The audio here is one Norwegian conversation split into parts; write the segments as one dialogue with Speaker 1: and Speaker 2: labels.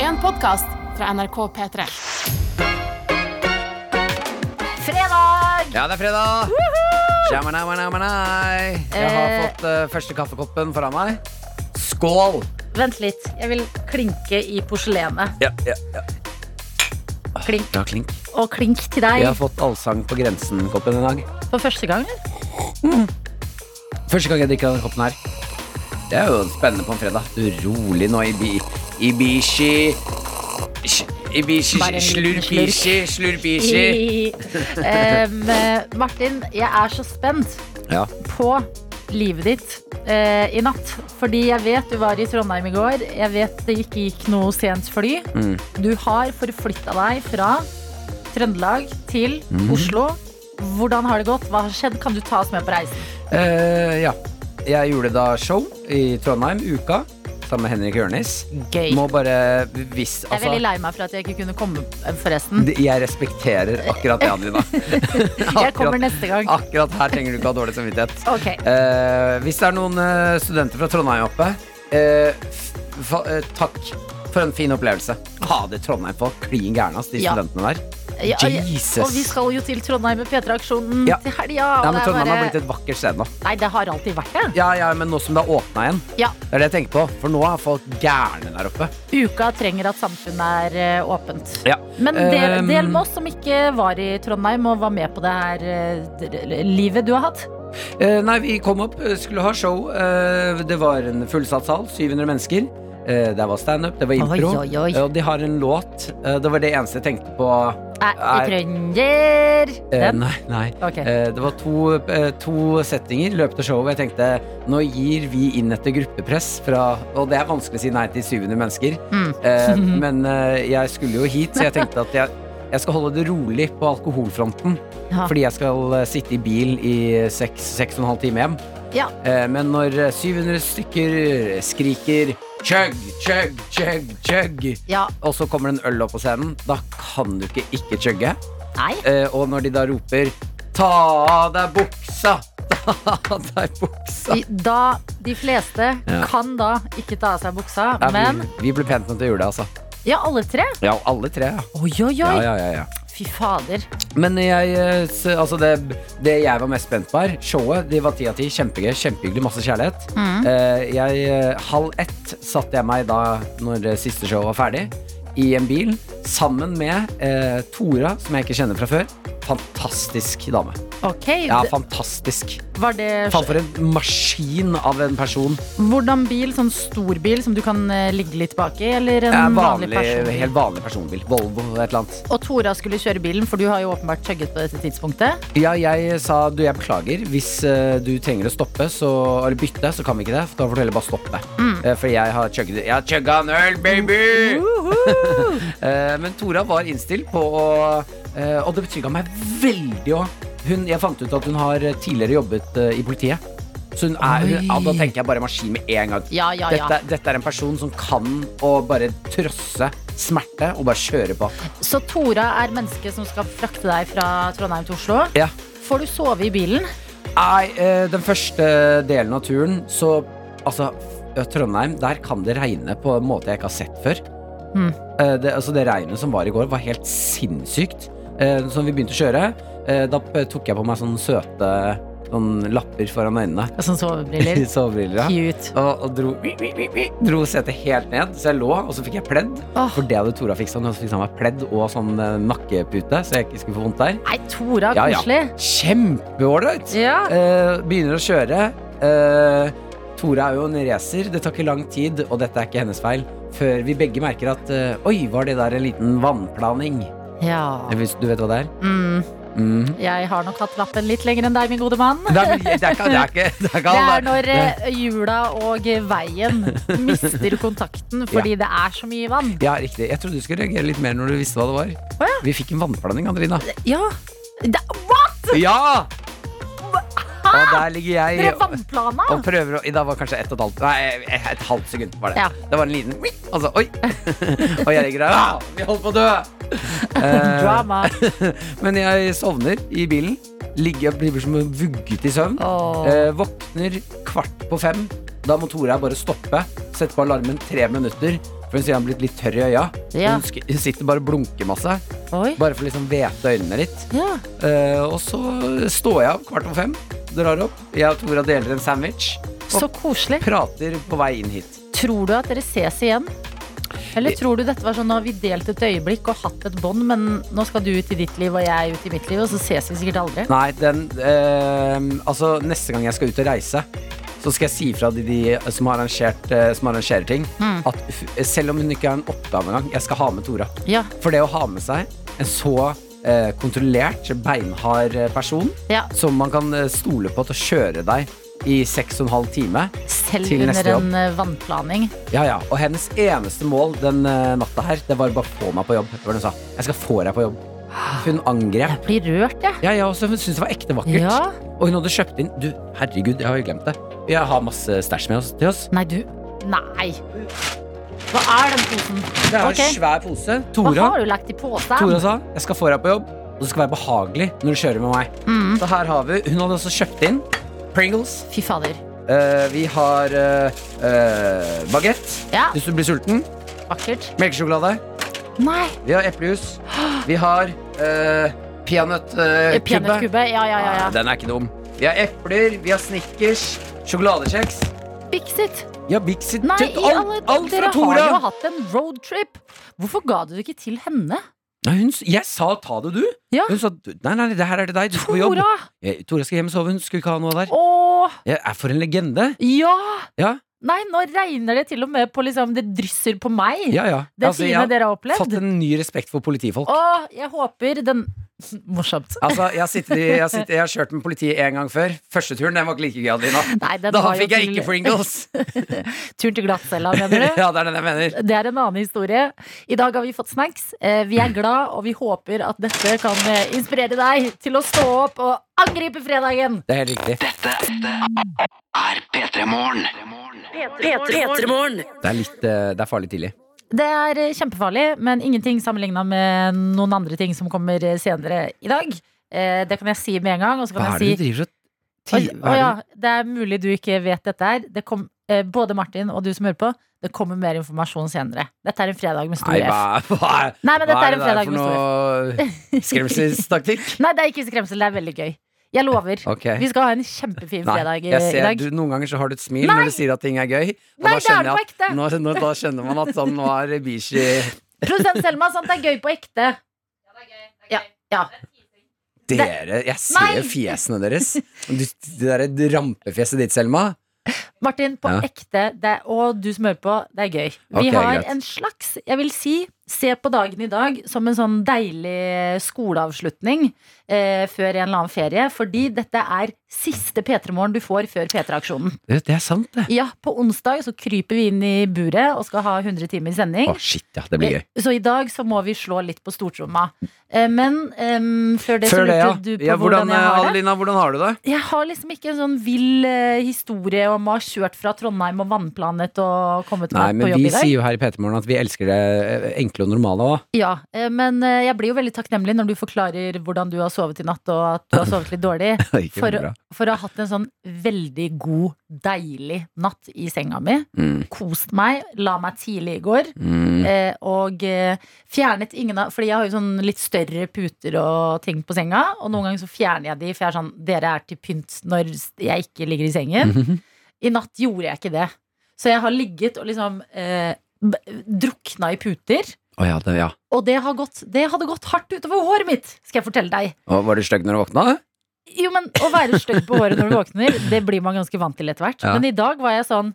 Speaker 1: en podkast fra NRK P3.
Speaker 2: Fredag!
Speaker 3: Ja, det er fredag! Jamanai, manai, manai. Jeg har
Speaker 2: Eh.
Speaker 3: fått eh, første kaffekoppen foran meg. Skål!
Speaker 2: Vent litt, jeg vil klinke i porselenet.
Speaker 3: Ja, ja, ja.
Speaker 2: Klink
Speaker 3: Ja, klink.
Speaker 2: og klink til deg
Speaker 3: Jeg har fått Allsang på grensen-koppen i dag.
Speaker 2: for første gang.
Speaker 3: Første gang jeg drikker denne koppen her. Det er jo spennende på en fredag. Rolig nå, Ibi Ibishi Sh- Ibishi
Speaker 2: Bare en liten
Speaker 3: Slurpishi Slurpishi.
Speaker 2: Em, eh, Martin, jeg er så spent
Speaker 3: Ja.
Speaker 2: på livet ditt eh, i natt. Fordi jeg vet du var i Trondheim i går. Jeg vet det ikke gikk noe sent fly.
Speaker 3: Mm.
Speaker 2: Du har forflytta deg fra Trøndelag til
Speaker 3: Mhm.
Speaker 2: Oslo. Hvordan har det gått? Hva har skjedd? Kan du ta oss med på reisen?
Speaker 3: Eh, ja. Jeg gjorde da show i Trondheim, Uka, sammen med Henrik Jørnis.
Speaker 2: Gøy.
Speaker 3: Må bare hvis altså,
Speaker 2: Jeg er veldig lei meg for at jeg ikke kunne komme, eh, forresten.
Speaker 3: Det- Jeg respekterer akkurat det, Adelina.
Speaker 2: Jeg kommer neste gang.
Speaker 3: akkurat her trenger du ikke ha dårlig samvittighet.
Speaker 2: Ok,
Speaker 3: Eh, hvis det er noen eh, studenter fra Trondheim oppe, eh, f- fa, eh, takk for en fin opplevelse. Fader, Trondheim folk klin gærne, ass, de
Speaker 2: Ja.
Speaker 3: studentene der.
Speaker 2: Ja, ja,
Speaker 3: Jesus.
Speaker 2: Og vi skal jo til Trondheim med P3-aksjonen
Speaker 3: Ja.
Speaker 2: til helga.
Speaker 3: Nei,
Speaker 2: og
Speaker 3: men
Speaker 2: det er
Speaker 3: Trondheim har
Speaker 2: bare-
Speaker 3: blitt et vakkert sted nå.
Speaker 2: Nei, det har alltid vært det.
Speaker 3: Ja, ja, men nå som det har åpna igjen.
Speaker 2: Ja,
Speaker 3: Det er det jeg tenker på, for nå er folk gærne der oppe.
Speaker 2: Uka trenger at samfunnet er eh, åpent.
Speaker 3: Ja.
Speaker 2: Men del,
Speaker 3: Um,
Speaker 2: del med oss som ikke var i Trondheim og var med på det her eh, d- d- livet du har hatt.
Speaker 3: Eh, nei, vi kom opp, eh, skulle ha show. Eh, det var en fullsatt sal, 700 mennesker. Eh, der var standup, det var impro.
Speaker 2: Oi, oi, oi.
Speaker 3: Eh, og de har en låt. Eh, det var det eneste jeg tenkte på.
Speaker 2: Er i
Speaker 3: Er-
Speaker 2: Trønder.
Speaker 3: Eh,
Speaker 2: Den?
Speaker 3: Nei, nei.
Speaker 2: Ok.
Speaker 3: Eh, det var to, eh, to settinger i løpet av showet. Jeg tenkte nå gir vi inn etter gruppepress, fra, og det er vanskelig å si nei til 700 mennesker.
Speaker 2: Mm.
Speaker 3: Eh, men eh, jeg skulle jo hit, så jeg tenkte at jeg, jeg skal holde det rolig på alkoholfronten.
Speaker 2: Ja.
Speaker 3: Fordi jeg skal eh, sitte i bil i seks, seks og en halv time hjem.
Speaker 2: Ja.
Speaker 3: Eh, men når eh, 700 stykker skriker chug, chug, chug, chug,
Speaker 2: ja.
Speaker 3: og så kommer det en øl opp på scenen, da kan du ikke ikke chugge.
Speaker 2: Nei.
Speaker 3: Eh, og når de da roper Ta av deg buksa! Ta av deg buksa!
Speaker 2: De, da, de fleste
Speaker 3: Ja.
Speaker 2: kan da ikke ta av seg buksa,
Speaker 3: Nei,
Speaker 2: men
Speaker 3: vi, vi ble pent nødt til å gjøre det, altså.
Speaker 2: Ja, alle tre.
Speaker 3: Ja, alle tre. ja.
Speaker 2: Oi, oi, oi.
Speaker 3: Ja, ja, ja, ja.
Speaker 2: Fy fader.
Speaker 3: Men jeg, eh, s- altså det, det jeg var mest spent på her, showet, de var ti av ti. Kjempegøy, kjempehyggelig, masse kjærlighet. Eh, Jeg, eh, halv ett satte jeg meg da når det siste show var ferdig, i en bil sammen med eh, Tora, som jeg ikke kjenner fra før. Fantastisk dame.
Speaker 2: Ok,
Speaker 3: Ja,
Speaker 2: d-
Speaker 3: fantastisk.
Speaker 2: var det
Speaker 3: Faen, for en maskin av en person.
Speaker 2: Hvordan bil? Sånn stor bil som du kan eh, ligge litt bak i? Eller en
Speaker 3: Ja,
Speaker 2: vanlig,
Speaker 3: Eh, vanlig,
Speaker 2: personbil?
Speaker 3: helt vanlig personbil. Volvo et eller annet.
Speaker 2: Og Tora skulle kjøre bilen, for du har jo åpenbart chugget på dette tidspunktet.
Speaker 3: Ja, jeg sa du, jeg beklager. Hvis eh, du trenger å stoppe, så, eller bytte, så kan vi ikke det. For da får du heller bare stoppe.
Speaker 2: Mm.
Speaker 3: Eh, for jeg har chugget Jeg har chugga en øl, baby! Eh, men Tora var innstilt på å eh, Og det betrygga meg veldig òg. Jeg fant ut at hun har tidligere jobbet eh, i politiet. Så hun er hun, ja, Da tenker jeg bare maskin med en gang.
Speaker 2: Ja, ja, ja.
Speaker 3: Dette, dette er en person som kan å bare trosse smerte og bare kjøre på.
Speaker 2: Så Tora er mennesket som skal frakte deg fra Trondheim til Oslo.
Speaker 3: Ja.
Speaker 2: Får du sove i bilen?
Speaker 3: Nei, eh, den første delen av turen Så, altså f- Trondheim, der kan det regne på en måte jeg ikke har sett før
Speaker 2: Mm.
Speaker 3: eh, det, Altså det regnet som var i går var helt sinnssykt eh, Så vi begynte å kjøre eh, Da p- tok jeg på meg sånne søte Sånne lapper foran øynene
Speaker 2: Og sånn sovebriller.
Speaker 3: Sovebriller ja.
Speaker 2: Cute.
Speaker 3: Og, og dro, dro setet helt ned Så jeg lå, og så fikk jeg pledd
Speaker 2: Åh.
Speaker 3: For det hadde Tora fiksa, og så fiksa han meg pledd Og sånn eh, nakkepute, så jeg ikke skulle få vondt der
Speaker 2: Nei, Tora,
Speaker 3: Ja, ja.
Speaker 2: koselig.
Speaker 3: Kjempeålreit!
Speaker 2: Ja.
Speaker 3: Eh, begynner å kjøre. Eh, Tora er jo en racer. Det tar ikke lang tid, og dette er ikke hennes feil, før vi begge merker at eh, Oi, var det der en liten vannplaning?
Speaker 2: ja.
Speaker 3: Hvis du vet hva det er?
Speaker 2: Mm.
Speaker 3: Mm.
Speaker 2: Jeg har nok hatt lappen litt lenger enn deg, min gode mann.
Speaker 3: Det er, det er ikke, det er ikke, det er
Speaker 2: Det
Speaker 3: ikke alle.
Speaker 2: er når eh, hjula og veien mister kontakten fordi det er så mye vann.
Speaker 3: Ja, riktig. Jeg trodde du skulle reagere litt mer når du visste hva det var.
Speaker 2: ja.
Speaker 3: Vi fikk en vannplaning, Adelina.
Speaker 2: Ja. Det, what?!
Speaker 3: Ja! Og der ligger
Speaker 2: Dere
Speaker 3: jeg
Speaker 2: vannplana!
Speaker 3: og prøver å I dag var det kanskje ett og et halvt Nei, et halvt sekund var det.
Speaker 2: Ja.
Speaker 3: Det var en liten Og så oi! og jeg ligger der. «Ah, Vi holder på å dø! Eh,
Speaker 2: Drama.
Speaker 3: men jeg sovner i bilen. Ligger og blir som vugget i søvn.
Speaker 2: Åh.
Speaker 3: Eh, våkner kvart på fem. Da må Tora bare stoppe, sette på alarmen tre minutter. For hun sier han er blitt litt tørr i øya.
Speaker 2: Ja.
Speaker 3: Hun, sk- hun sitter bare og blunker masse.
Speaker 2: Oi.
Speaker 3: Bare for å liksom hvete øynene litt.
Speaker 2: Ja.
Speaker 3: Eh, og så står jeg opp kvart om fem, drar opp. Jeg og Tora deler en sandwich. Og
Speaker 2: Så koselig.
Speaker 3: prater på vei inn hit.
Speaker 2: Tror du at dere ses igjen? Eller tror du dette var sånn at vi delt et øyeblikk og hatt et bånd, men nå skal du ut i ditt liv og jeg ut i mitt liv, og så ses vi sikkert aldri?
Speaker 3: Nei, den eh, Altså, neste gang jeg skal ut og reise, så skal jeg si fra til de som, har arrangert, eh, som arrangerer ting,
Speaker 2: Mm.
Speaker 3: at f- eh, selv om hun ikke er en oppgave engang, jeg skal ha med Tora.
Speaker 2: Ja.
Speaker 3: For det å ha med seg en så eh, kontrollert, beinhard eh, person
Speaker 2: ja.
Speaker 3: som man kan eh, stole på til å kjøre deg i seks og en halv time
Speaker 2: Selv
Speaker 3: Til neste
Speaker 2: under
Speaker 3: jobb.
Speaker 2: en eh, vannplaning.
Speaker 3: Ja, ja. Og hennes eneste mål den eh, natta her, det var bare å få meg på jobb. Hva var det hun sa? Jeg skal få deg på jobb. Hun angrep.
Speaker 2: Jeg blir rørt, jeg.
Speaker 3: Ja, ja, også, hun syntes det var ekte vakkert.
Speaker 2: Ja.
Speaker 3: Og hun hadde kjøpt inn Du, herregud, jeg har jo glemt det. Jeg har masse stæsj med oss til oss.
Speaker 2: Nei, du. Nei. Hva er den posen?
Speaker 3: Det er
Speaker 2: Ok.
Speaker 3: en svær pose.
Speaker 2: Hva
Speaker 3: Tora,
Speaker 2: har du lagt i posen?
Speaker 3: Tora sa jeg skal få deg på jobb, og du skal være behagelig når du kjører med meg.
Speaker 2: Mm.
Speaker 3: Så her har vi Hun hadde også kjøpt inn Pringles.
Speaker 2: Fy fader.
Speaker 3: Eh, vi har eh, eh, bagett
Speaker 2: Ja,
Speaker 3: hvis du blir sulten.
Speaker 2: vakkert.
Speaker 3: Melkesjokolade.
Speaker 2: Nei.
Speaker 3: Vi har eplejus. Vi har uh,
Speaker 2: eh,
Speaker 3: peanøttkubbe.
Speaker 2: Peanøttkubbe. Ja, ja, ja. ja.
Speaker 3: Ah, den er ikke dum. Vi har epler, vi har Snickers, sjokoladekjeks.
Speaker 2: Bixit.
Speaker 3: Ja, Bixit.
Speaker 2: Nei,
Speaker 3: Alt,
Speaker 2: i alle
Speaker 3: alt fra
Speaker 2: dere
Speaker 3: Tora.
Speaker 2: har jo hatt en roadtrip. Hvorfor ga du det ikke til henne?
Speaker 3: Nei, hun, s- jeg sa ta det, du.
Speaker 2: Ja.
Speaker 3: Hun sa du- nei, nei, det her er til deg. Du skal på jobb.
Speaker 2: Tora!
Speaker 3: Jeg, Tora skal hjem og sove. Hun skulle ikke ha noe der.
Speaker 2: Åh,
Speaker 3: Jeg er for en legende.
Speaker 2: ja!
Speaker 3: Ja.
Speaker 2: Nei, nå regner det til og med på liksom Det drysser på meg.
Speaker 3: Ja, ja.
Speaker 2: Det
Speaker 3: Altså,
Speaker 2: fine
Speaker 3: jeg
Speaker 2: dere har
Speaker 3: har fått
Speaker 2: opplevd.
Speaker 3: en ny respekt for politifolk.
Speaker 2: Åh, jeg håper den Morsomt.
Speaker 3: Altså, jeg, har sittet i, jeg, har sittet, jeg har kjørt med politiet en gang før. Første turen den var ikke like gøy, Adelina.
Speaker 2: Nei, den
Speaker 3: Da
Speaker 2: var jo
Speaker 3: fikk jeg
Speaker 2: til-
Speaker 3: ikke Pringles.
Speaker 2: Turen til glattcella, mener du?
Speaker 3: ja, det er den jeg mener.
Speaker 2: Det er en annen historie. I dag har vi fått snacks. Eh, Vi er glad, og vi håper at dette kan eh, inspirere deg til å stå opp og angripe fredagen.
Speaker 3: Det er helt riktig. Det er, litt, eh, det er farlig tidlig.
Speaker 2: Det er eh, kjempefarlig, men ingenting sammenligna med noen andre ting som kommer eh, senere i dag. Eh, Det kan jeg si med en gang. Og så
Speaker 3: Hva
Speaker 2: kan
Speaker 3: er det
Speaker 2: jeg
Speaker 3: du
Speaker 2: si
Speaker 3: driver og
Speaker 2: Oi,
Speaker 3: ti- hva
Speaker 2: å
Speaker 3: er
Speaker 2: ja,
Speaker 3: det-
Speaker 2: Det er mulig du ikke vet dette her. Det kom, eh, både Martin og du som hører på, det kommer mer informasjon senere. Dette er en fredag med stor
Speaker 3: Nei,
Speaker 2: F.
Speaker 3: hva, hva, er-
Speaker 2: Nei, men
Speaker 3: hva
Speaker 2: dette
Speaker 3: er
Speaker 2: er
Speaker 3: det
Speaker 2: en
Speaker 3: der
Speaker 2: fredag
Speaker 3: for
Speaker 2: med stor F.
Speaker 3: noe skremselstaktikk?
Speaker 2: Nei, det er ikke skremsel. Det er veldig gøy. Jeg lover.
Speaker 3: Ok.
Speaker 2: Vi skal ha en kjempefin fredag i,
Speaker 3: jeg ser,
Speaker 2: i dag.
Speaker 3: Du, noen ganger så har du et smil når du sier at ting er gøy.
Speaker 2: Nei,
Speaker 3: Og da,
Speaker 2: det er
Speaker 3: skjønner
Speaker 2: det på
Speaker 3: jeg at,
Speaker 2: ekte.
Speaker 3: nå, nå, da skjønner man at sånn nå er Bishi
Speaker 2: Produsent Selma, sant det er gøy på ekte. Ja, ja.
Speaker 3: Dere, jeg ser
Speaker 2: Nei.
Speaker 3: fjesene deres. Du, det derre rampefjeset ditt, Selma.
Speaker 2: Martin, på
Speaker 3: Ja.
Speaker 2: ekte, det er, og du som hører på, det er gøy. Vi
Speaker 3: Ok,
Speaker 2: har
Speaker 3: greit.
Speaker 2: en slags, jeg vil si, se på dagen i dag som en sånn deilig skoleavslutning eh, før en eller annen ferie. Fordi dette er siste P3-morgen du får før P3-aksjonen.
Speaker 3: Det, det er sant, det.
Speaker 2: Ja, på onsdag så kryper vi inn i buret og skal ha 100 timer sending.
Speaker 3: Å, shit, ja. Det blir gøy.
Speaker 2: Eh, Så i dag så må vi slå litt på stortromma. Eh, Men ehm, før det så
Speaker 3: Før det,
Speaker 2: lurte
Speaker 3: ja.
Speaker 2: du på
Speaker 3: ja eh,
Speaker 2: hvordan, jeg har det.
Speaker 3: Adelina, hvordan har du det?
Speaker 2: Jeg har liksom ikke en sånn vill eh, historie om å ha kjørt fra Trondheim og vannplanet og kommet
Speaker 3: Nei,
Speaker 2: meg på
Speaker 3: men
Speaker 2: jobb
Speaker 3: vi
Speaker 2: i dag.
Speaker 3: sier jo her i PT Morgen at vi elsker det eh, enkle og normale òg.
Speaker 2: Ja, eh, men eh, jeg blir jo veldig takknemlig når du forklarer hvordan du har sovet i natt, og at du har sovet litt dårlig.
Speaker 3: Ikke
Speaker 2: For,
Speaker 3: bra.
Speaker 2: for å ha hatt en sånn veldig god, deilig natt i senga mi.
Speaker 3: Mm,
Speaker 2: Kost meg, la meg tidlig i går.
Speaker 3: mm.
Speaker 2: Eh, og eh, fjernet ingen av Fordi jeg har jo sånn litt større puter og ting på senga. Og noen ganger så fjerner jeg de, for jeg er sånn Dere er til pynt når jeg ikke ligger i sengen.
Speaker 3: Mhm.
Speaker 2: I natt gjorde jeg ikke det. Så jeg har ligget og liksom eh, b- drukna i puter.
Speaker 3: Å ja, det, ja.
Speaker 2: Og det, har gått, det hadde gått hardt utover håret mitt, skal jeg fortelle deg.
Speaker 3: Å, var du stygg når du våkna?
Speaker 2: Jo, men Å være stygg på håret når du våkner, det blir man ganske vant til etter hvert.
Speaker 3: Ja.
Speaker 2: Men i dag var jeg sånn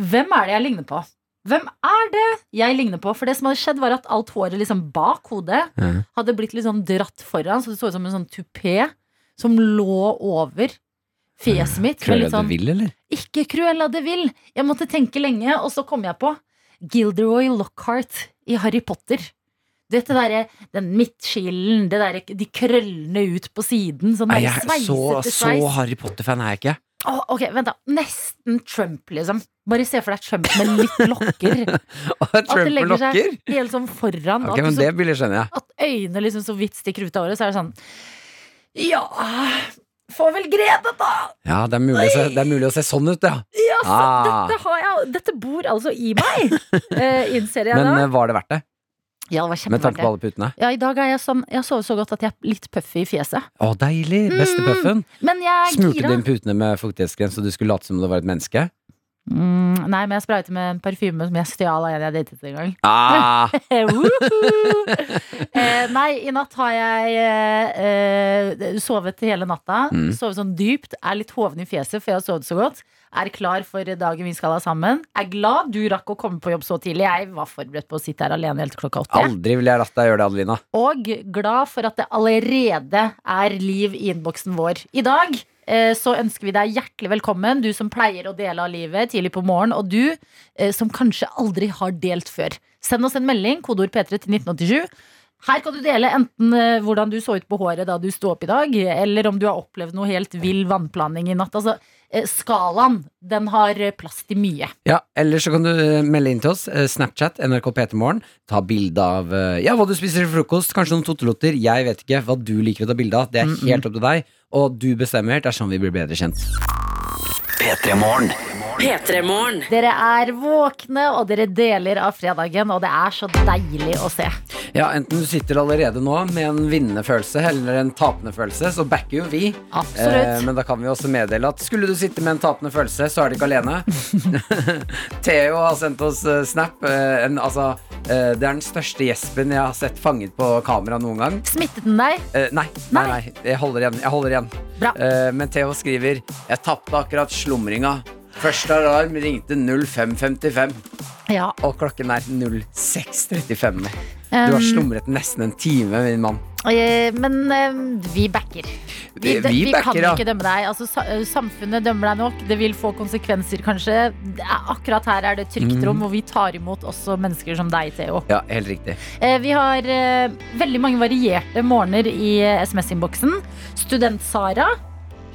Speaker 2: Hvem er det jeg ligner på? Hvem er det jeg ligner på? For det som hadde skjedd, var at alt håret liksom bak hodet
Speaker 3: Mhm.
Speaker 2: hadde blitt litt sånn dratt foran, så det så ut som en sånn tupé som lå over fjeset mitt. med
Speaker 3: Krølla
Speaker 2: litt sånn,
Speaker 3: du vil, eller?
Speaker 2: Ikke Cruella de Vil! Jeg måtte tenke lenge, og så kom jeg på Gilderoy Lockhart i Harry Potter. Du vet det derre den midtskillen, det derre- de krøllene ut på siden, sånn
Speaker 3: Nei,
Speaker 2: der
Speaker 3: jeg er så,
Speaker 2: sveisete
Speaker 3: så
Speaker 2: sveis.
Speaker 3: Harry Potter-fan er jeg ikke.
Speaker 2: Å, ok, vent da. Nesten Trump, liksom. Bare se for deg Trump med litt lokker. At det
Speaker 3: Trump
Speaker 2: legger seg
Speaker 3: lokker?
Speaker 2: helt sånn foran.
Speaker 3: Ok,
Speaker 2: at,
Speaker 3: men
Speaker 2: du
Speaker 3: det bildet skjønner jeg.
Speaker 2: så, at øynene liksom så vidt stikker ut av håret, så er det sånn Ja Får vel Grete, da!
Speaker 3: Ja, det er mulig å se, det er mulig å se sånn ut, ja.
Speaker 2: Ja, så
Speaker 3: Ah.
Speaker 2: dette, har jeg, dette bor altså i meg, eh, innser jeg
Speaker 3: Men
Speaker 2: da.
Speaker 3: eh, var det verdt det?
Speaker 2: Ja, det var
Speaker 3: Med tanke på
Speaker 2: kjempeverdig.
Speaker 3: alle putene?
Speaker 2: Ja, I dag er jeg sånn Jeg sover så godt at jeg er litt puffy i fjeset.
Speaker 3: Å, deilig! Beste
Speaker 2: Mm.
Speaker 3: puffen.
Speaker 2: Men jeg er
Speaker 3: Smurte du
Speaker 2: gira.
Speaker 3: inn putene med fuktighetskrem så du skulle late som om du var et menneske?
Speaker 2: Mm, nei, men jeg sprayte med en parfyme som jeg stjal av en jeg datet en gang.
Speaker 3: Ah,
Speaker 2: Woohoo! eh, nei, i natt har jeg eh, eh, sovet hele natta.
Speaker 3: Mm.
Speaker 2: Sovet sånn dypt. Er litt hoven i fjeset, for jeg har sovet så godt. Er klar for dagen vi skal ha sammen. Er glad du rakk å komme på jobb så tidlig. Jeg var forberedt på å sitte her alene helt til klokka åtte.
Speaker 3: aldri ville jeg latt deg gjøre det, Adelina.
Speaker 2: Og glad for at det allerede er liv i innboksen vår. I dag eh, så ønsker vi deg hjertelig velkommen, du som pleier å dele av livet tidlig på morgen, og du eh, som kanskje aldri har delt før. Send oss en melding, kodeord P3 til 1987. Her kan du dele enten eh, hvordan du så ut på håret da du sto opp i dag, eller om du har opplevd noe helt vill vannplaning i natt. Altså, eh, skalaen, den har eh, plass til mye.
Speaker 3: Ja, Eller så kan du eh, melde inn til oss. eh, Snapchat, NRK P3morgen. Ta bilde av eh, ja, hva du spiser til frokost, kanskje noen totelotter. Jeg vet ikke hva du liker å ta bilde av. Det er helt opp til deg, og du bestemmer. Det er sånn vi blir bedre kjent.
Speaker 4: P3-morgen.
Speaker 2: Dere er våkne, og dere deler av fredagen, og det er så deilig å se.
Speaker 3: Ja, Enten du sitter allerede nå med en vinnende følelse eller en tapende følelse, så backer jo vi. Eh,
Speaker 2: Absolutt.
Speaker 3: men da kan vi også meddele at skulle du sitte med en tapende følelse, så er du ikke alene. Theo har sendt oss eh, snap. eh, en, altså, eh, det er den største gjespen jeg har sett fanget på kamera noen gang.
Speaker 2: Smittet den deg?
Speaker 3: Eh, nei, nei,
Speaker 2: Nei.
Speaker 3: nei, jeg holder igjen. Jeg holder igjen.
Speaker 2: Bra.
Speaker 3: Eh, men Theo skriver Jeg tapte akkurat slumringa. Første alarm ringte 05.55,
Speaker 2: Ja.
Speaker 3: og klokken er 06.35 nå. Du har
Speaker 2: Um,
Speaker 3: slumret nesten en time, min mann.
Speaker 2: eh, men eh, vi backer. Vi,
Speaker 3: Vi- vi
Speaker 2: kan
Speaker 3: backer, ja.
Speaker 2: ikke dømme deg. Altså, sa- eh, samfunnet dømmer deg nok. Det vil få konsekvenser, kanskje. Det er- Akkurat her er det et
Speaker 3: Mhm.
Speaker 2: trygt rom, hvor vi tar imot også mennesker som deg, Theo.
Speaker 3: Ja, helt riktig.
Speaker 2: Eh, Vi har eh, veldig mange varierte morgener i eh, SMS-innboksen. Student-Sara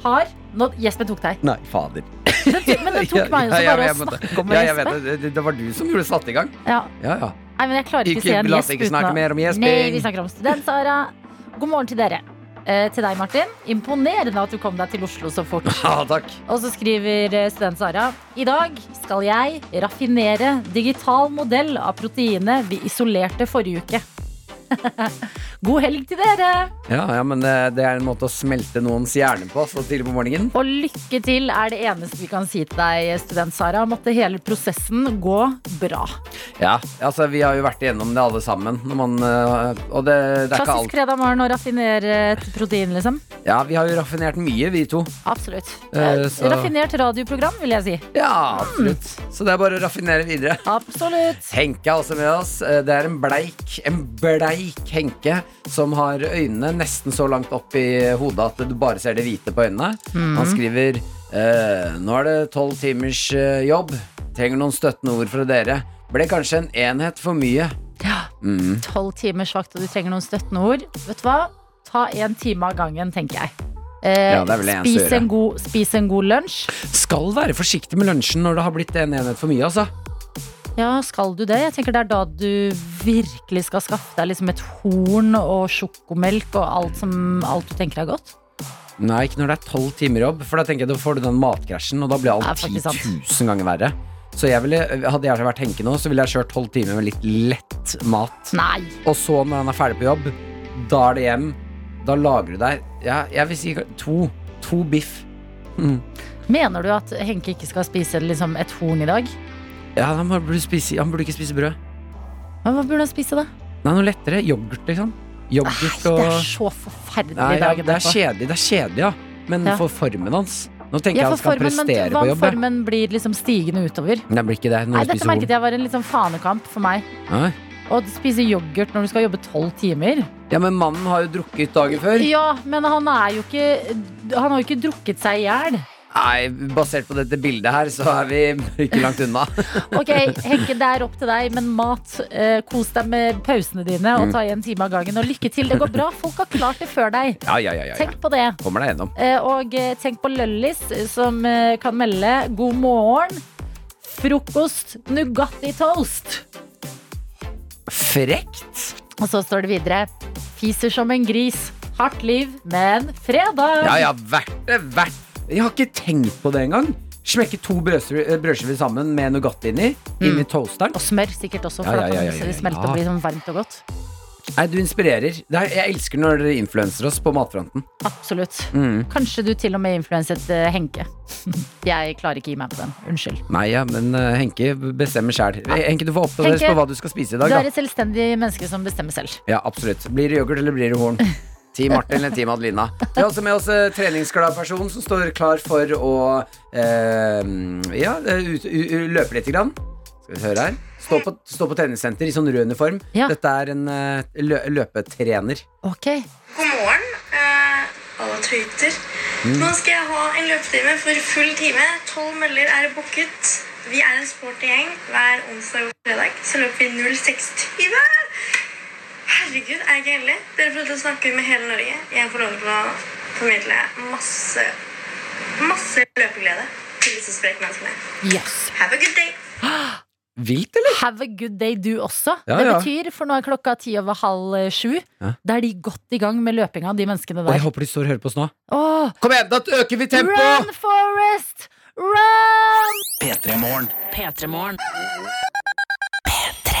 Speaker 2: har nå, Jespen tok deg.
Speaker 3: Nei, fader.
Speaker 2: Den tok, men den tok meg også
Speaker 3: Ja,
Speaker 2: bare å
Speaker 3: ja, jeg vet det.
Speaker 2: snakke om
Speaker 3: ja, jeg vet
Speaker 2: Jespen.
Speaker 3: det. det. Det var du som gjorde satte i gang.
Speaker 2: Ja.
Speaker 3: Ja, ja.
Speaker 2: Nei, men jeg klarer ikke,
Speaker 3: Ikke-
Speaker 2: å se en
Speaker 3: la oss
Speaker 2: gjesp
Speaker 3: ikke snakke
Speaker 2: å-
Speaker 3: mer om gjesping.
Speaker 2: Nei, vi snakker om student, Sara. God morgen til dere. Eh, til deg, Martin. Imponerende at du kom deg til Oslo så fort.
Speaker 3: Ja, takk.
Speaker 2: Og så skriver eh, student Sara I dag skal jeg raffinere digital modell av proteinet vi isolerte forrige uke. God helg til dere!
Speaker 3: Ja, ja, men eh, det er en måte å smelte noens hjerne på så tidlig på morgenen.
Speaker 2: Og lykke til er det eneste vi kan si til deg, student Sara. Måtte hele prosessen gå bra.
Speaker 3: Ja, altså Vi har jo vært igjennom det alle sammen. Når man, eh, og det, det er ikke
Speaker 2: Klassisk
Speaker 3: alt.
Speaker 2: fredag morgen å raffinere et protein, liksom.
Speaker 3: Ja, vi har jo raffinert mye, vi to.
Speaker 2: Absolutt.
Speaker 3: Eh,
Speaker 2: Eh,
Speaker 3: så-
Speaker 2: Raffinert radioprogram, vil jeg si.
Speaker 3: Ja, absolutt. Så det er bare å raffinere videre.
Speaker 2: Absolutt.
Speaker 3: Henke er også med oss. Eh, Det er en bleik, en bleik Henke som har øynene nesten så langt opp i hodet at du bare ser det hvite på øynene.
Speaker 2: Mhm.
Speaker 3: Han skriver eh, Nå er det tolv timers eh, jobb. Trenger noen støttende ord fra dere. Ble kanskje en enhet for mye. Mm.
Speaker 2: Tolv timers vakt, og du trenger noen støttende ord. Vet du hva? Ta en time av gangen, tenker jeg. Eh,
Speaker 3: Ja, det er vel det eneste å
Speaker 2: spis,
Speaker 3: gjøre.
Speaker 2: en god, spis en god lunsj.
Speaker 3: Skal være forsiktig med lunsjen når det har blitt en enhet for mye, altså.
Speaker 2: Ja, skal du det? Jeg tenker Det er da du virkelig skal skaffe deg liksom et horn og sjokomelk og alt, som, alt du tenker er godt.
Speaker 3: Nei, ikke når det er tolv timer jobb, for da tenker jeg da får du den matkrasjen, og da blir
Speaker 2: Det er
Speaker 3: alt
Speaker 2: faktisk sant.
Speaker 3: 10 000 ganger verre. Så jeg ville, hadde jeg vært Henke nå, så ville jeg kjørt tolv timer med litt lett mat.
Speaker 2: Nei!
Speaker 3: Og så når han er ferdig på jobb, da er det hjem. Da lager du deg ja, Jeg vil si to. To biff. Mm.
Speaker 2: Mener du at Henke ikke skal spise liksom, et horn i dag?
Speaker 3: Ja, han burde, spise, han burde ikke spise brød.
Speaker 2: Men Hva burde han spise, da?
Speaker 3: Nei, noe lettere. Yoghurt, liksom.
Speaker 2: Nei,
Speaker 3: Yoghurt
Speaker 2: det
Speaker 3: og
Speaker 2: er så forferdelig
Speaker 3: Nei, ja,
Speaker 2: dagen
Speaker 3: Det er
Speaker 2: etterpå.
Speaker 3: kjedelig, det er kjedelig, ja. Men
Speaker 2: Ja.
Speaker 3: for formen hans. Nå tenker
Speaker 2: Ja, for
Speaker 3: jeg han skal
Speaker 2: formen,
Speaker 3: prestere
Speaker 2: men hva
Speaker 3: på
Speaker 2: om
Speaker 3: jobb. jeg.
Speaker 2: formen blir liksom stigende utover?
Speaker 3: Nei, det blir ikke det. Når
Speaker 2: Nei,
Speaker 3: du
Speaker 2: dette
Speaker 3: spiser
Speaker 2: merket
Speaker 3: horn.
Speaker 2: jeg var en liksom fanekamp for meg.
Speaker 3: Nei.
Speaker 2: Å spise yoghurt når du skal jobbe tolv timer.
Speaker 3: Ja, men mannen har jo drukket dagen før.
Speaker 2: Ja, men han er jo ikke Han har jo ikke drukket seg i hjel.
Speaker 3: Nei, basert på dette bildet her, så er vi ikke langt unna.
Speaker 2: Ok, Henke, det er opp til deg, men mat. Eh, kos deg med pausene dine
Speaker 3: Mm.
Speaker 2: og ta en time av gangen. Og lykke til. Det går bra. Folk har klart det før deg.
Speaker 3: Ja, ja, ja, ja, ja.
Speaker 2: Tenk på det.
Speaker 3: Kommer deg gjennom.
Speaker 2: Eh, og eh, tenk på Løllis, som eh, kan melde 'god morgen'. Frokost Nugatti toast.
Speaker 3: Frekt!
Speaker 2: Og så står det videre 'fiser som en gris'. Hardt liv, men fredag!
Speaker 3: Ja, ja, vært det, vært Jeg har ikke tenkt på det engang. Smekke to brødskiver eh, brødskiver sammen med Nougat inni. Inn i toasteren.
Speaker 2: Og smør sikkert også, for
Speaker 3: Ja,
Speaker 2: da
Speaker 3: ja,
Speaker 2: kan
Speaker 3: ja, ja,
Speaker 2: det
Speaker 3: ja,
Speaker 2: smelte
Speaker 3: ja.
Speaker 2: og bli sånn varmt og godt.
Speaker 3: Nei, du inspirerer. Det er, jeg elsker når dere influenser oss på matfronten.
Speaker 2: Absolutt.
Speaker 3: Mm.
Speaker 2: Kanskje du til og med influenset eh, Henke. Jeg klarer ikke gi meg på den. Unnskyld.
Speaker 3: Nei, ja, men eh, Henke bestemmer sjæl. Henke, du får oppdateres
Speaker 2: Henke,
Speaker 3: på hva du skal spise i
Speaker 2: Du
Speaker 3: dag.
Speaker 2: er
Speaker 3: Da.
Speaker 2: et selvstendig menneske som bestemmer selv.
Speaker 3: Ja, absolutt. Blir det yoghurt eller blir det horn? Team Martin eller Team Adelina. Vi har også med oss eh, treningsglad person som står klar for å eh, ja, ut, u, u, løpe lite grann. Skal vi høre her. Stå på, stå på treningssenter i sånn rød uniform.
Speaker 2: Ja.
Speaker 3: Dette er en eh, lø, løpetrener.
Speaker 2: Ok,
Speaker 4: God morgen, eh, alle tøyter. Nå skal jeg ha en løpetime for full time. Tolv møller er booket. Vi er en sporty gjeng. Hver onsdag og fredag så løper vi 06.20. Herregud, er jeg ikke heldig? Dere får lov til å snakke med hele Norge. Jeg får lov til å formidle masse, masse løpeglede til disse spreke menneskene.
Speaker 2: yes
Speaker 4: Have a good day!
Speaker 3: Vilt, eller?
Speaker 2: Have a good day du også.
Speaker 3: Ja,
Speaker 2: det
Speaker 3: ja.
Speaker 2: betyr, for nå er klokka ti over halv eh, sju.
Speaker 3: Ja.
Speaker 2: Da er de godt i gang med løpinga, de menneskene
Speaker 3: Og jeg
Speaker 2: der.
Speaker 3: håper de står og hører på oss nå.
Speaker 2: Åh,
Speaker 3: Kom igjen, da øker vi tempoet!
Speaker 2: run, Forest! Run!
Speaker 1: P3morgen.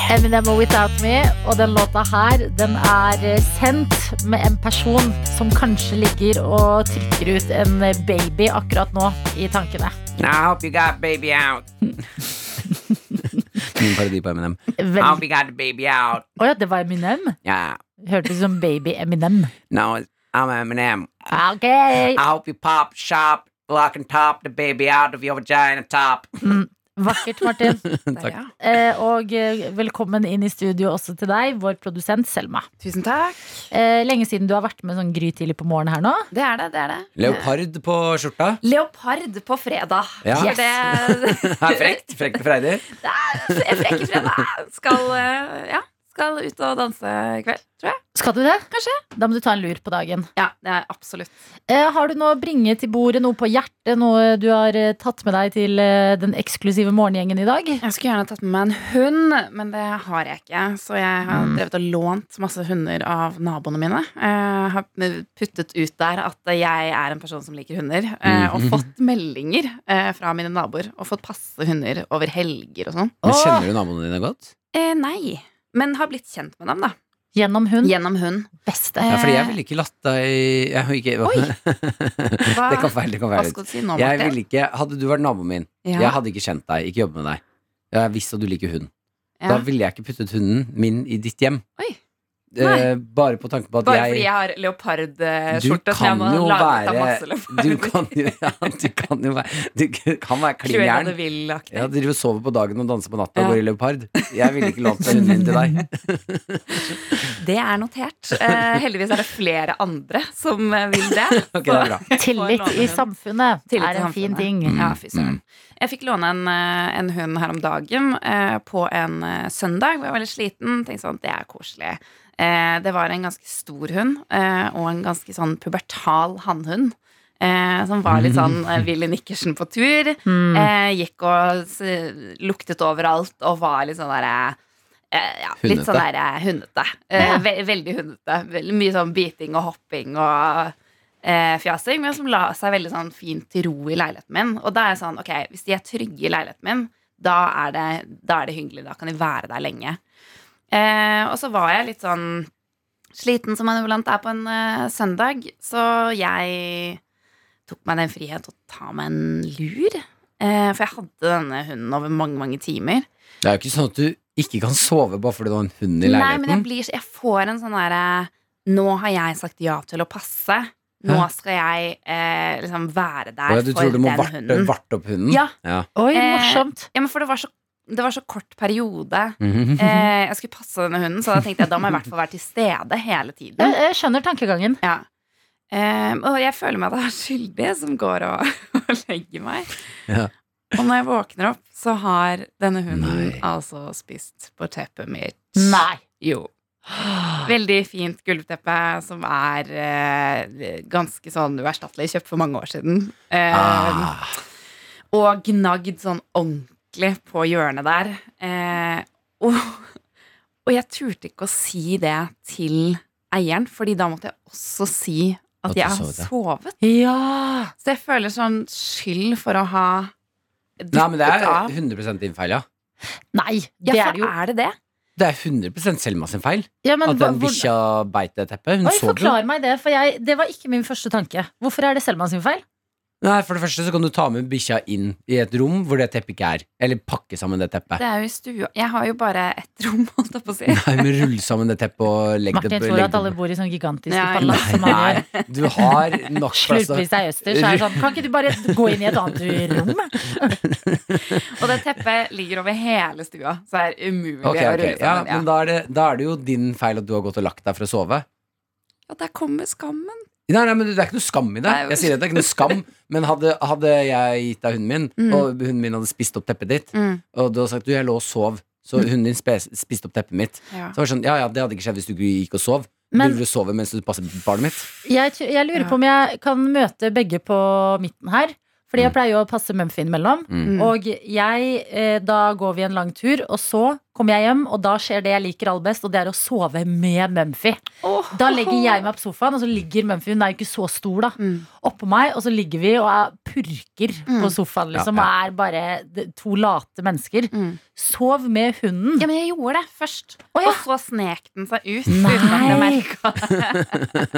Speaker 2: Eminem og Without Me, og den låta her, den er eh, sendt med en person som kanskje ligger og trykker ut en eh, baby akkurat nå i tankene.
Speaker 3: I hope you got baby out. Min parodi på Eminem. I hope
Speaker 2: Vel...
Speaker 3: you got the baby out.
Speaker 2: Å ja, det var Eminem?
Speaker 3: Yeah.
Speaker 2: Hørtes ut som baby Eminem.
Speaker 3: No, it's- I'm Eminem.
Speaker 2: Ok!
Speaker 3: I hope you pop, shop, lock and top the baby out of your vagina top.
Speaker 2: Vakkert, Martin.
Speaker 3: Takk.
Speaker 5: Ja.
Speaker 2: Eh, og eh, velkommen inn i studio også til deg, vår produsent Selma.
Speaker 5: Tusen takk.
Speaker 2: Eh, lenge siden du har vært med sånn grytidlig på morgenen her nå.
Speaker 5: Det er det. det er det
Speaker 3: Leopard på skjorta.
Speaker 5: Leopard på fredag.
Speaker 3: Ja.
Speaker 5: For
Speaker 3: Yes.
Speaker 5: Det,
Speaker 3: Er frekt. Frekt og freidig.
Speaker 5: det er frekke fredag. Skal, eh, ja, skal ut og danse i kveld, tror jeg.
Speaker 2: Skal du det?
Speaker 5: Kanskje.
Speaker 2: Da må du ta en lur på dagen.
Speaker 5: Ja, det er absolutt.
Speaker 2: Eh, har du noe å bringe til bordet, noe på hjertet, noe du har eh, tatt med deg til eh, den eksklusive morgengjengen i dag?
Speaker 5: Jeg skulle gjerne tatt med meg en hund, men det har jeg ikke. Så jeg har
Speaker 2: Mm.
Speaker 5: drevet og lånt masse hunder av naboene mine. Jeg har puttet ut der at jeg er en person som liker hunder, eh, og
Speaker 3: Mhm.
Speaker 5: fått meldinger eh, fra mine naboer og fått passe hunder over helger og sånn.
Speaker 2: Åh,
Speaker 3: du naboene dine godt?
Speaker 5: Eh, nei. Men har blitt kjent med dem, da.
Speaker 2: Gjennom
Speaker 3: Mm.
Speaker 2: hund.
Speaker 5: Gjennom hund.
Speaker 2: Beste.
Speaker 3: Ja, fordi jeg ville ikke latt deg jeg, vil ikke,
Speaker 5: Oi. Hva-
Speaker 3: Det kan feil, det kan
Speaker 5: Hva
Speaker 3: feil.
Speaker 5: skal du si nå,
Speaker 3: Jeg
Speaker 5: Martin?
Speaker 3: ville ikke, hadde du vært naboen min,
Speaker 5: Ja.
Speaker 3: jeg hadde ikke kjent deg, ikke jobbet med deg. Jeg visste at du liker hund.
Speaker 5: Ja.
Speaker 3: Da ville jeg ikke puttet hunden min i ditt hjem.
Speaker 5: Oi.
Speaker 3: Eh, bare på tanken på at
Speaker 5: Bare
Speaker 3: jeg
Speaker 5: fordi jeg har
Speaker 3: Du
Speaker 5: leopardskjorte som jeg
Speaker 3: kan
Speaker 5: må
Speaker 3: jo
Speaker 5: lage av
Speaker 3: være-
Speaker 5: masse
Speaker 3: Du
Speaker 5: leoparder.
Speaker 3: kan jo ja, Du kan jo være Du kan være klin
Speaker 5: Cruella
Speaker 3: gæren.
Speaker 5: de Vil-aktig.
Speaker 3: Ja, driver og sover på dagen og danser på natta
Speaker 5: Ja.
Speaker 3: og går i leopard. Jeg ville ikke lånt hunden min til deg.
Speaker 5: Det er notert. Eh, heldigvis er det flere andre som eh, vil det.
Speaker 3: Ok, det er bra.
Speaker 5: Får
Speaker 2: Tillit
Speaker 5: låne
Speaker 2: i
Speaker 5: hund.
Speaker 2: samfunnet
Speaker 5: Tillit
Speaker 2: er
Speaker 5: i
Speaker 2: en fin
Speaker 5: samfunnet.
Speaker 2: ting.
Speaker 3: Mm.
Speaker 5: Ja, fy søren. Jeg fikk låne en, eh, en hund her om dagen eh, på en eh, søndag. hvor Jeg var veldig sliten. Tenkte sånn, det er koselig. Eh, det var en ganske stor hund eh, og en ganske sånn pubertal hannhund. Eh, som var litt sånn eh, Willy Nikkersen på tur. Eh, gikk og s luktet overalt og var litt sånn derre eh, ja, litt
Speaker 3: Hundete.
Speaker 5: sånn der eh, hundete. Eh, ve veldig hundete. Veldig mye sånn biting og hopping og eh, fjasing, men som la seg veldig sånn fint til ro i leiligheten min. Og da er jeg sånn, ok, hvis de er trygge i leiligheten min, da er det, da er det hyggelig. Da kan de være der lenge. Eh, og så var jeg litt sånn sliten som man iblant er på en eh, søndag, så jeg tok meg den frihet å ta meg en lur. Eh, for jeg hadde denne hunden over mange, mange timer.
Speaker 3: Det er jo ikke sånn at du ikke kan sove bare fordi du har en hund i
Speaker 5: Nei, men jeg,
Speaker 3: leiligheten.
Speaker 5: blir, så- jeg får en sånn derre Nå har jeg sagt ja til å passe. Nå
Speaker 3: Hæ?
Speaker 5: skal jeg eh, liksom være der
Speaker 3: Å ja, du
Speaker 5: for
Speaker 3: tror du må
Speaker 5: den
Speaker 3: varte,
Speaker 5: hunden.
Speaker 3: varte opp hunden?
Speaker 5: Ja.
Speaker 2: Oi,
Speaker 5: Eh,
Speaker 2: morsomt.
Speaker 5: Ja, men for det var så, det var så kort periode.
Speaker 3: Mhm.
Speaker 5: Eh, jeg skulle passe denne hunden, så da tenkte jeg da må jeg i hvert fall være til stede hele tiden.
Speaker 2: Jeg, jeg skjønner tankegangen.
Speaker 5: Ja. Ehm, og jeg føler meg da skyldig som går og, og legger meg.
Speaker 3: Ja.
Speaker 5: Og når jeg våkner opp, så har denne hunden
Speaker 3: Nei.
Speaker 5: altså spist på teppet mitt.
Speaker 2: Nei.
Speaker 5: Jo. Veldig fint gulvteppe som er eh, ganske sånn uerstattelig, kjøpt for mange år siden. Eh,
Speaker 3: Ah.
Speaker 5: Og gnagd sånn ordentlig på hjørnet der. Eh, og, og jeg turte ikke å si det til eieren, Fordi da måtte jeg også si at,
Speaker 3: At du
Speaker 5: jeg har
Speaker 3: sovet, ja.
Speaker 5: sovet.
Speaker 2: Ja!
Speaker 5: Så jeg føler sånn skyld for å ha
Speaker 3: Nei, men det er
Speaker 5: duppet av.
Speaker 3: 100 din feil, ja.
Speaker 2: Nei,
Speaker 5: Ja,
Speaker 2: det er
Speaker 5: for
Speaker 2: det jo.
Speaker 5: er det det?
Speaker 3: Det er 100 Selma sin feil.
Speaker 2: Ja, men
Speaker 3: At
Speaker 2: hva-
Speaker 3: den
Speaker 2: hvor-
Speaker 3: bikkja beit det teppet. Hun
Speaker 2: Oi,
Speaker 3: så det jo.
Speaker 2: forklar meg det, for jeg, det var ikke min første tanke. Hvorfor er det Selma sin feil?
Speaker 3: Nei, For det første så kan du ta med bikkja inn i et rom hvor det teppet ikke er. Eller pakke sammen det teppet.
Speaker 5: Det er jo i stua. Jeg har jo bare ett rom, holdt jeg på å si.
Speaker 3: Nei, men rull sammen det teppet og legg det
Speaker 2: Martin tror
Speaker 3: legg
Speaker 2: at
Speaker 3: det-
Speaker 2: alle bor i sånn gigantiske
Speaker 5: Nei,
Speaker 2: palass som
Speaker 3: Nei,
Speaker 2: har
Speaker 3: nei, du har nok altså- plass.
Speaker 2: slurpvis deg østers. Er det sånn, kan ikke du bare gå inn i et annet rom?
Speaker 5: Og det teppet ligger over hele stua, så det er umulig å
Speaker 3: Ok, ok,
Speaker 5: rulle
Speaker 3: ja,
Speaker 5: sammen. Ja,
Speaker 3: men da er, det, da er det jo din feil at du har gått og lagt deg for å sove.
Speaker 5: Og der kommer skammen.
Speaker 3: Nei, nei, men Det er ikke noe skam i det.
Speaker 5: Nei,
Speaker 3: Jeg sier at det er ikke noe skam Men hadde, hadde jeg gitt deg hunden min,
Speaker 5: Mm.
Speaker 3: og hunden min hadde spist opp teppet ditt, og du hadde sagt du, jeg lå og sov, så hunden din spes, spiste opp teppet mitt
Speaker 5: Ja.
Speaker 3: Så var det sånn, ja, ja, Det hadde ikke skjedd hvis du gikk og sov.
Speaker 2: Men-
Speaker 3: Burde du sove mens du passer barnet mitt?
Speaker 2: Jeg, t- jeg lurer
Speaker 5: Ja.
Speaker 2: på om jeg kan møte begge på midten her. Fordi
Speaker 3: Mm.
Speaker 2: jeg pleier jo å passe Mumphy innimellom.
Speaker 5: Mm.
Speaker 2: Og jeg, eh, da går vi en lang tur, og så kommer jeg hjem, og da skjer det jeg liker aller best, og det er å sove med Mumphy.
Speaker 5: Åh.
Speaker 2: Da legger jeg meg på sofaen, og så ligger Mumphy, hun er jo ikke så stor, da, oppå meg, og så ligger vi og er purker på sofaen, liksom,
Speaker 3: Ja,
Speaker 2: og er bare d- to late mennesker.
Speaker 5: Mm.
Speaker 2: Sov med hunden.
Speaker 5: Ja, men jeg gjorde det først.
Speaker 2: Å, ja.
Speaker 5: Og så snek den seg ut.
Speaker 2: Nei.
Speaker 5: Uten at jeg merka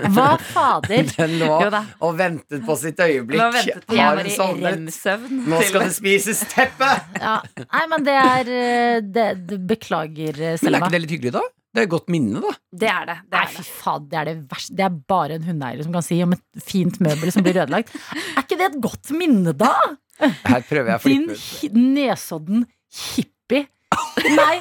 Speaker 2: Hva fader?
Speaker 3: Den lå
Speaker 5: Jo da.
Speaker 3: og ventet på sitt øyeblikk.
Speaker 5: Nå ventet til jeg
Speaker 3: Har
Speaker 5: var i
Speaker 3: sovnet?
Speaker 5: rem-søvn.
Speaker 3: Nå
Speaker 5: til-
Speaker 3: skal det spises teppe!
Speaker 2: Ja. Nei, men det er eh, det, det, Beklager, eh,
Speaker 3: Men er
Speaker 2: Selma.
Speaker 3: ikke det litt hyggelig, da? Det er et godt minne, da.
Speaker 5: Det er det. det,
Speaker 2: Nei,
Speaker 5: er
Speaker 2: fy
Speaker 5: det.
Speaker 2: faen, det er det verste. Det er bare en hundeeier som kan si om et fint møbel som blir ødelagt. Er ikke det et godt minne, da?
Speaker 3: Her prøver jeg å
Speaker 2: Din
Speaker 3: flippe ut.
Speaker 2: hi- nesodden hippie. Nei,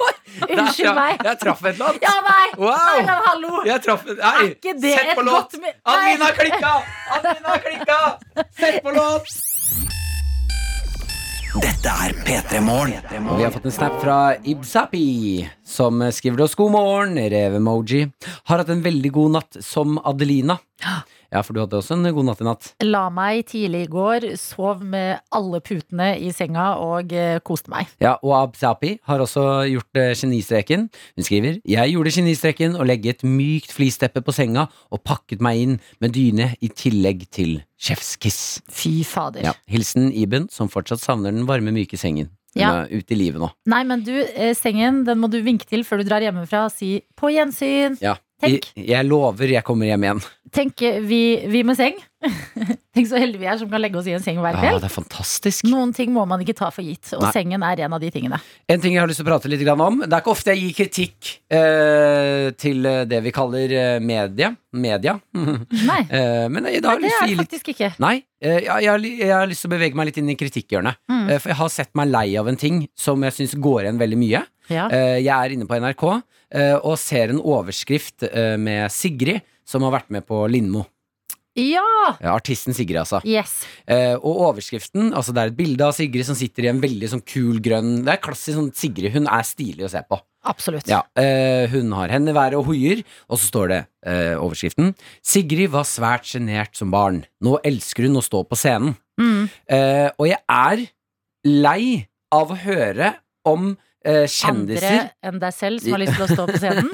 Speaker 2: unnskyld meg.
Speaker 3: Jeg traff et eller
Speaker 2: Ja,
Speaker 3: annet.
Speaker 2: nei!
Speaker 3: Wow.
Speaker 2: Nei, men hallo!
Speaker 3: Jeg traff et
Speaker 2: Er
Speaker 3: Nei,
Speaker 2: ikke det
Speaker 3: sett
Speaker 2: et
Speaker 3: på låt!
Speaker 2: godt mi-
Speaker 3: Adelina
Speaker 2: Nei.
Speaker 3: har klikka! Adelina har klikka! Sett på låt!
Speaker 6: Dette er P3 Morgen.
Speaker 3: Og vi har fått en snap fra Ibsapi, som skriver til oss god morgen, rev-emoji. Har hatt en veldig god natt som Adelina. Ja, for du hadde også en god natt i natt.
Speaker 2: La meg tidlig i går, sov med alle putene i senga og eh, koste meg.
Speaker 3: Ja, og Absapi har også gjort eh, genistreken. Hun skriver Jeg gjorde genistreken og legge et mykt flisteppe på senga og pakket meg inn med dyne i tillegg til chefskiss.
Speaker 2: Fy fader.
Speaker 3: Ja, hilsen Iben, som fortsatt savner den varme, myke sengen. Hun
Speaker 2: Ja.
Speaker 3: er ute i livet nå.
Speaker 2: Nei, men du, eh, sengen den må du vinke til før du drar hjemmefra. Si 'på gjensyn'.
Speaker 3: Ja. Jeg,
Speaker 2: Tenk.
Speaker 3: jeg lover jeg kommer hjem igjen.
Speaker 2: Tenk, eh, vi, vi med seng. Tenk så heldige vi er som kan legge oss i en seng hver
Speaker 3: Ja,
Speaker 2: kveld.
Speaker 3: Ah, det er fantastisk.
Speaker 2: Noen ting må man ikke ta for gitt, og
Speaker 3: Nei.
Speaker 2: sengen er en av de tingene.
Speaker 3: En ting jeg har lyst til å prate litt grann om. Det er ikke ofte jeg gir kritikk eh, til eh, det vi kaller eh, medie. Media.
Speaker 2: Nei,
Speaker 3: Eh, men i dag har
Speaker 2: det
Speaker 3: jeg lyst
Speaker 2: er
Speaker 3: til å gi litt
Speaker 2: faktisk ikke.
Speaker 3: Nei, eh, jeg, jeg, har ly- jeg har lyst til å bevege meg litt inn i kritikkhjørnet.
Speaker 2: Mm.
Speaker 3: Eh, For jeg har sett meg lei av en ting som jeg syns går igjen veldig mye.
Speaker 2: Ja.
Speaker 3: Eh, Jeg er inne på NRK eh, og ser en overskrift eh, med Sigrid, som har vært med på Lindmo.
Speaker 2: ja!
Speaker 3: Eh, Artisten Sigrid, altså.
Speaker 2: Yes.
Speaker 3: Eh, Og overskriften, altså det er et bilde av Sigrid som sitter i en veldig sånn kul grønn Det er klassisk sånn Sigrid. Hun er stilig å se på.
Speaker 2: Absolutt.
Speaker 3: Ja, eh, Hun har hendene i været og hoier, og så står det eh, overskriften. Sigrid var svært sjenert som barn. Nå elsker hun å stå på scenen.
Speaker 2: Mm.
Speaker 3: Eh, og jeg er lei av å høre om eh, kjendiser
Speaker 2: Andre enn deg selv som har lyst til å stå på scenen.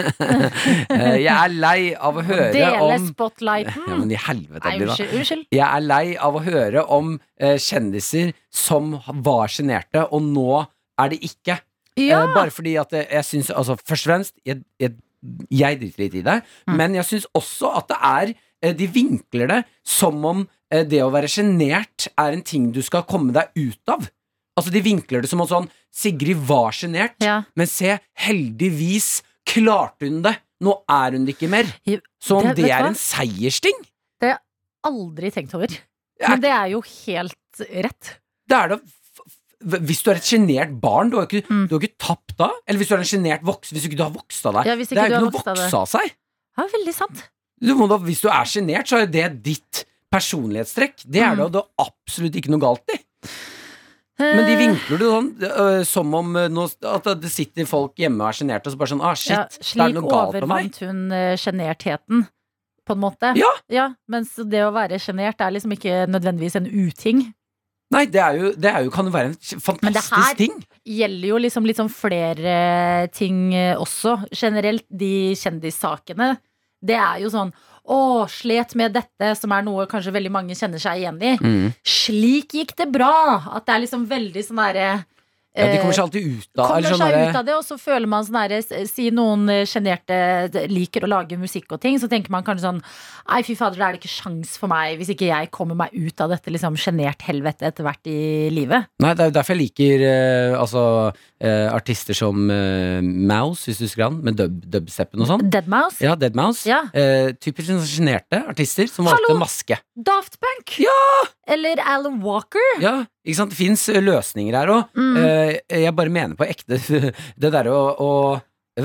Speaker 3: Eh, Jeg er lei av å høre
Speaker 2: Dele
Speaker 3: om ja,
Speaker 2: spotlighten.
Speaker 3: men i helvete,
Speaker 2: Nei,
Speaker 3: Adelina.
Speaker 2: unnskyld. unnskyld.
Speaker 3: Jeg er lei av å høre om eh, kjendiser som var sjenerte, og nå er det ikke.
Speaker 2: Ja!
Speaker 3: Eh, bare fordi at eh, jeg syns altså, Først og fremst, jeg, jeg, jeg driter litt i det,
Speaker 2: Mm.
Speaker 3: men jeg syns også at det er eh, De vinkler det som om eh, det å være sjenert er en ting du skal komme deg ut av. Altså, de vinkler det som om sånn Sigrid var sjenert,
Speaker 2: ja.
Speaker 3: men se, heldigvis klarte hun det. Nå er hun det ikke mer.
Speaker 2: Jo,
Speaker 3: Som om
Speaker 2: det-
Speaker 3: det
Speaker 2: vet du
Speaker 3: er
Speaker 2: hva?
Speaker 3: en seiersting.
Speaker 2: Aldri tenkt over.
Speaker 3: Ja.
Speaker 2: Men det er jo helt rett.
Speaker 3: Det er da f- f- Hvis du er et sjenert barn, du har jo ikke,
Speaker 2: Mm.
Speaker 3: du har ikke tapt da. Eller hvis du er en sjenert voksen, hvis ikke du har vokst av deg.
Speaker 2: Ja, hvis
Speaker 3: det
Speaker 2: ikke
Speaker 3: er
Speaker 2: du
Speaker 3: jo
Speaker 2: har
Speaker 3: ikke noe
Speaker 2: vokst av
Speaker 3: å
Speaker 2: det.
Speaker 3: vokse av seg.
Speaker 2: Ja, veldig sant.
Speaker 3: du må da, hvis du er sjenert, så er jo det ditt personlighetstrekk. Det
Speaker 2: Mm.
Speaker 3: er det, og det er absolutt ikke noe galt i. Men
Speaker 2: Eh.
Speaker 3: de vinkler det sånn øh, som om øh, nå, at det sitter folk hjemme og er sjenerte, og så bare sånn ah, shit,
Speaker 2: Ja,
Speaker 3: da er
Speaker 2: slik
Speaker 3: det noe galt med meg.
Speaker 2: overvant hun eh, sjenertheten, på en måte.
Speaker 3: Ja.
Speaker 2: Mens det å være sjenert er liksom ikke nødvendigvis en uting.
Speaker 3: Nei, det, er jo, det er jo, kan jo være en
Speaker 2: Men det
Speaker 3: fantastisk
Speaker 2: her-
Speaker 3: ting.
Speaker 2: Gjelder jo liksom litt sånn flere ting eh, også. Generelt de kjendissakene. det er jo sånn Å, slet med dette, som er noe kanskje veldig mange kjenner seg igjen i.
Speaker 3: Mm.
Speaker 2: Slik gikk det bra! At det er liksom veldig sånn derre
Speaker 3: Ja, de kommer seg alltid ut av
Speaker 2: Eh, kommer
Speaker 3: eller sånn
Speaker 2: seg
Speaker 3: derre-
Speaker 2: ut av det, og så føler man sånn herre Si noen eh, sjenerte liker å lage musikk og ting, så tenker man kanskje sånn Nei, fy fader, da er det ikke sjans for meg hvis ikke jeg kommer meg ut av dette liksom sjenert helvete etter hvert i livet.
Speaker 3: Nei, det er jo derfor jeg liker eh, altså, eh, artister som eh, Mouse, hvis du husker han, med dub, dubsteppen og sånn.
Speaker 2: Deadmouse.
Speaker 3: Ja, Deadmouse.
Speaker 2: Ja.
Speaker 3: Eh, typisk sånn sjenerte artister som valgte
Speaker 2: Hallo!
Speaker 3: maske.
Speaker 2: Daft Punk! Eller Alan Walker.
Speaker 3: Ja, ikke sant? Det fins løsninger her òg.
Speaker 2: Mm.
Speaker 3: jeg bare mener på ekte Det derre å, å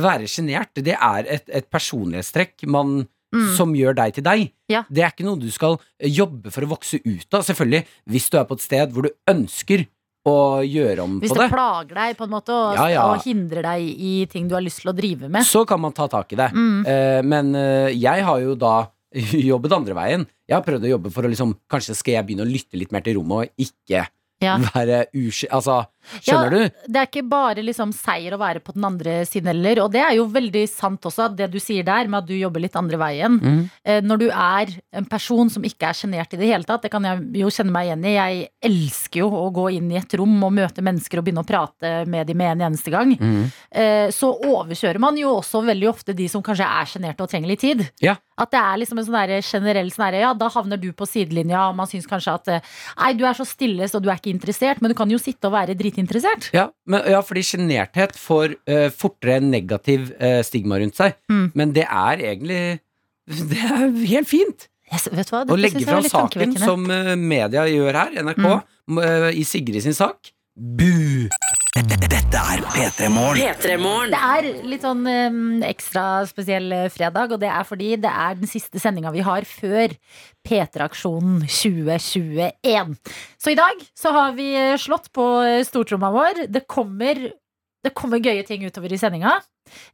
Speaker 3: være sjenert, det er et, et personlighetstrekk man,
Speaker 2: Mm.
Speaker 3: som gjør deg til deg.
Speaker 2: Ja.
Speaker 3: Det er ikke noe du skal jobbe for å vokse ut av. Selvfølgelig, hvis du er på et sted hvor du ønsker å gjøre om
Speaker 2: Hvis
Speaker 3: på
Speaker 2: det
Speaker 3: det,
Speaker 2: plager deg på en måte og,
Speaker 3: Ja, ja.
Speaker 2: og hindrer deg i ting du har lyst til å drive med.
Speaker 3: så kan man ta tak i det.
Speaker 2: Mm.
Speaker 3: Eh, men eh, jeg har jo da jobbet andre veien. Jeg har prøvd å jobbe for å liksom Kanskje skal jeg begynne å lytte litt mer til rommet og ikke
Speaker 2: Ja.
Speaker 3: være usky... Altså, skjønner du?
Speaker 2: Det er ikke bare liksom seier å være på den andre siden heller. Og det er jo veldig sant også, det du sier der med at du jobber litt andre veien.
Speaker 3: Mhm.
Speaker 2: Eh, Når du er en person som ikke er sjenert i det hele tatt, det kan jeg jo kjenne meg igjen i. Jeg elsker jo å gå inn i et rom og møte mennesker og begynne å prate med dem med en eneste gang.
Speaker 3: Mhm.
Speaker 2: Eh, Så overkjører man jo også veldig ofte de som kanskje er sjenerte og trenger litt tid.
Speaker 3: Ja.
Speaker 2: At det er liksom en sånn der generell sånn der, Ja, da havner du på sidelinja, og man syns kanskje at eh, Nei, du er så stille, så du er ikke interessert, men du kan jo sitte og være dritinteressert.
Speaker 3: Ja, men, ja, fordi sjenerthet får eh, fortere en negativ eh, stigma rundt seg.
Speaker 2: Mm.
Speaker 3: Men det er egentlig Det er helt fint
Speaker 2: Jeg s- vet du hva?
Speaker 3: å
Speaker 2: Dette
Speaker 3: legge
Speaker 2: synes jeg var
Speaker 3: fram
Speaker 2: litt
Speaker 3: saken
Speaker 2: tankevekkende. Mm.
Speaker 3: som eh, media gjør her, NRK, m- eh, i Sigrid sin sak. Bu!
Speaker 6: Dette er P3 Morgen.
Speaker 1: P3morgen.
Speaker 2: Det er litt sånn eh, ekstra spesiell eh, fredag, og det er fordi det er den siste sendinga vi har før P3-aksjonen 2021. Så i dag så har vi eh, slått på eh, stortromma vår. Det kommer, det kommer gøye ting utover i sendinga.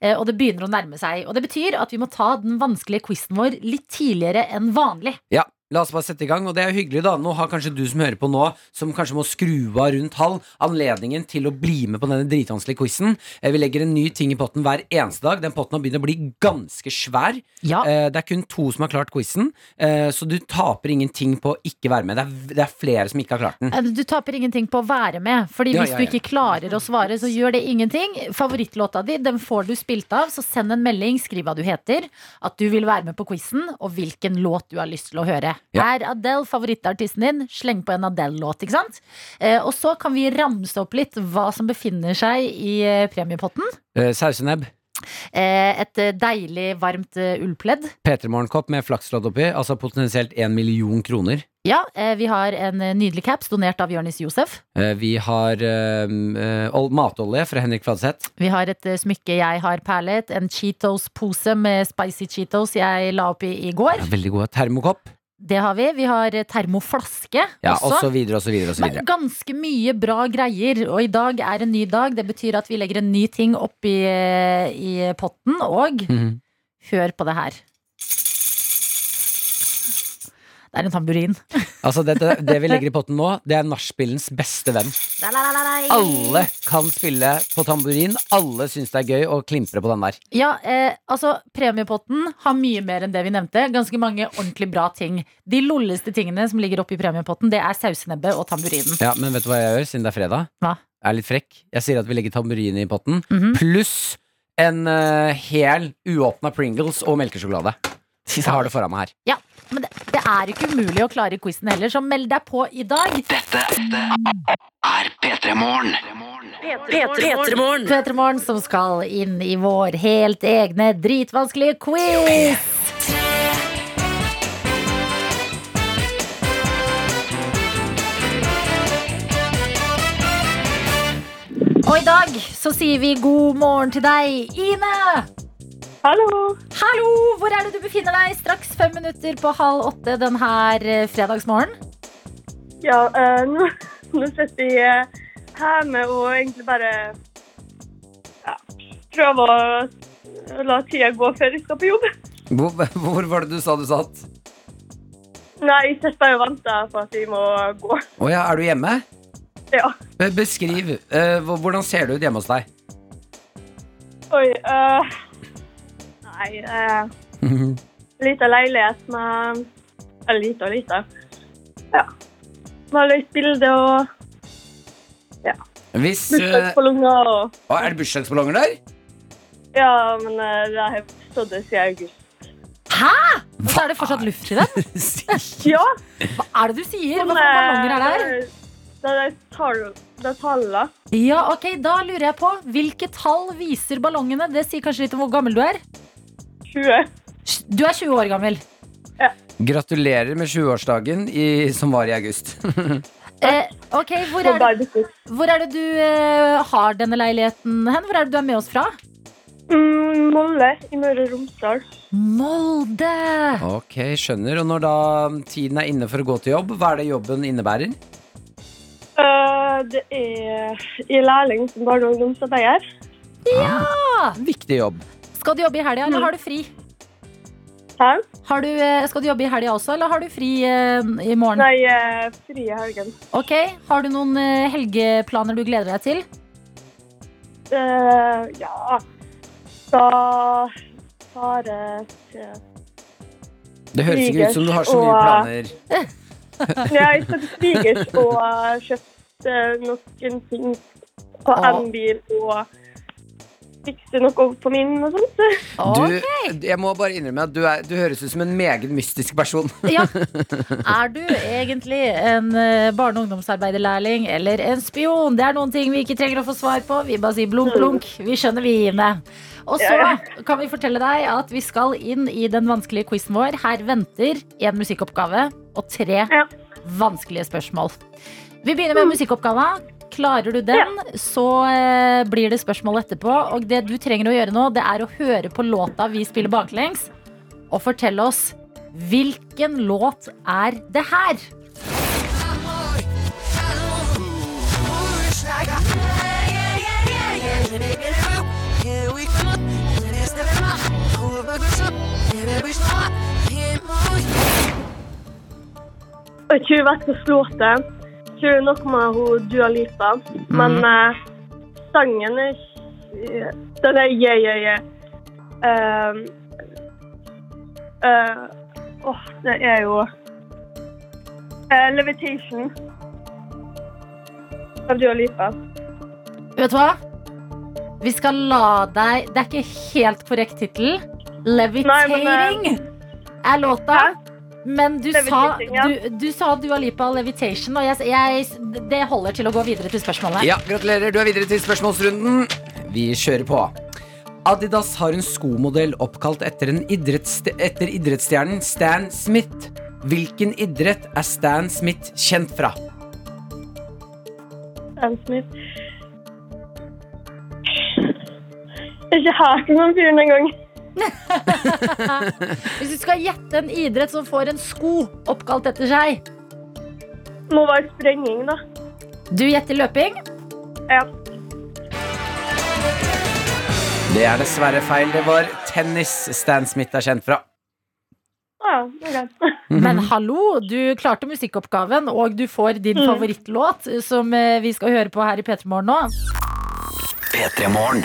Speaker 2: eh, Og det begynner å nærme seg. Og det betyr at vi må ta den vanskelige quizen vår litt tidligere enn vanlig.
Speaker 3: Ja, la oss bare sette i gang, og det er jo hyggelig da Nå har kanskje du som hører på nå Som kanskje må skru av rundt halv Anledningen til å bli med på denne dritvanskelige quizzen Eh, Vi legger en ny ting i potten hver eneste dag Den potten har begynt å bli ganske svær
Speaker 2: Ja.
Speaker 3: Eh, Det er kun to som har klart quizzen eh, Så du taper ingenting på å ikke være med Det er, det er flere som ikke har klart den
Speaker 2: Eh, Du taper ingenting på å være med. Fordi
Speaker 3: Ja,
Speaker 2: hvis
Speaker 3: ja,
Speaker 2: du
Speaker 3: ja.
Speaker 2: ikke klarer å svare, så gjør det ingenting. Favorittlåta di den får du spilt av, så send en melding, skriv hva du heter, at du vil være med på quizen, og hvilken låt du har lyst til å høre.
Speaker 3: Ja.
Speaker 2: Er Adele favorittartisten din? Sleng på en Adele-låt, ikke sant? Eh, Og så kan vi ramse opp litt hva som befinner seg i eh, premiepotten.
Speaker 3: eh, Sausenebb,
Speaker 2: Eh, Et eh, deilig, varmt eh, ullpledd.
Speaker 3: Petremorgenkopp med flakslodd oppi Altså potensielt 1 million kroner
Speaker 2: Ja, eh, vi har en eh, nydelig caps donert av Jonis Josef.
Speaker 3: Eh, Vi har eh, eh, ol- matolje fra Henrik Fladseth
Speaker 2: Vi har et eh, smykke jeg har perlet, en Cheetos-pose med spicy Cheetos jeg la opp i i går.
Speaker 3: ja, Veldig god termokopp
Speaker 2: Det har vi. Vi har eh, termoflaske
Speaker 3: ja, Og
Speaker 2: også.
Speaker 3: så videre og så videre og så
Speaker 2: Men
Speaker 3: videre
Speaker 2: ganske mye bra greier, og i dag er en ny dag. Det betyr at vi legger en ny ting opp i, eh, i potten, og
Speaker 3: Mhm.
Speaker 2: hør på det her. Det er en tamburin.
Speaker 3: Altså det, det, det vi legger i potten nå, det er nachspielens beste venn. Alle kan spille på tamburin. Alle syns det er gøy å klimpre på den der.
Speaker 2: Ja, eh, altså Premiepotten har mye mer enn det vi nevnte. Ganske mange ordentlig bra ting. De lolleste tingene som ligger oppi premiepotten, det er sausenebbet og tamburinen.
Speaker 3: Ja, Men vet du hva jeg gjør, siden det er fredag?
Speaker 2: Hva?
Speaker 3: Jeg er litt frekk. Jeg sier at vi legger tamburin i potten,
Speaker 2: Mhm.
Speaker 3: pluss en eh, hel uåpna Pringles og melkesjokolade. Jeg har det foran meg her.
Speaker 2: Ja, Men det, det er ikke umulig å klare quizen heller, så meld deg på i dag.
Speaker 6: Er P3 Morgen.
Speaker 1: P3morgen.
Speaker 2: Petremorgen som skal inn i vår helt egne dritvanskelige quiz. Og i dag så sier vi god morgen til deg, Ine.
Speaker 7: Hallo!
Speaker 2: Hallo, hvor er det du befinner deg? Straks fem minutter på halv åtte denne fredagsmorgen.
Speaker 7: Ja, eh, nå, nå sitter jeg eh, hjemme og egentlig bare ja, prøver å la tida gå før jeg skal på jobb.
Speaker 3: Hvor, hvor var det du sa du satt?
Speaker 7: Nei, jeg sitter bare og venter på at jeg må gå.
Speaker 3: Å ja, er du hjemme?
Speaker 7: Ja.
Speaker 3: Eh, Beskriv. eh, hvor- hvordan ser det ut hjemme hos deg? Mhm.
Speaker 7: Oi. eh, nei, eh, lita leilighet med Eller lita og lita. Ja. Med løst bilde og
Speaker 3: Hvis eh,
Speaker 7: bursdagsballonger og
Speaker 3: å, Er det bursdagsballonger der?
Speaker 7: Ja, men eh, det har stått der siden august.
Speaker 2: Og så er det fortsatt luft i den.
Speaker 7: Ja!
Speaker 2: Hva er det du sier? Hva for
Speaker 7: Sånn,
Speaker 2: ballonger
Speaker 7: eh,
Speaker 2: er der?
Speaker 7: Det er tall- det er tallene.
Speaker 2: Ja, ok, Da lurer jeg på hvilke tall viser ballongene. Det sier kanskje litt om hvor gammel du er.
Speaker 7: 20.
Speaker 2: Du er 20 år gammel.
Speaker 3: Gratulerer med 20-årsdagen i- som var i august.
Speaker 2: Eh, ok, hvor
Speaker 7: På
Speaker 2: er, det,
Speaker 7: Bardufoss.
Speaker 2: hvor er det du eh, har denne leiligheten hen? Hvor er det du er med oss fra?
Speaker 7: Mm, Molle i Møre og Romsdal.
Speaker 2: Molde!
Speaker 3: Ok, skjønner. Og når da tiden er inne for å gå til jobb, hva er det jobben innebærer?
Speaker 7: Eh, det er i lærling som barne- og ungdomsarbeider.
Speaker 3: Viktig jobb.
Speaker 2: Skal du jobbe i helga, eller har du fri?
Speaker 7: Hæ?
Speaker 2: Har du, eh, skal du jobbe i helga også, eller har du fri eh, i morgen?
Speaker 7: Nei, eh, fri i helgen.
Speaker 2: Ok, Har du noen eh, helgeplaner du gleder deg til?
Speaker 7: Eh, ja Da fare til
Speaker 3: Det høres ikke ut som du har så
Speaker 7: Og,
Speaker 3: mye planer.
Speaker 7: Ja, jeg skal til svigers og eh, kjøpte noen ting på
Speaker 2: Å.
Speaker 7: en bil og fikse noe på min og sånn. sånt.
Speaker 3: Du, jeg må bare innrømme at du, er, du høres ut som en meget mystisk person.
Speaker 2: Ja. Er du egentlig en eh, barne- og ungdomsarbeiderlærling eller en spion? Det er noen ting vi ikke trenger å få svar på. Vi bare sier blunk, blunk. Vi skjønner videne. Og så kan vi fortelle deg at vi skal inn i den vanskelige quizen vår. Her venter en musikkoppgave og tre
Speaker 7: Ja.
Speaker 2: vanskelige spørsmål. Vi begynner med musikkoppgaven. Klarer du den, så eh, blir det spørsmål etterpå. Og det du trenger å gjøre nå, det er å høre på låta vi spiller baklengs, og fortelle oss Hvilken låt er det her?
Speaker 7: Og ikke hun vet hvordan låta er. Ikke hun noe med hun Dua Lipa. Men eh, sangen er ikke- Den er yeah, yeah, yeah. Um, eh, åh, det er jo eh, Levitation av Dua Lipa.
Speaker 2: Vet du hva? Vi skal la deg Det er ikke helt korrekt tittel. Levitating er låta. Men du sa,
Speaker 7: eh, Levitating, ja.
Speaker 2: du, du sa Dua Lipa og Levitation, og jeg, jeg, det holder til å gå videre til spørsmålet.
Speaker 3: Ja, Gratulerer, du er videre til spørsmålsrunden. Vi kjører på. Adidas har en skomodell oppkalt etter, en idrettsste- etter idrettsstjernen Stan Smith. Hvilken idrett er Stan Smith kjent fra?
Speaker 7: Stan Smith. Jeg har ikke hørt om den fyren engang.
Speaker 2: Hvis du skal gjette en idrett som får en sko oppkalt etter seg
Speaker 7: Må være sprenging, da.
Speaker 2: Du gjetter løping.
Speaker 7: Ja.
Speaker 3: Det er dessverre feil. Det var tennis Stan Smith er kjent fra.
Speaker 7: Ah, ok.
Speaker 2: Men hallo, du klarte musikkoppgaven, og du får din
Speaker 7: Mm.
Speaker 2: favorittlåt, som eh, vi skal høre på her i P3 Morgen nå.
Speaker 6: P3-morgen.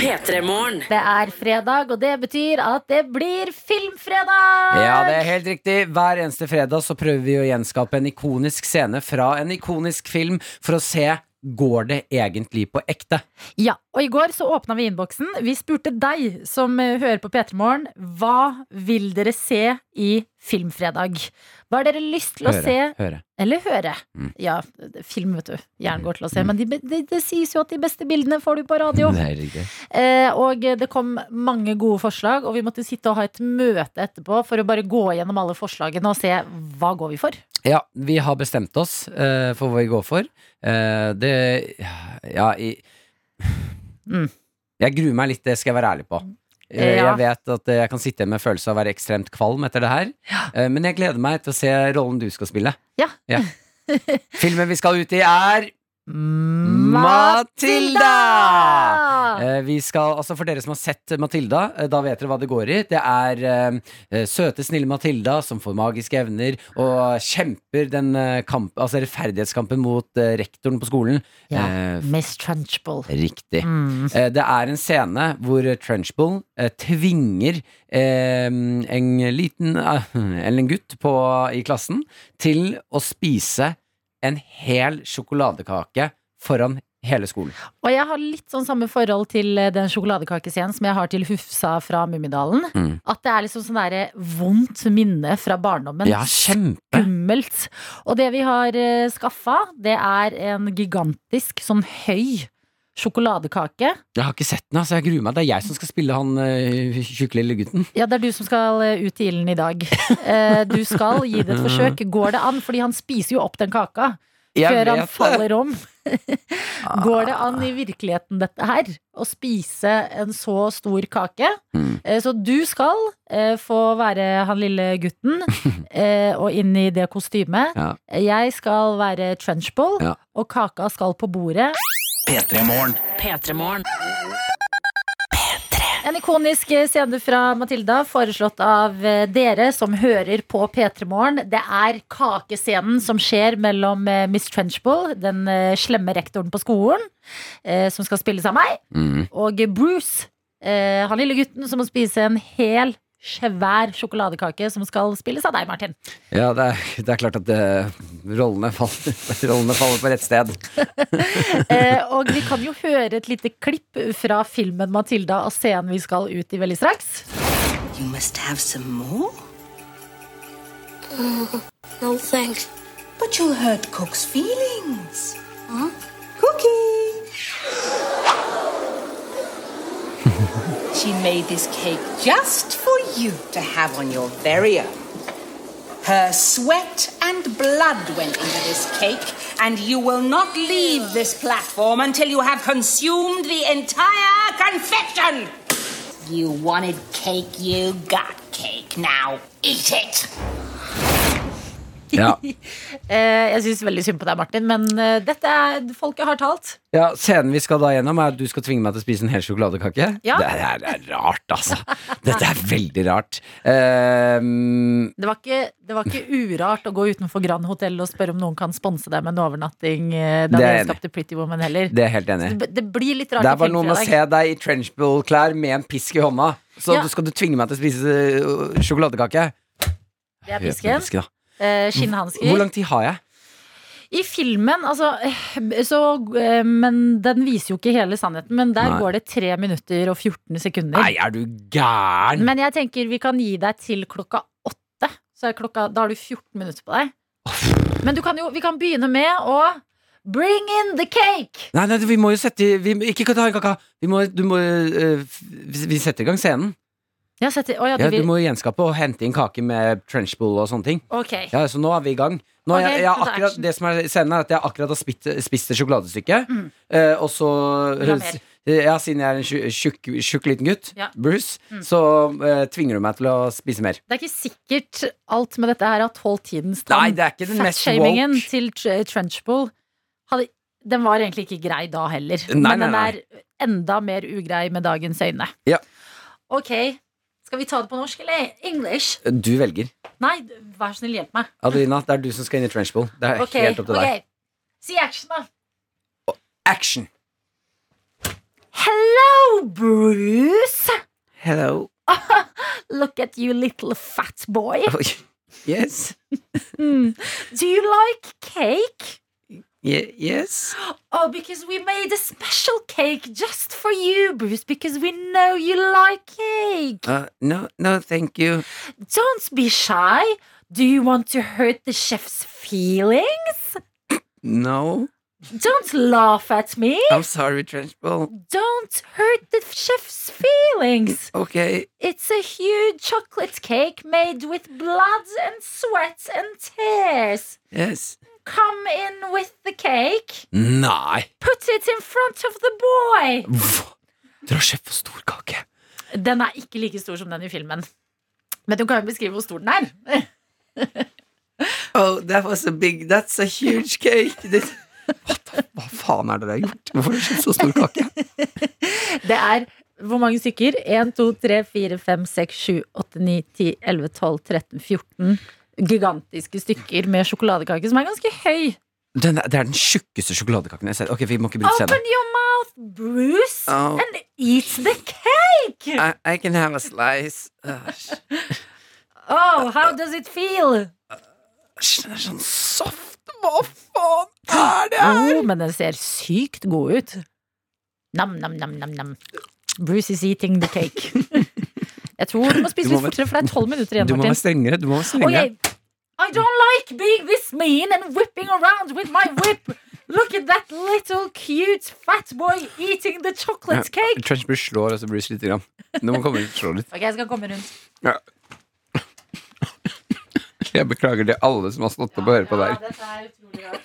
Speaker 1: P3-morgen.
Speaker 2: Det er fredag, og det betyr at det blir filmfredag!
Speaker 3: Ja, det er helt riktig. Hver eneste fredag så prøver vi å gjenskape en ikonisk scene fra en ikonisk film for å se Går det egentlig på ekte?
Speaker 2: Ja, og i går så åpna vi innboksen. Vi spurte deg som eh, hører på P3 Morgen, hva vil dere se i Filmfredag? Hva har dere lyst til å
Speaker 3: Høre,
Speaker 2: se
Speaker 3: høre.
Speaker 2: eller høre?
Speaker 3: Mm.
Speaker 2: Ja, det- film, vet du. Hjernen går til å se. Men de be- det det sies jo at de beste bildene får du på radio.
Speaker 3: Det er riktig.
Speaker 2: Eh, og det kom mange gode forslag, og vi måtte sitte og ha et møte etterpå for å bare gå gjennom alle forslagene og se hva går vi for.
Speaker 3: Ja, vi har bestemt oss eh, for hva vi går for. Eh, det Ja, i
Speaker 2: Mm.
Speaker 3: Jeg gruer meg litt, det skal jeg være ærlig på. Eh,
Speaker 2: Ja.
Speaker 3: Jeg vet at eh, jeg kan sitte igjen med følelse av å være ekstremt kvalm etter det her. Eh, Men jeg gleder meg til å se rollen du skal spille.
Speaker 2: Ja.
Speaker 3: Filmen vi skal ut i, er Matilda! Eh, Vi skal, altså For dere som har sett Matilda, eh, da vet dere hva det går i. Det er eh, søte, snille Matilda som får magiske evner og kjemper den eh, kamp, altså rettferdighetskampen mot eh, rektoren på skolen.
Speaker 2: Ja.
Speaker 3: Eh,
Speaker 2: Miss Trunchbull.
Speaker 3: Riktig.
Speaker 2: Mm.
Speaker 3: Eh, Det er en scene hvor eh, Trunchbull eh, tvinger eh, en liten eh, Eller en gutt på, i klassen til å spise en hel sjokoladekake foran hele skolen.
Speaker 2: Og jeg har litt sånn samme forhold til eh, den sjokoladekakescenen som jeg har til Hufsa fra Mummidalen.
Speaker 3: Mm.
Speaker 2: At det er liksom sånn derre vondt minne fra barndommen.
Speaker 3: Ja, kjempe!
Speaker 2: Skummelt. Og det vi har uh, skaffa, det er en gigantisk sånn høy sjokoladekake.
Speaker 3: Jeg har ikke sett den, altså. Jeg gruer meg. Det er jeg som skal spille han eh, tjukke lille gutten.
Speaker 2: Ja, det er du som skal eh, ut i ilden i dag. Eh, du skal gi det et forsøk. Går det an? Fordi han spiser jo opp den kaka før han faller om. Går det an i virkeligheten dette her? Å spise en så stor kake?
Speaker 3: Mm.
Speaker 2: Eh, Så du skal eh, få være han lille gutten eh, og inn i det kostymet.
Speaker 3: Ja.
Speaker 2: Jeg skal være trenchball,
Speaker 3: Ja.
Speaker 2: og kaka skal på bordet.
Speaker 6: P3-morgen.
Speaker 1: P3morgen.
Speaker 2: En ikonisk eh, scene fra Matilda, foreslått av eh, dere som hører på P3 Morgen. Det er kakescenen som skjer mellom eh, Miss Trenchbull, den eh, slemme rektoren på skolen, eh, som skal spilles av meg,
Speaker 3: Mm.
Speaker 2: og Bruce, eh, han lille gutten som må spise en hel svær sjokoladekake som skal spilles av deg, Martin.
Speaker 3: Ja, det er, det er klart at eh, rollene, faller, rollene faller på rett sted.
Speaker 2: Eh, og vi kan jo høre et lite klipp fra filmen Matilda og scenen vi skal ut i veldig straks.
Speaker 8: You must have some more.
Speaker 4: No thanks.
Speaker 8: But you'll hurt Cook's feelings. Cookie! she made this cake just for you to have on your very own. Her sweat and blood went into this cake, and you will not leave this platform until you have consumed the entire confection! You wanted cake, you got cake. Now eat it!
Speaker 3: Ja.
Speaker 2: Eh, jeg syns veldig synd på deg, Martin, men eh, dette er folket har talt.
Speaker 3: Ja, Scenen vi skal da gjennom, er at du skal tvinge meg til å spise en hel sjokoladekake.
Speaker 2: Ja.
Speaker 3: Det, her er rart, altså. Dette er veldig rart. Ehm,
Speaker 2: Det var ikke, det var ikke urart å gå utenfor Grand Hotel og spørre om noen kan sponse deg med en overnatting eh, da
Speaker 3: Det er
Speaker 2: dere
Speaker 3: jeg enig i.
Speaker 2: skapte Pretty Woman heller.
Speaker 3: det er jeg helt enig i.
Speaker 2: Det, det blir litt rart i
Speaker 3: Det er bare noe med å
Speaker 2: filmfredag.
Speaker 3: se deg i trenchbull-klær med en pisk i hånda. Så
Speaker 2: Ja.
Speaker 3: du skal du tvinge meg til å spise øh, sjokoladekake?
Speaker 2: Det er
Speaker 3: Hør på
Speaker 2: pisken.
Speaker 3: pisken, da.
Speaker 2: Eh,
Speaker 3: Hvor
Speaker 2: Skinnhansker.
Speaker 3: lang tid har jeg?
Speaker 2: I filmen, altså eh, så, eh, Men den viser jo ikke hele sannheten, men der
Speaker 3: Nei.
Speaker 2: går det 3 minutter og 14 sekunder.
Speaker 3: Nei, er du gæren?
Speaker 2: Men jeg tenker vi kan gi deg til klokka åtte. Så er klokka, da har du 14 minutter på deg. Men du kan jo, vi kan begynne med å Bring in the cake!
Speaker 3: Nei, nei, vi må jo sette i vi, Ikke ta en kaka. Vi, må, du må, øh, f- vi vi setter i gang scenen.
Speaker 2: Jeg setter, å, ja, du
Speaker 3: Ja, du
Speaker 2: vil,
Speaker 3: må gjenskape og hente inn kake med trenchbull og sånne ting.
Speaker 2: ok.
Speaker 3: Ja, så nå er vi i gang. Nå har
Speaker 2: Ok,
Speaker 3: jeg, jeg har
Speaker 2: så det er
Speaker 3: akkurat,
Speaker 2: action.
Speaker 3: det som er scenen er at jeg akkurat har spitt, spist et sjokoladestykke.
Speaker 2: Mm.
Speaker 3: eh, og så
Speaker 2: Vil ha mer.
Speaker 3: Ja, siden jeg er en tju- tjukk tjukk liten gutt,
Speaker 2: Ja. Mm.
Speaker 3: Bruce, så eh, tvinger du meg til å spise mer.
Speaker 2: Det er ikke sikkert alt med dette her har tålt tidens
Speaker 3: Nei,
Speaker 2: tann.
Speaker 3: det er ikke den mest
Speaker 2: Fatshamingen
Speaker 3: woke.
Speaker 2: til Tr- Trenchbull hadde, den var egentlig ikke grei da heller.
Speaker 3: Nei,
Speaker 2: men den
Speaker 3: nei, nei.
Speaker 2: er enda mer ugrei med dagens øyne.
Speaker 3: Ja.
Speaker 2: Ok, skal vi ta det på norsk eller engelsk?
Speaker 3: Du velger.
Speaker 2: Nei, vær så snill, hjelp meg.
Speaker 3: Adelina, det er du som skal inn i trenchbowl. Det er
Speaker 2: Ok,
Speaker 3: helt opp til deg.
Speaker 2: ok. Si action, da.
Speaker 3: Action!
Speaker 2: Hello, Bruce.
Speaker 3: Hello.
Speaker 2: Look at you, little fat boy.
Speaker 3: Yes.
Speaker 2: Hmm. Do you like cake?
Speaker 3: Ye- yes.
Speaker 2: Oh, because we made a special cake just for you, Bruce, because we know you like cake.
Speaker 3: Uh, no, no, thank you.
Speaker 2: Don't be shy. Do you want to hurt the chef's feeling?
Speaker 3: No.
Speaker 2: Don't laugh at me.
Speaker 3: I'm sorry, trenchbowl.
Speaker 2: Don't hurt the chef's feelings.
Speaker 3: Okay.
Speaker 2: It's a huge chocolate cake made with blood and sweat and tears.
Speaker 3: Yes.
Speaker 2: Come in with the cake.
Speaker 3: Nei.
Speaker 2: Put it in front of the boy.
Speaker 3: Hva? Dere har kjøpt for stor kake.
Speaker 2: Den er ikke like stor som den i filmen. Men du kan jo beskrive hvor stor den er.
Speaker 3: Oh, that was a big That's a huge cake. This, Hva faen er det dere har gjort? Hvorfor har dere kjøpt så stor kake?
Speaker 2: Det er hvor mange stykker? 1, 2, 3, 4, 5, 6, 7, 8, 9, 10, 11, 12, 13, 14 gigantiske stykker med sjokoladekake som er ganske høy.
Speaker 3: Den er, det er den tjukkeste sjokoladekaken jeg har sett. Ok, vi må ikke bryte
Speaker 2: Open
Speaker 3: scenen.
Speaker 2: your mouth, Bruce,
Speaker 3: Oh.
Speaker 2: and eat the cake!
Speaker 3: I, I can have a slice. Æsj.
Speaker 2: Oh, how does it feel?
Speaker 3: Æsj, Den er sånn soft. Hva faen er det her?
Speaker 2: Oh, men den ser sykt god ut. Nam, nam, nam, nam, nam. Bruce is eating the cake. Jeg tror du må spise
Speaker 3: Du må
Speaker 2: litt
Speaker 3: være-
Speaker 2: fortere, for det er tolv minutter igjen,
Speaker 3: Du må
Speaker 2: Martin.
Speaker 3: være strengere. Du må være strengere.
Speaker 2: Okay. I don't like being this mean and whipping around with my whip. Look at that little cute fat boy eating the chocolate cake.
Speaker 3: Trench Bruce slår også Bruce litt. Grann. Du må komme ut og slå litt.
Speaker 2: Ok, jeg skal komme rundt.
Speaker 3: Ja. Jeg beklager til alle som har stått opp og hørt på
Speaker 2: Ja,
Speaker 3: der.
Speaker 2: dette er utrolig rart.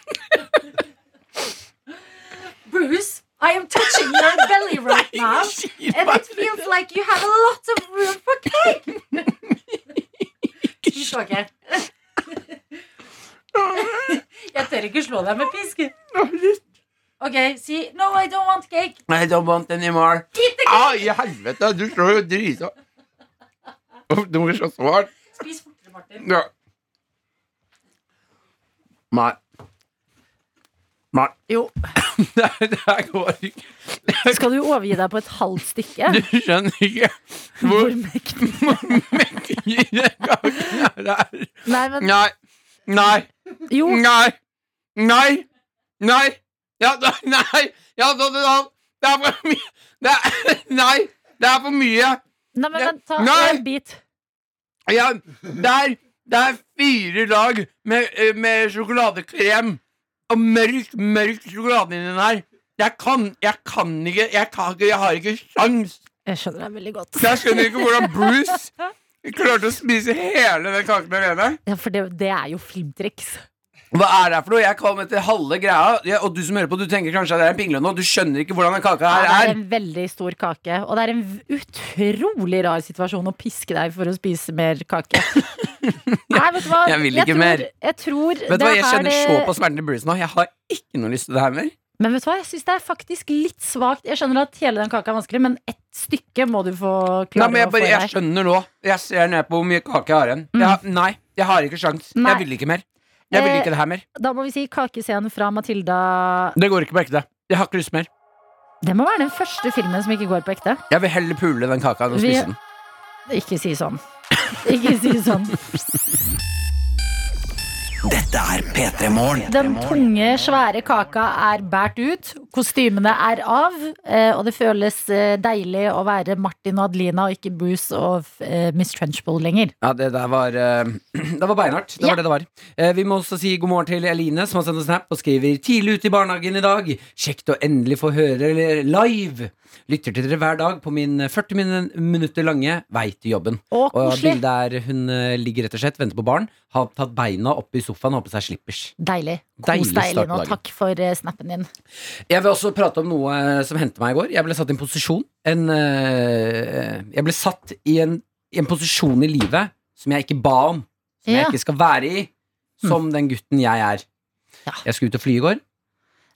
Speaker 2: Bruce, I am touching your belly right now. And it feels like you have a lot of room for cake. Ikke slå ikke. Jeg tør ikke slå deg med pisk. Ok, si No, I don't want cake.
Speaker 3: I don't want anymore.
Speaker 2: Eat the cake.
Speaker 3: Ai, i helvete! Du slår jo drita. Uff, Du må ikke slå så hardt.
Speaker 2: Spis fortere, Martin.
Speaker 3: Ja. Nei. Nei.
Speaker 2: Jo,
Speaker 3: Det her- det her går ikke.
Speaker 2: skal du overgi deg på et halvt stykke?
Speaker 3: Du skjønner ikke hvor mektig den kaken her er.
Speaker 2: Nei, men
Speaker 3: Nei. Nei.
Speaker 2: jo.
Speaker 3: Nei! Nei! Nei! Ja, da, nei! Ja, da, da, da. Det er for mye det er, Nei! Det er for mye!
Speaker 2: Nei, men vent, ta
Speaker 3: Nei.
Speaker 2: en bit.
Speaker 3: Ja, det er, det er fire lag med, eh, med sjokoladekrem og mørk, mørk sjokolade inni den her. Jeg kan, jeg kan ikke Jeg, kan, ikke- jeg har ikke sjans
Speaker 2: Jeg skjønner deg veldig godt.
Speaker 3: Så Jeg skjønner ikke hvordan Bruce klarte å spise hele den kaken alene.
Speaker 2: Ja, for det, det er jo filmtriks.
Speaker 3: Hva er det her for noe? Jeg kom etter halve greia, ja, og du som hører på, du tenker kanskje at det er en pingle nå. Du skjønner ikke hvordan den kaka
Speaker 2: Ja,
Speaker 3: her
Speaker 2: det er
Speaker 3: er.
Speaker 2: en veldig stor kake, og det er en v- utrolig rar situasjon å piske deg for å spise mer kake. Nei, vet du hva?
Speaker 3: Jeg vil ikke
Speaker 2: tror,
Speaker 3: mer.
Speaker 2: Jeg tror
Speaker 3: Vet du hva, Jeg
Speaker 2: her
Speaker 3: kjenner
Speaker 2: det-
Speaker 3: så på smerten til Bruce nå. Jeg har ikke noe lyst til det her mer.
Speaker 2: Men vet du hva, jeg syns det er faktisk litt svakt. Jeg skjønner at hele den kaka er vanskelig, men ett stykke må du få
Speaker 3: Nei,
Speaker 2: klare
Speaker 3: men jeg,
Speaker 2: å få
Speaker 3: bare,
Speaker 2: i
Speaker 3: jeg
Speaker 2: deg. Mm.
Speaker 3: skjønner nå. Jeg ser ned på hvor mye kake jeg har igjen. Jeg- nei, jeg har ikke sjans.
Speaker 2: Nei.
Speaker 3: Jeg vil ikke mer. Jeg vil
Speaker 2: Eh.
Speaker 3: ikke det her mer.
Speaker 2: Da må vi si kakescenen fra Matilda
Speaker 3: Det går ikke på ekte. Jeg har ikke lyst mer.
Speaker 2: Det må være den første filmen som ikke går på ekte.
Speaker 3: Jeg vil heller pule den kaka enn å
Speaker 2: Vi-
Speaker 3: spise den.
Speaker 2: Ikke si sånn. Ikke si sånn.
Speaker 6: Dette er P3 Morgen.
Speaker 2: Den tunge, svære kaka er båret ut. Kostymene er av. eh, Og det føles eh, deilig å være Martin og Adelina og ikke Bruce og eh, Miss Trenchbull lenger.
Speaker 3: Ja, det der var eh, Det var beinhardt. Det
Speaker 2: Ja.
Speaker 3: var det det var. Eh, vi må også si god morgen til Eline, som har sendt en snap og skriver 'Tidlig ute i barnehagen i dag. Kjekt å endelig få høre dere live'. Lytter til dere hver dag på min 40 min minutter lange vei til jobben.
Speaker 2: Og
Speaker 3: Og
Speaker 2: koselig.
Speaker 3: bildet er hun eh, ligger rett og slett, venter på barn, har tatt beina opp i sofaen og har på seg slippers.
Speaker 2: Deilig.
Speaker 3: Deilig
Speaker 2: Kos deg,
Speaker 3: start på
Speaker 2: Eline, og
Speaker 3: dagen.
Speaker 2: takk for eh, snappen din.
Speaker 3: Jeg vil også prate om noe eh, som hendte meg i går. Jeg ble satt i en posisjon. En, eh, jeg ble satt i en, i en posisjon i livet som jeg ikke ba om. Som
Speaker 2: Ja. Mm.
Speaker 3: jeg ikke skal være i, som den gutten jeg er.
Speaker 2: Ja.
Speaker 3: Jeg skulle ut og fly i går.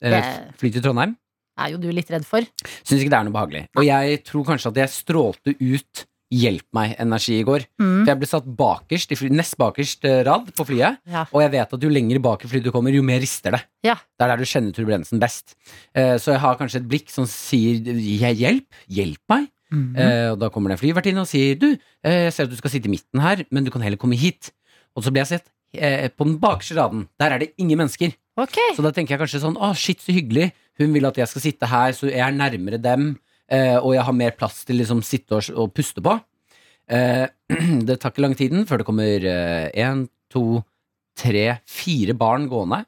Speaker 3: Eh,
Speaker 2: Det-
Speaker 3: Fly til Trondheim.
Speaker 2: Er jo du litt redd for.
Speaker 3: Syns ikke det er noe behagelig. Og jeg tror kanskje at jeg strålte ut Hjelp meg-energi i går.
Speaker 2: Mm.
Speaker 3: For jeg ble satt bakerst, i fly, nest bakerst eh, rad på flyet.
Speaker 2: Ja.
Speaker 3: Og jeg vet at jo lenger bak i flyet du kommer, jo mer rister det.
Speaker 2: Ja.
Speaker 3: Det er der du kjenner turbulensen best. Eh, Så jeg har kanskje et blikk som sier «Jeg- 'hjelp, hjelp meg'.
Speaker 2: Mhm. Mm.
Speaker 3: Eh, Og da kommer det en flyvertinne og sier 'du, eh, jeg ser at du skal sitte i midten her, men du kan heller komme hit'. Og så blir jeg sett eh, på den bakerste raden. Der er det ingen mennesker.
Speaker 2: Ok.
Speaker 3: Så da tenker jeg kanskje sånn 'å, shit, så hyggelig'. Hun vil at jeg skal sitte her, så jeg er nærmere dem, eh, og jeg har mer plass til liksom sitte og, og puste på. Eh, Det tar ikke lang tiden før det kommer én, to, tre, fire barn gående.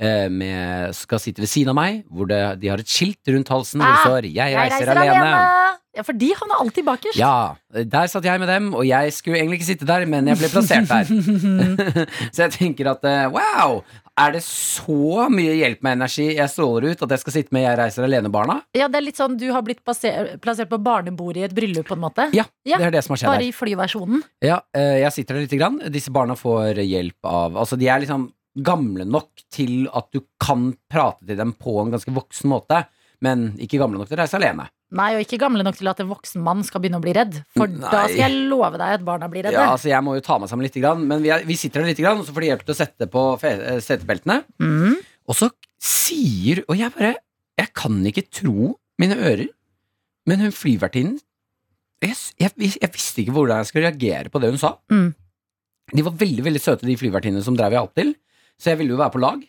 Speaker 3: eh, Med, skal sitte ved siden av meg, hvor det, de har et skilt rundt halsen hvor det
Speaker 2: Ah,
Speaker 3: står 'Jeg reiser alene'.
Speaker 2: Ja, for de havner alltid bakerst.
Speaker 3: Ja, der satt jeg med dem, og jeg skulle egentlig ikke sitte der, men jeg ble plassert der. så jeg tenker at eh, wow, er det så mye hjelp med energi jeg stråler ut at jeg skal sitte med Jeg reiser alene-barna?
Speaker 2: Ja, det er litt sånn du har blitt plassert, plassert på barnebordet i et bryllup, på en måte.
Speaker 3: Ja,
Speaker 2: Ja,
Speaker 3: det er det som har skjedd
Speaker 2: Bare
Speaker 3: her.
Speaker 2: i flyversjonen.
Speaker 3: Ja, eh, jeg sitter der lite grann. Disse barna får hjelp av Altså, de er liksom gamle nok til at du kan prate til dem på en ganske voksen måte, men ikke gamle nok til å reise alene.
Speaker 2: Nei, og ikke gamle nok til at en voksen mann skal begynne å bli redd. For da
Speaker 3: Nei.
Speaker 2: skal jeg love deg at barna blir redde.
Speaker 3: Ja, altså Jeg må jo ta meg sammen litt, grann, men vi, er, vi sitter der litt, grann, og så får de hjelp til å sette på fe- eh, setebeltene.
Speaker 2: Mm.
Speaker 3: Og så sier Og jeg bare Jeg kan ikke tro mine ører, men hun flyvertinnen jeg, s- jeg, vis- jeg visste ikke hvordan jeg skulle reagere på det hun sa.
Speaker 2: Mm.
Speaker 3: De var veldig veldig søte, de flyvertinnene som drev jeg opp til, så jeg ville jo være på lag.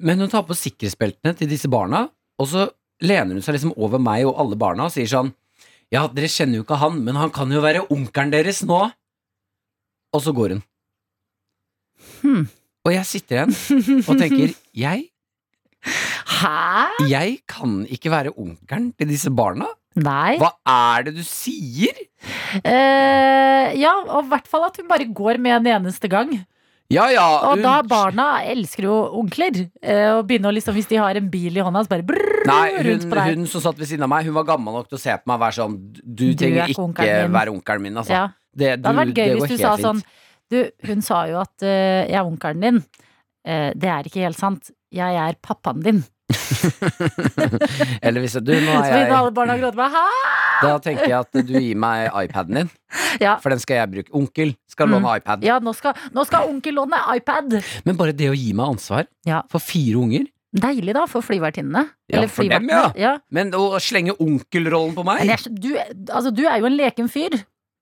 Speaker 3: Men hun tar på sikkerhetsbeltene til disse barna, og så lener hun seg liksom over meg og alle barna og sier sånn Ja, dere kjenner jo ikke han, men han kan jo være onkelen deres nå. Og så går hun.
Speaker 2: Hmm.
Speaker 3: Og jeg sitter igjen og tenker Jeg
Speaker 2: Hæ?
Speaker 3: jeg kan ikke være onkelen til disse barna.
Speaker 2: Nei.
Speaker 3: Hva er det du sier?
Speaker 2: Eh, ja, og i hvert fall at hun bare går med en eneste gang.
Speaker 3: Ja, ja.
Speaker 2: Og da
Speaker 3: hun-
Speaker 2: barna elsker jo onkler. eh, og begynner å liksom, hvis de har en bil i hånda, så bare brrr,
Speaker 3: Nei,
Speaker 2: rundt
Speaker 3: hun,
Speaker 2: på deg.
Speaker 3: hun som satt ved siden av meg, hun var gammel nok til å se på meg og være sånn Du,
Speaker 2: Du er
Speaker 3: trenger
Speaker 2: ikke
Speaker 3: ikke
Speaker 2: onkelen min."
Speaker 3: være onkelen min, altså.
Speaker 2: ja.
Speaker 3: Det,
Speaker 2: Det hadde
Speaker 3: du-
Speaker 2: vært gøy
Speaker 3: det går
Speaker 2: hvis du sa
Speaker 3: helt
Speaker 2: sånn
Speaker 3: fint.
Speaker 2: Du, hun sa jo at eh, jeg er onkelen din. Eh, det er ikke helt sant. Jeg er pappaen din.
Speaker 3: Eller hvis du, nå
Speaker 2: Så
Speaker 3: er
Speaker 2: begynner
Speaker 3: jeg
Speaker 2: alle barna å gråte. Bare, Hæ?
Speaker 3: Da tenker jeg at du gir meg iPaden din,
Speaker 2: Ja.
Speaker 3: for den skal jeg bruke. Onkel skal
Speaker 2: Mm.
Speaker 3: låne iPad.
Speaker 2: Ja, nå skal, nå skal onkel låne iPad.
Speaker 3: Men bare det å gi meg ansvar
Speaker 2: Ja.
Speaker 3: for fire unger
Speaker 2: Deilig, da, for flyvertinnene.
Speaker 3: Ja,
Speaker 2: Eller
Speaker 3: for dem,
Speaker 2: flyvertene. Ja.
Speaker 3: Men å slenge onkelrollen på meg
Speaker 2: Men jeg, du, altså, du er jo en leken fyr.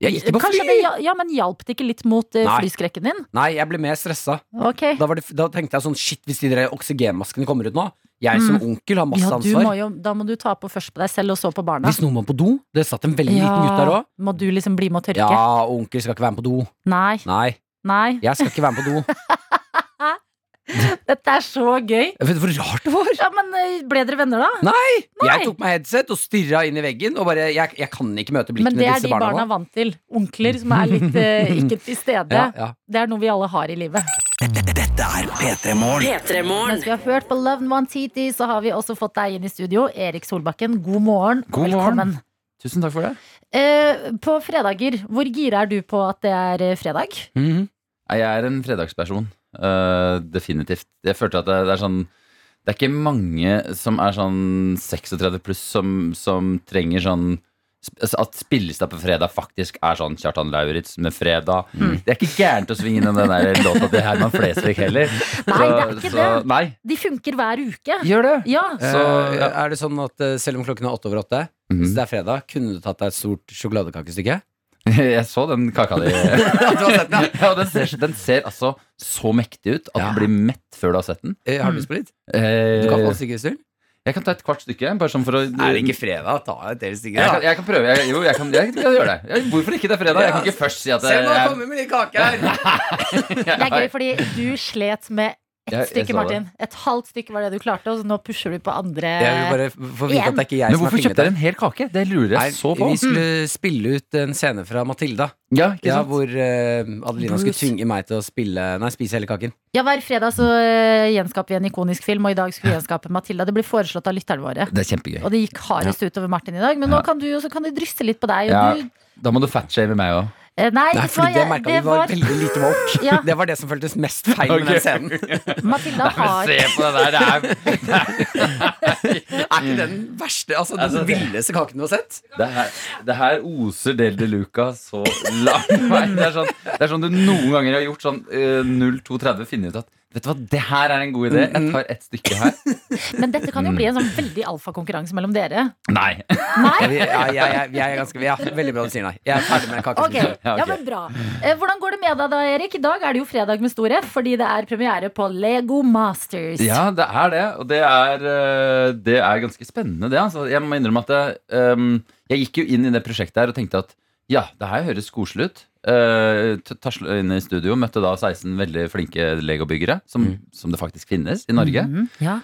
Speaker 3: Jeg gikk ikke på
Speaker 2: Kanskje
Speaker 3: fly!
Speaker 2: det, hja- ja, men hjalp det ikke litt mot eh,
Speaker 3: Nei.
Speaker 2: flyskrekken din?
Speaker 3: Nei, jeg ble mer stressa.
Speaker 2: Ok.
Speaker 3: Da, var det, da tenkte jeg sånn Shit, hvis de der oksygenmaskene kommer ut nå Jeg som onkel har masse
Speaker 2: Mm. Ja, du
Speaker 3: ansvar
Speaker 2: må jo, da må du ta på først på deg selv, og så på barna.
Speaker 3: Hvis noen må på do Det satt en veldig liten gutt der også
Speaker 2: må du liksom bli med og tørke?
Speaker 3: Ja, onkel skal ikke være med på do
Speaker 2: Nei.
Speaker 3: Nei,
Speaker 2: Nei.
Speaker 3: jeg skal ikke være med på do
Speaker 2: Dette er så gøy.
Speaker 3: Jeg vet du hvor rart det var?
Speaker 2: Ja, men eh, ble dere venner, da?
Speaker 3: Jeg tok meg headset og stirret inn i veggen Og bare, jeg, jeg kan ikke møte
Speaker 2: Men
Speaker 3: blikkene
Speaker 2: det er
Speaker 3: disse
Speaker 2: de
Speaker 3: barna,
Speaker 2: barna vant til. Onkler som er litt eh, ikke til stede.
Speaker 3: Ja, ja
Speaker 2: Det er noe vi alle har i livet.
Speaker 6: Dette er P3 Morgen.
Speaker 1: P3 Morgen.
Speaker 2: Mens vi har hørt på Love One Titi, så har vi også fått deg inn i studio. Erik Solbakken, god morgen.
Speaker 9: God morgen.
Speaker 2: Velkommen.
Speaker 9: Tusen takk for det.
Speaker 2: Eh, på fredager, hvor gira er du på at det er eh, fredag?
Speaker 3: Mhm.
Speaker 9: Nei, Jeg er en fredagsperson. eh, definitivt. Jeg følte at det, det er sånn Det er ikke mange som er sånn 36 pluss som, som trenger sånn sp- altså At spillestad på fredag faktisk er sånn Kjartan Lauritz med fredag. Det er ikke gærent å svinge innom den der låta til Herman Flesvig heller.
Speaker 2: Nei, det er ikke det.
Speaker 9: Nei,
Speaker 2: De funker hver uke.
Speaker 9: gjør det.
Speaker 2: Ja. Mhm.
Speaker 9: Så,
Speaker 3: Eh,
Speaker 9: ja.
Speaker 3: Er det sånn at eh, selv om klokken er åtte over åtte
Speaker 9: Mhm.
Speaker 3: Så det er fredag Kunne du tatt deg et stort sjokoladekakestykke?
Speaker 9: Jeg så den kaka
Speaker 3: du
Speaker 9: di.
Speaker 3: har sett den,
Speaker 9: ja, og den, ser, den ser altså så mektig ut at
Speaker 3: Ja.
Speaker 9: du blir mett før du har sett den.
Speaker 3: Eh, Har du lyst på litt? Du kan få en
Speaker 9: Eh,
Speaker 3: stykke hvis du vil.
Speaker 9: jeg kan ta et kvart stykke. Bare sånn for å
Speaker 3: Er det ikke fredag? Ta et del stykker
Speaker 9: Jeg
Speaker 3: da.
Speaker 9: kan, jeg kan prøve. Jeg, jo, jeg kan, jeg, kan gjøre det. Jeg, hvorfor ikke det er fredag? Jeg kan ikke først si at eh,
Speaker 3: Se
Speaker 9: jeg,
Speaker 3: nå, jeg kommer med litt kake her
Speaker 2: Det er gøy, fordi du slet med ett
Speaker 9: Jeg- jeg
Speaker 2: stykke,
Speaker 9: så
Speaker 2: Martin. Et halvt stykke var det du klarte, og så nå pusher du på andre.
Speaker 3: Jeg vil bare f- få vite
Speaker 2: Igjen.
Speaker 3: at det er ikke jeg
Speaker 9: Men
Speaker 3: som har
Speaker 9: hvorfor
Speaker 3: plinget
Speaker 9: kjøpte dere en hel kake? Det lurer jeg så på.
Speaker 3: Vi skulle spille ut en scene fra Matilda.
Speaker 9: Ja, ikke
Speaker 3: Ja,
Speaker 9: sant?
Speaker 3: hvor eh, Adelina skulle
Speaker 2: Bruce.
Speaker 3: tvinge meg til å spille Nei, spise hele kaken.
Speaker 2: Ja, Hver fredag så eh, gjenskaper vi en ikonisk film, og i dag skulle vi gjenskape Matilda. Det ble foreslått av lytterne våre.
Speaker 9: Det er kjempegøy.
Speaker 2: Og det gikk hardest utover Martin i dag, men nå
Speaker 9: Ja.
Speaker 2: kan du, og så kan de drysse litt på deg. Og
Speaker 9: Ja.
Speaker 2: du,
Speaker 9: Da må du fatshame meg òg.
Speaker 2: eh, nei, vet
Speaker 3: Nei,
Speaker 2: du hva,
Speaker 3: fordi det
Speaker 2: jeg-
Speaker 3: merket
Speaker 2: det
Speaker 3: vi var
Speaker 2: var-
Speaker 3: veldig lite woke.
Speaker 2: Ja.
Speaker 3: Det var det som føltes mest feil med
Speaker 9: Ok.
Speaker 3: den scenen.
Speaker 2: Matilda har
Speaker 9: Se på det der. Det er,
Speaker 3: Er ikke det den verste, altså den
Speaker 9: Altså, det-
Speaker 3: villeste kaken du har sett?
Speaker 9: det her, det her oser Del de Luca så lang vei. Det er, sånn, det er sånn du noen ganger har gjort sånn eh, 0230 finner ut at Vet du hva, det her er en god idé. Jeg tar et stykke her.
Speaker 2: Men dette kan jo bli en sånn veldig alfakonkurranse mellom dere.
Speaker 9: Nei.
Speaker 3: Ja,
Speaker 2: Nei?
Speaker 3: vi, ja, jeg- jeg- jeg er ganske, ja, veldig bra du sier nei. Jeg er ferdig med kaken.
Speaker 2: Ok,
Speaker 3: Okay.
Speaker 9: Ja, ok.
Speaker 2: ja, men bra. Eh, Hvordan går det med deg da, Erik? I dag er det jo fredag med stor F, fordi det er premiere på Lego Masters.
Speaker 9: Ja, det er det. Og det er, eh, det er ganske spennende, det. Altså, jeg må innrømme at jeg, ehm, jeg gikk jo inn i det prosjektet her og tenkte at ja, det her høres koselig ut. Uh, Tasla inn i studio møtte da 16 veldig flinke legobyggere, som, som det faktisk finnes i Norge.
Speaker 2: Mhm, ja.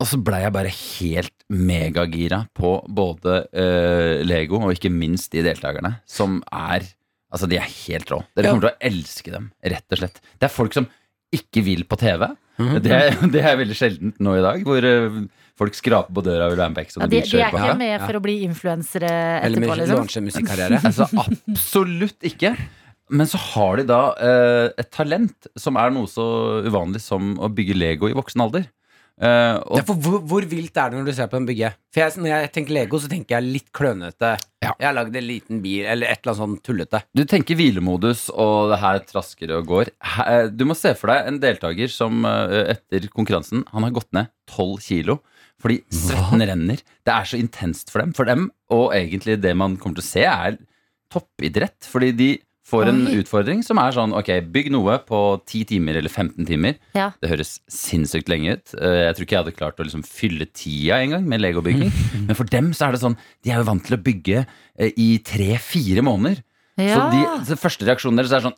Speaker 9: Og så blei jeg bare helt megagira på både eh, Lego og ikke minst de deltakerne, som er Altså, de er helt rå. Dere
Speaker 3: Ja.
Speaker 9: kommer til å elske dem, rett og slett. Det er folk som ikke vil på TV. Det, det er veldig sjeldent nå i dag, hvor eh, folk skraper på døra og vil være med på Ex on
Speaker 2: Ja,
Speaker 9: the
Speaker 2: de,
Speaker 9: Beach.
Speaker 2: de er
Speaker 9: eller på
Speaker 2: ikke
Speaker 9: her.
Speaker 2: med for å bli influensere
Speaker 3: Eller
Speaker 2: etterpå,
Speaker 3: med
Speaker 2: liksom.
Speaker 3: launche musikkarriere.
Speaker 9: Altså, absolutt ikke. men så har de da eh, et talent som er noe så uvanlig som å bygge Lego i voksen alder. Eh, og
Speaker 3: Ja, for hvor, hvor vilt er det når du ser på en bygge? For jeg, Når jeg tenker Lego, så tenker jeg litt klønete.
Speaker 9: Ja.
Speaker 3: Jeg har lagd en liten bil, eller et eller annet sånn tullete.
Speaker 9: Du tenker hvilemodus, og det her trasker og går. He- Du må se for deg en deltaker som eh, etter konkurransen Han har gått ned 12 kilo fordi svetten renner. Det er så intenst for dem. For dem, og egentlig det man kommer til å se, er toppidrett. Fordi de får en
Speaker 2: Oi.
Speaker 9: utfordring som er sånn Ok, bygg noe på 10 timer eller 15 timer.
Speaker 2: Ja.
Speaker 9: Det høres sinnssykt lenge ut. Eh, Jeg tror ikke jeg hadde klart å liksom fylle tida engang med legobygging. Men for dem så er det sånn De er jo vant til å bygge eh, i tre-fire måneder. Så
Speaker 2: Ja.
Speaker 9: de, så første reaksjonen deres er sånn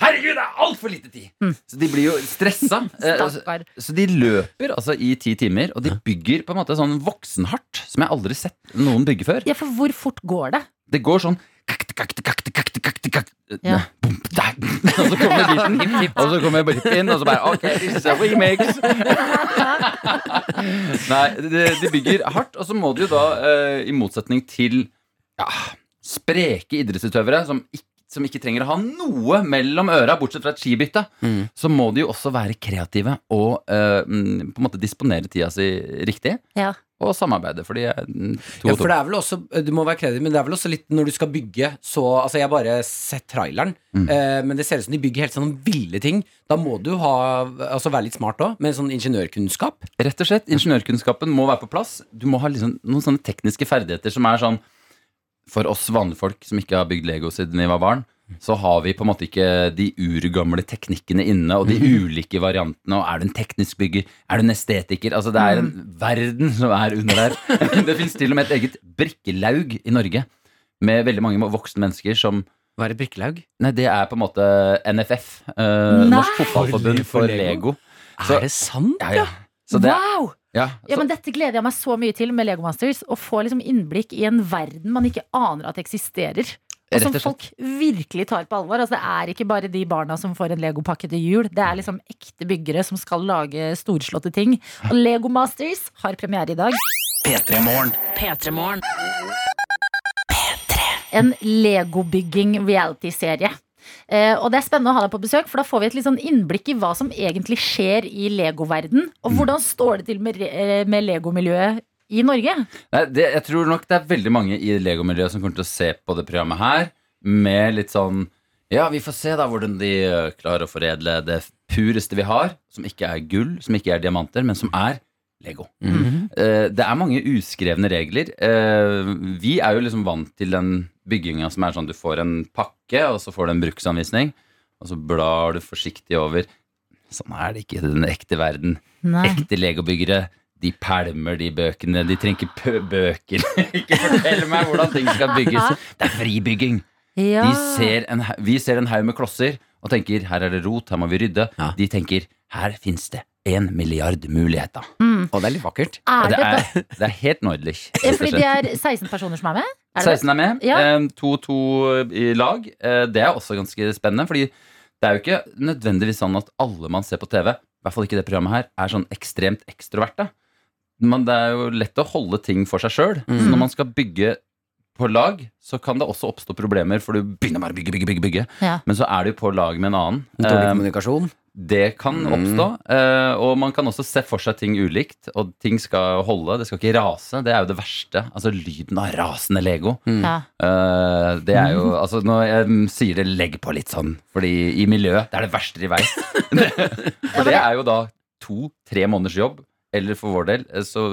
Speaker 9: Herregud, det er altfor lite tid! Så de blir jo stressa. eh, og
Speaker 2: Mm.
Speaker 9: så-
Speaker 2: Stakkar.
Speaker 9: så de løper altså i ti timer, og de bygger på en måte sånn voksenhardt som jeg aldri sett noen bygge før.
Speaker 2: Ja, for hvor fort går det?
Speaker 9: Det går sånn kakte, kakte, kakte, kakte, kakte, kakte.
Speaker 2: Ja.
Speaker 9: Nei, bom, der. Og så kommer biten, og så kommer biten inn, og så bare Ok, this is a remix. Nei, de, de bygger hardt, og så må de jo da, eh, i motsetning til ja, spreke idrettsutøvere som ikke som ikke trenger å ha noe mellom øra, bortsett fra et skibytte. Så må de jo også være kreative og eh, mm, på en måte disponere tida si riktig.
Speaker 2: Ja.
Speaker 9: Og samarbeide, for de er mm, to
Speaker 3: Ja,
Speaker 9: og to.
Speaker 3: for det er vel også, du må være kreditiv, men det er vel også litt når du skal bygge så Altså, jeg har bare sett traileren,
Speaker 9: Mm.
Speaker 3: eh, men det ser ut som de bygger helt sånn ville ting. Da må du ha, altså være litt smart òg, med sånn ingeniørkunnskap.
Speaker 9: Rett og slett, Ingeniørkunnskapen må være på plass. Du må ha liksom noen sånne tekniske ferdigheter som er sånn For oss vanlige folk som ikke har bygd Lego siden vi var barn, så har vi på en måte ikke de urgamle teknikkene inne, og de ulike variantene. Og er du en teknisk bygger? Er du en estetiker? Altså, det er en verden som er under der. det fins til og med et eget brikkelaug i Norge med veldig mange voksne mennesker som
Speaker 3: Hva er et brikkelaug?
Speaker 9: Nei, det er på en måte NFF. Eh,
Speaker 2: Nei!
Speaker 9: Norsk Fotballforbund
Speaker 3: For
Speaker 9: for
Speaker 3: Lego?
Speaker 9: Lego. Så-
Speaker 3: Er det sant?
Speaker 9: Ja, ja. Så det,
Speaker 2: wow!
Speaker 9: ja,
Speaker 2: Ja,
Speaker 9: så-
Speaker 2: men Dette gleder jeg meg så mye til med Lego Masters. Å få liksom innblikk i en verden man ikke aner at eksisterer. Og
Speaker 9: Rett og
Speaker 2: som
Speaker 9: slett.
Speaker 2: folk virkelig tar på alvor. Altså, det er ikke bare de barna som får en legopakke til jul. Det er liksom ekte byggere som skal lage storslåtte ting. Og Lego Masters har premiere i dag.
Speaker 6: P3 Morgen.
Speaker 1: P3 Morgen.
Speaker 2: En legobygging reality-serie. Eh, og det er spennende å ha deg på besøk, for da får vi et litt sånn innblikk i hva som egentlig skjer i legoverden.
Speaker 9: Mm.
Speaker 2: Og hvordan står det til med, re- eh, med legomiljøet i Norge?
Speaker 9: Nei, det, jeg tror nok det er veldig mange i Lego-miljøet som kommer til å se på det programmet her med litt sånn Ja, vi får se da hvordan de ø, klarer å foredle det pureste vi har, som ikke er gull, som ikke er diamanter, men som er Lego. Eh, det er mange uskrevne regler. Eh, vi er jo liksom vant til den bygginga som er sånn du får en pakke, og så får du en bruksanvisning, og så blar du forsiktig over. Sånn er det ikke i den ekte verden.
Speaker 2: Nei.
Speaker 9: Ekte legobyggere de pælmer de bøkene. De trenger ikke pø- bøker. ikke fortell meg hvordan ting skal bygges. Det er fribygging.
Speaker 2: Ja.
Speaker 9: De ser en, ha- vi ser en haug med klosser og tenker her er det rot, her må vi rydde.
Speaker 3: Ja.
Speaker 9: De tenker her fins det en milliard muligheter.
Speaker 2: Mm.
Speaker 3: Å, det er litt vakkert.
Speaker 9: Og
Speaker 2: Er det,
Speaker 9: det
Speaker 2: da-
Speaker 9: er, det er helt nordlig.
Speaker 2: Ja, Fordi det er 16 personer som er med? Er det det?
Speaker 9: 16 er med. Eh,
Speaker 2: Ja.
Speaker 9: 2-2 i lag. Eh, Det er også ganske spennende, fordi det er jo ikke nødvendigvis sånn at alle man ser på TV, i hvert fall ikke det programmet her, er sånn ekstremt ekstroverte. Men det er jo lett å holde ting for seg sjøl.
Speaker 2: Mm.
Speaker 9: Så når man skal bygge på lag, så kan det også oppstå problemer, for du begynner bare å bygge, bygge, bygge. bygge.
Speaker 2: Ja.
Speaker 9: Men så er du på lag med en annen.
Speaker 3: Dårlig
Speaker 9: Eh,
Speaker 3: kommunikasjon. Mm.
Speaker 9: det kan oppstå. eh, Og man kan også se for seg ting ulikt. Og ting skal holde. Det skal ikke rase. Det er jo det verste. Altså lyden av rasende Lego.
Speaker 2: Ja.
Speaker 9: Eh, det er jo, altså Når jeg mm, sier det, legg på litt sånn. Fordi i miljøet, det er det verste i verden. For det er jo da to-tre måneders jobb, eller for vår del, eh, så,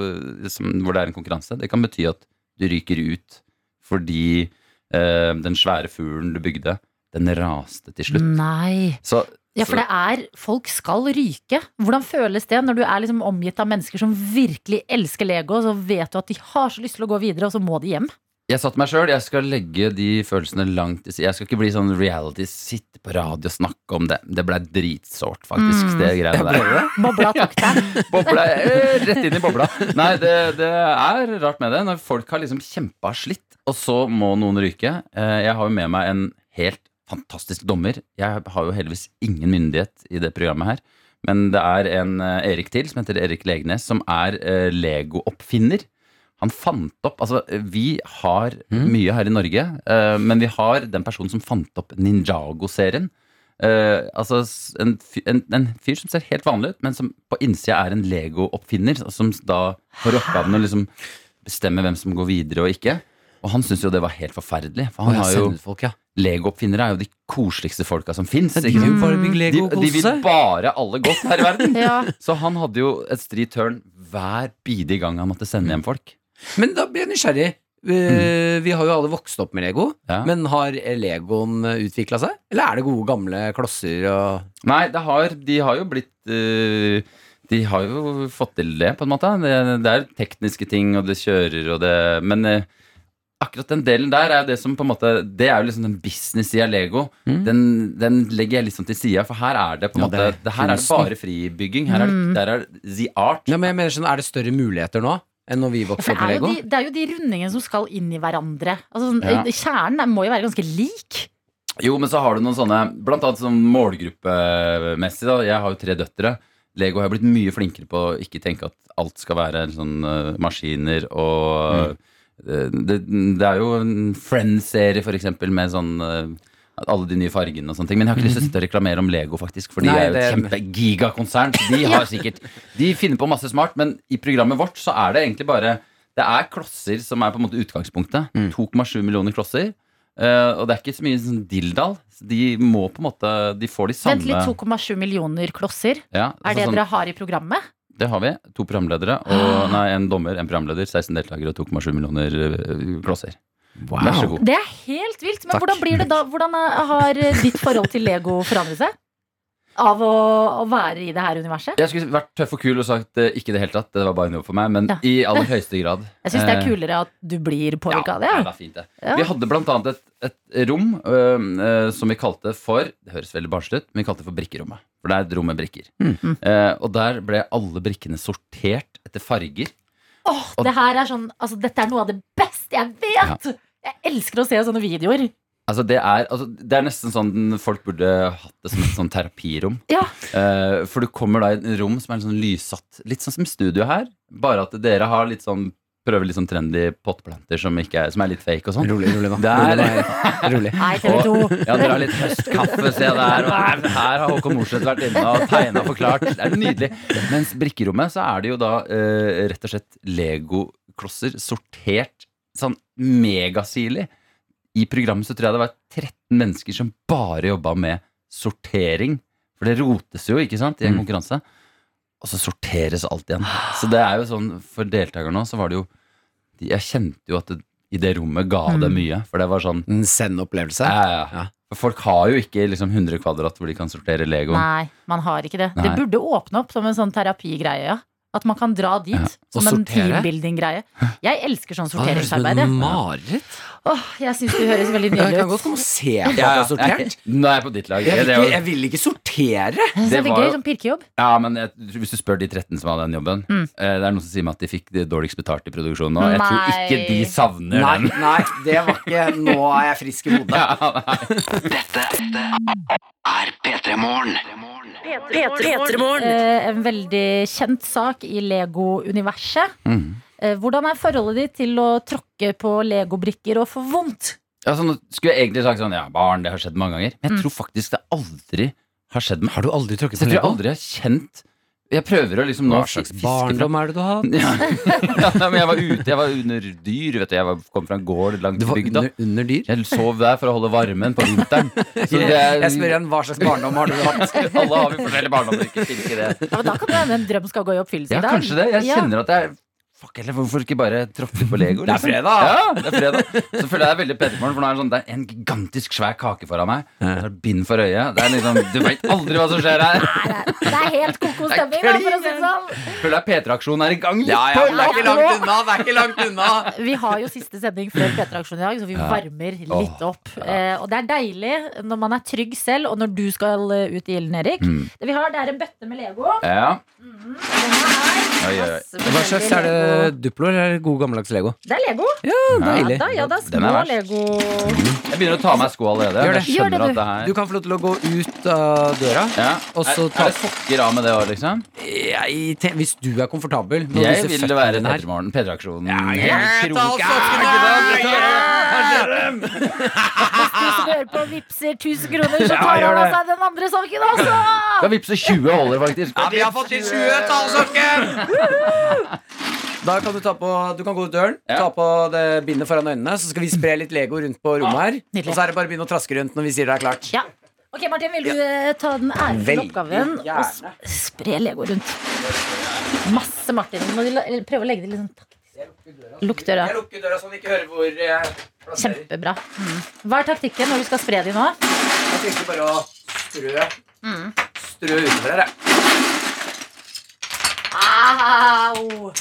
Speaker 9: som, hvor det er en konkurranse. Det kan bety at du ryker ut fordi eh, den svære fuglen du bygde, den raste til slutt.
Speaker 2: Nei.
Speaker 9: Så,
Speaker 2: Ja, for det er Folk skal ryke. Hvordan føles det når du er liksom omgitt av mennesker som virkelig elsker Lego, og så vet du at de har så lyst til å gå videre, og så må de hjem?
Speaker 9: Jeg sa til meg sjøl jeg skal legge de følelsene langt til side. Jeg skal ikke bli sånn reality, sitte på radio og snakke om det. Det blei dritsårt, faktisk.
Speaker 2: Mm.
Speaker 9: Det greiene der.
Speaker 2: Bobla tok deg.
Speaker 9: Bobla, eh, rett inn i bobla. Nei, det, det er rart med det. Når folk har liksom kjempa og slitt, og så må noen ryke. Eh, Jeg har jo med meg en helt fantastisk dommer. Jeg har jo heldigvis ingen myndighet i det programmet her. Men det er en eh, Erik til, som heter Erik Legnes, som er eh, Lego-oppfinner. Han fant opp Altså, vi har
Speaker 3: Mm.
Speaker 9: mye her i Norge, eh, men vi har den personen som fant opp Ninjago-serien. Eh, altså s- en, fy- en, en fyr som ser helt vanlig ut, men som på innsida er en Lego-oppfinner. altså, Som da får oppgaven å liksom bestemme hvem som går videre og ikke. Og han syntes jo det var helt forferdelig. For
Speaker 3: Han
Speaker 9: han har jo
Speaker 3: folk, ja.
Speaker 9: Lego-oppfinnere er jo de koseligste folka som fins.
Speaker 3: De
Speaker 9: De,
Speaker 3: vil bare bygge Lego og
Speaker 9: de
Speaker 3: kose
Speaker 9: vil
Speaker 3: seg.
Speaker 9: bare alle godt her i verden.
Speaker 2: Ja.
Speaker 9: Så han hadde jo et stri tørn hver bidige gang han måtte sende hjem folk.
Speaker 3: Men da blir jeg nysgjerrig. Eh, Vi har jo alle vokst opp med Lego,
Speaker 9: Mm. Ja.
Speaker 3: men har Legoen utvikla seg? Eller er det gode, gamle klosser og
Speaker 9: Nei, det har, de har jo blitt eh, De har jo fått til det, på en måte. Det, det er tekniske ting, og det kjører, og det Men eh, akkurat den delen der er jo det som på en måte Det er jo liksom den business-sida av Lego.
Speaker 3: Mm.
Speaker 9: Den, den legger jeg liksom til sida, for her er det på en
Speaker 3: Ja, det
Speaker 9: måte
Speaker 3: er
Speaker 9: det, Her er det
Speaker 3: kunsten.
Speaker 9: bare fribygging. Her er det, der er the art.
Speaker 3: Ja, men jeg mener sånn, Er det større muligheter nå enn når vi vokste
Speaker 2: For det,
Speaker 3: opp med
Speaker 2: er jo
Speaker 3: Lego?
Speaker 2: de, det er jo de rundingene som skal inn i hverandre. Altså, sånn,
Speaker 9: Ja.
Speaker 2: Kjernen er, må jo være ganske lik.
Speaker 9: Jo, men så har du noen sånne Blant annet sånn målgruppemessig da Jeg har jo tre døttere Lego har jeg blitt mye flinkere på å ikke tenke at alt skal være sånn eh, maskiner og
Speaker 3: Mm.
Speaker 9: eh, det, det er jo en Friends-serie for eksempel med sånn eh, alle de nye fargene og sånne ting Men jeg har ikke lyst til å sitte og reklamere om Lego faktisk For de
Speaker 3: Nei,
Speaker 9: er jo et
Speaker 3: det-
Speaker 9: kjempegigakonsern så De har sikkert De finner på masse smart Men i programmet vårt så er det egentlig bare Det er klosser som er på en måte utgangspunktet
Speaker 3: Mm.
Speaker 9: 2,7 millioner klosser Eh, og det er ikke så mye sånn dilldall. De må på en måte De får de samme
Speaker 2: Vent litt, 2,7 millioner klosser.
Speaker 9: Ja, altså
Speaker 2: Er det
Speaker 9: sånn-
Speaker 2: dere har i programmet?
Speaker 9: det har vi. To programledere.
Speaker 2: Ah.
Speaker 9: Og, nei, en dommer, en programleder, 16 deltakere og 2,7 millioner eh, klosser. Vær så god.
Speaker 2: Det er helt vilt. Men
Speaker 9: Takk.
Speaker 2: hvordan blir det da? Hvordan er- har eh, ditt forhold til Lego forandret seg? Av å, å være i det her universet?
Speaker 9: Jeg skulle vært tøff og kul og sagt eh, ikke i det hele tatt, det var bare en jobb for meg, men
Speaker 2: Ja.
Speaker 9: i aller høyeste grad.
Speaker 2: Jeg syns det er
Speaker 9: Eh,
Speaker 2: kulere at du blir påvirka av det.
Speaker 9: Ja,
Speaker 2: ja.
Speaker 9: det er fint det.
Speaker 2: Ja.
Speaker 9: Vi hadde blant annet et, et rom øhm, øh, som vi kalte for Det høres veldig barnslig ut, men vi kalte det for Brikkerommet. For det er et rom med brikker.
Speaker 2: Mm.
Speaker 9: Eh, og der ble alle brikkene sortert etter farger.
Speaker 2: Åh, det her er sånn, altså, dette er noe av det beste jeg vet! Jeg elsker å se sånne videoer.
Speaker 9: Altså det, er, altså det er nesten sånn folk burde hatt det som et sånn terapirom.
Speaker 2: Ja.
Speaker 9: Eh, for du kommer da i et rom som er sånn lyssatt. Litt sånn som studio her, bare at dere har litt sånn prøver litt sånn trendy potteplanter som, ikke er, som er litt fake og sånn.
Speaker 3: Rolig, rolig nå.
Speaker 9: Der-
Speaker 3: Rolig, nå. rolig.
Speaker 2: Nei, TV 2.
Speaker 9: Ja, dere har litt høstkaffe, se der. Og her, her har Håkon Morseth vært inne og tegna og forklart. Det er jo nydelig. Mens brikkerommet så er det jo da eh, rett og slett legoklosser sortert sånn megasilig. I programmet så tror jeg det var 13 mennesker som bare jobba med sortering. For det rotes jo, ikke sant, i en
Speaker 3: Mm.
Speaker 9: konkurranse. Og så sorteres alt igjen. Så det er jo sånn, for deltakerne òg, så var det jo Jeg kjente jo at det, i det rommet ga det mye. For det var sånn
Speaker 3: En send-opplevelse.
Speaker 9: ja, ja.
Speaker 3: Ja.
Speaker 9: For Folk har jo ikke liksom 100 kvadrat hvor de kan sortere Lego.
Speaker 2: Nei, man har ikke det. Det
Speaker 9: Nei.
Speaker 2: burde åpne opp som en sånn terapigreie. Ja. At man kan dra dit.
Speaker 9: Ja,
Speaker 3: og
Speaker 2: Som en
Speaker 3: sortere.
Speaker 2: teambuilding-greie. Jeg elsker sånn
Speaker 3: Hva, det høres ut som
Speaker 2: sorteringsarbeid.
Speaker 3: et
Speaker 2: jeg.
Speaker 3: mareritt.
Speaker 2: Åh, jeg syns det høres veldig
Speaker 3: Jeg kan
Speaker 2: nydelig ut.
Speaker 3: godt komme og se på at
Speaker 9: Ja,
Speaker 3: jeg
Speaker 9: ja.
Speaker 3: har sortert.
Speaker 9: Nå er jeg på ditt lag.
Speaker 3: Jeg vil
Speaker 9: Det
Speaker 3: ikke,
Speaker 9: er jo-
Speaker 3: jeg vil ikke sortere!
Speaker 2: Jeg synes Det
Speaker 9: Det
Speaker 2: er
Speaker 9: var
Speaker 2: gøy,
Speaker 9: jo-
Speaker 2: sånn pirkejobb.
Speaker 9: Ja, men jeg, Hvis du spør de 13 som hadde den jobben
Speaker 2: Mm.
Speaker 9: eh, Det er noen som sier meg at de fikk det dårligst betalt i produksjonen. Og jeg tror
Speaker 2: Nei.
Speaker 9: ikke de savner
Speaker 3: Nei,
Speaker 9: den.
Speaker 3: nei, det var ikke Nå er jeg frisk i hodet.
Speaker 9: Ja, nei.
Speaker 6: er P3 Morgen.
Speaker 1: P3morgen.
Speaker 2: Eh, en veldig kjent sak i Lego-universet.
Speaker 9: Mm.
Speaker 2: Eh, hvordan er forholdet ditt til å tråkke på legobrikker og få vondt?
Speaker 9: Altså, nå skulle jeg egentlig sagt sånn Ja, barn, det har skjedd mange ganger.
Speaker 2: Mm.
Speaker 9: Men jeg tror faktisk det aldri har skjedd meg.
Speaker 3: Har du aldri tråkket
Speaker 9: Så
Speaker 3: på
Speaker 9: jeg tror jeg
Speaker 3: Lego?
Speaker 9: aldri har kjent Jeg prøver å liksom nå
Speaker 3: Hva
Speaker 9: fis-
Speaker 3: slags
Speaker 9: fiske fra-
Speaker 3: barndom er det du har hatt?
Speaker 9: ja. ja, nei, men jeg var ute, jeg var under dyr, vet du. Jeg var, kom fra en gård langt
Speaker 3: Du
Speaker 9: i
Speaker 3: var
Speaker 9: bygda.
Speaker 3: under, under dyr?
Speaker 9: Jeg sov der for å holde varmen på vinteren. Så det er,
Speaker 3: Jeg spør igjen, hva slags barndom har du hatt?
Speaker 9: Alle har vi forskjellige barndommer, ikke stilk i det.
Speaker 2: Ja, men da kan det hende en drøm skal gå i oppfyllelse
Speaker 9: Ja,
Speaker 2: i dag.
Speaker 9: kanskje det. Jeg
Speaker 2: Ja.
Speaker 9: kjenner at jeg Fuck heller, hvorfor ikke bare tråkke på Lego?
Speaker 3: Det er
Speaker 9: liksom?
Speaker 3: fredag.
Speaker 9: Ja, det er fredag. Så føler jeg det er veldig Petermorgen, for nå er det sånn Det er en gigantisk svær kake foran meg. Det er bind for øyet. Det er liksom Du veit aldri hva som skjer her.
Speaker 2: Det er helt koko stemning, da, for å si det sånn.
Speaker 9: Føler jeg P3-aksjonen er i gang. litt
Speaker 3: Ja, ja,
Speaker 9: på
Speaker 3: men det er ikke
Speaker 9: lag nå.
Speaker 3: langt unna! Det er ikke langt unna
Speaker 2: Vi har jo siste sending før P3-aksjonen i dag, så vi varmer litt opp. Eh, og det er deilig når man er trygg selv, og når du skal eh, ut i ilden, Erik. Det vi har, det er en bøtte med Lego.
Speaker 9: Ja.
Speaker 2: Den her.
Speaker 9: Oi, oi, oi.
Speaker 2: Masse forskjellige
Speaker 3: Hva slags er det eh, Duplo eller god gammeldags Lego?
Speaker 2: Det er Lego.
Speaker 3: Ja, deilig.
Speaker 2: Da, ja, det er
Speaker 9: Den er
Speaker 2: små
Speaker 9: verst.
Speaker 2: Lego.
Speaker 9: Jeg begynner å ta av meg skoa allerede.
Speaker 3: Gjør det.
Speaker 9: Jeg
Speaker 2: Gjør
Speaker 9: skjønner
Speaker 2: det,
Speaker 9: at det
Speaker 3: Du
Speaker 9: her
Speaker 3: kan få lov til å gå ut av døra.
Speaker 9: ja.
Speaker 3: Og så
Speaker 9: er,
Speaker 3: ta-
Speaker 9: er det sokker av med det òg, liksom?
Speaker 3: Jeg, te- hvis du er komfortabel. med
Speaker 9: Jeg
Speaker 3: disse
Speaker 9: vil
Speaker 3: føttene
Speaker 9: være
Speaker 3: dine her.
Speaker 9: P3-morgen. P3-aksjonen.
Speaker 2: Hvis du hører på vipser 1000 kroner, så
Speaker 3: Ja,
Speaker 2: tar han
Speaker 3: gjør
Speaker 2: av
Speaker 3: det.
Speaker 2: seg den andre saken også!
Speaker 9: Skal vippse 20 holder, faktisk.
Speaker 3: Ja, vi har fått inn 20 tallsokker! Da kan du ta på Du kan gå ut døren,
Speaker 9: Ja.
Speaker 3: ta på det bindet foran øynene, så skal vi spre litt Lego rundt på rommet her.
Speaker 2: Ah, Nydelig.
Speaker 3: Og så er det bare å begynne å traske rundt når vi sier det er klart.
Speaker 2: Ja. Ok, Martin, vil du eh, ta den ærefulle
Speaker 3: Veldig
Speaker 2: oppgaven og s-
Speaker 3: gjerne.
Speaker 2: spre Lego rundt? Masse, Martin. Må du la- eller prøve å legge det litt sånn taktisk? Lukk døra.
Speaker 3: lukker døra sånn ikke hører hvor jeg
Speaker 2: Kjempebra. Mm. Hva er taktikken når du skal spre de nå?
Speaker 3: Jeg tenkte bare å strø
Speaker 2: Mm.
Speaker 3: Strø utover her, jeg.
Speaker 2: Au!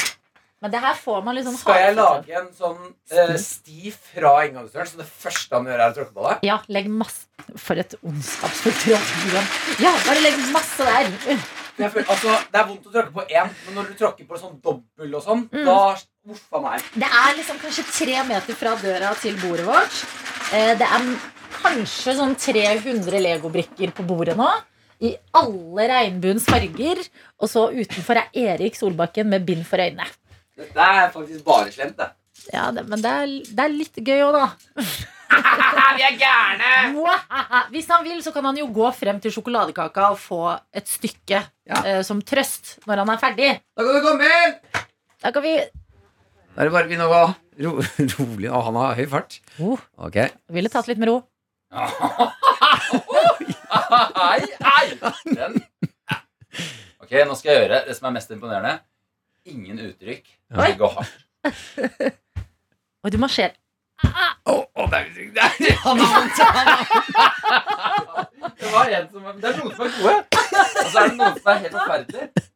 Speaker 2: Men det her får man litt sånn
Speaker 3: Skal jeg
Speaker 2: hardføtter av.
Speaker 3: lage en sånn eh, sti fra inngangsdøren, så det første han gjør, er å tråkke på det?
Speaker 2: Ja, legg masse For et ondskapsfullt råd. Julian. Ja, bare legg masse der.
Speaker 3: Jeg føler, altså, det er vondt å tråkke på én, men når du tråkker på sånn dobbel og sånn, da Uffa meg.
Speaker 2: Det er liksom kanskje tre meter fra døra til bordet vårt. Eh, Det er kanskje sånn 300 legobrikker på bordet nå. I alle regnbuens farger. Og så utenfor er Erik Solbakken med bind for øynene.
Speaker 3: Dette er faktisk bare slemt, det.
Speaker 2: Ja, det, Men det er, det er litt gøy òg, da. Vi er gærne! Hvis han vil, så kan han jo gå frem til sjokoladekaka og få et stykke
Speaker 3: Ja.
Speaker 2: eh, som trøst når han er ferdig.
Speaker 3: Da kan du komme inn!
Speaker 2: Da kan vi
Speaker 3: Da er det bare å begynne å gå ro, rolig. Å, han har høy fart.
Speaker 2: oh,
Speaker 3: Ok.
Speaker 2: Ville tatt litt med ro.
Speaker 9: Ai, ai. Den. Ok, nå skal jeg gjøre det som er mest imponerende. Ingen uttrykk. Det går hardt.
Speaker 2: Og du marsjerer.
Speaker 3: Å, å, det er uttrykk. Det er- Han har vondt. han har vondt.
Speaker 9: Det, var en som, det er noen som er gode, og så er det noen som er helt forferdelige.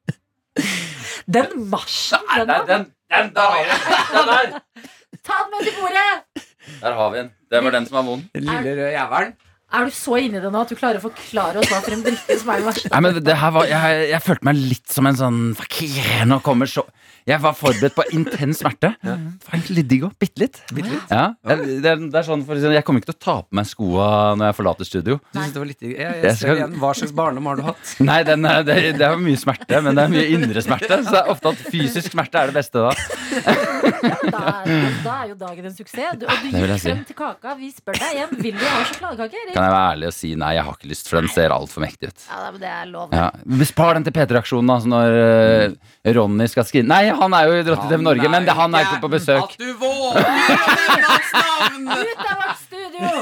Speaker 2: Den marsjen! Den,
Speaker 9: Nei, den, den der har vi den. Den der.
Speaker 2: Ta den med til bordet!
Speaker 9: Der har vi den. Det var den som var vond.
Speaker 3: Den Lille røde jævelen.
Speaker 2: Er du så inni det nå at du klarer å forklare oss hva for en drikke som er den verste?
Speaker 9: Nei, men det her var, jeg, jeg følte meg litt som en sånn Fuck yeah, nå kommer så Jeg var forberedt på intens smerte. Det var egentlig litt digg òg. Bitte litt. Ja, jeg, det, er, det er sånn, for eksempel, jeg kommer ikke til å ta på meg skoa når jeg forlater studio.
Speaker 3: Du synes det var litt, jeg, jeg,
Speaker 9: Jeg
Speaker 3: ser
Speaker 9: skal-
Speaker 3: igjen. Hva slags barndom har du hatt?
Speaker 9: Nei, den er, det, det er mye smerte, men det er mye indre smerte. Så det er ofte at fysisk smerte er det beste da.
Speaker 2: Da er, da er jo dagen en suksess. Du, og du
Speaker 9: Mm. vil
Speaker 2: gikk
Speaker 9: jeg si.
Speaker 2: frem til kaka. Vi spør deg igjen. Vil du ha sjokoladekake, Erik?
Speaker 9: Kan jeg være ærlig og si nei, jeg har ikke lyst, for den ser altfor mektig ut.
Speaker 2: Ja, nei, men det er lov.
Speaker 9: Ja. Spar den til P3-aksjonen, da, så når eh, Ronny skal skrive Nei, han er jo i Drotting TV Norge, men det, han er ikke på besøk.
Speaker 3: At du våger å nevne hans navn!
Speaker 2: Ut av vårt studio!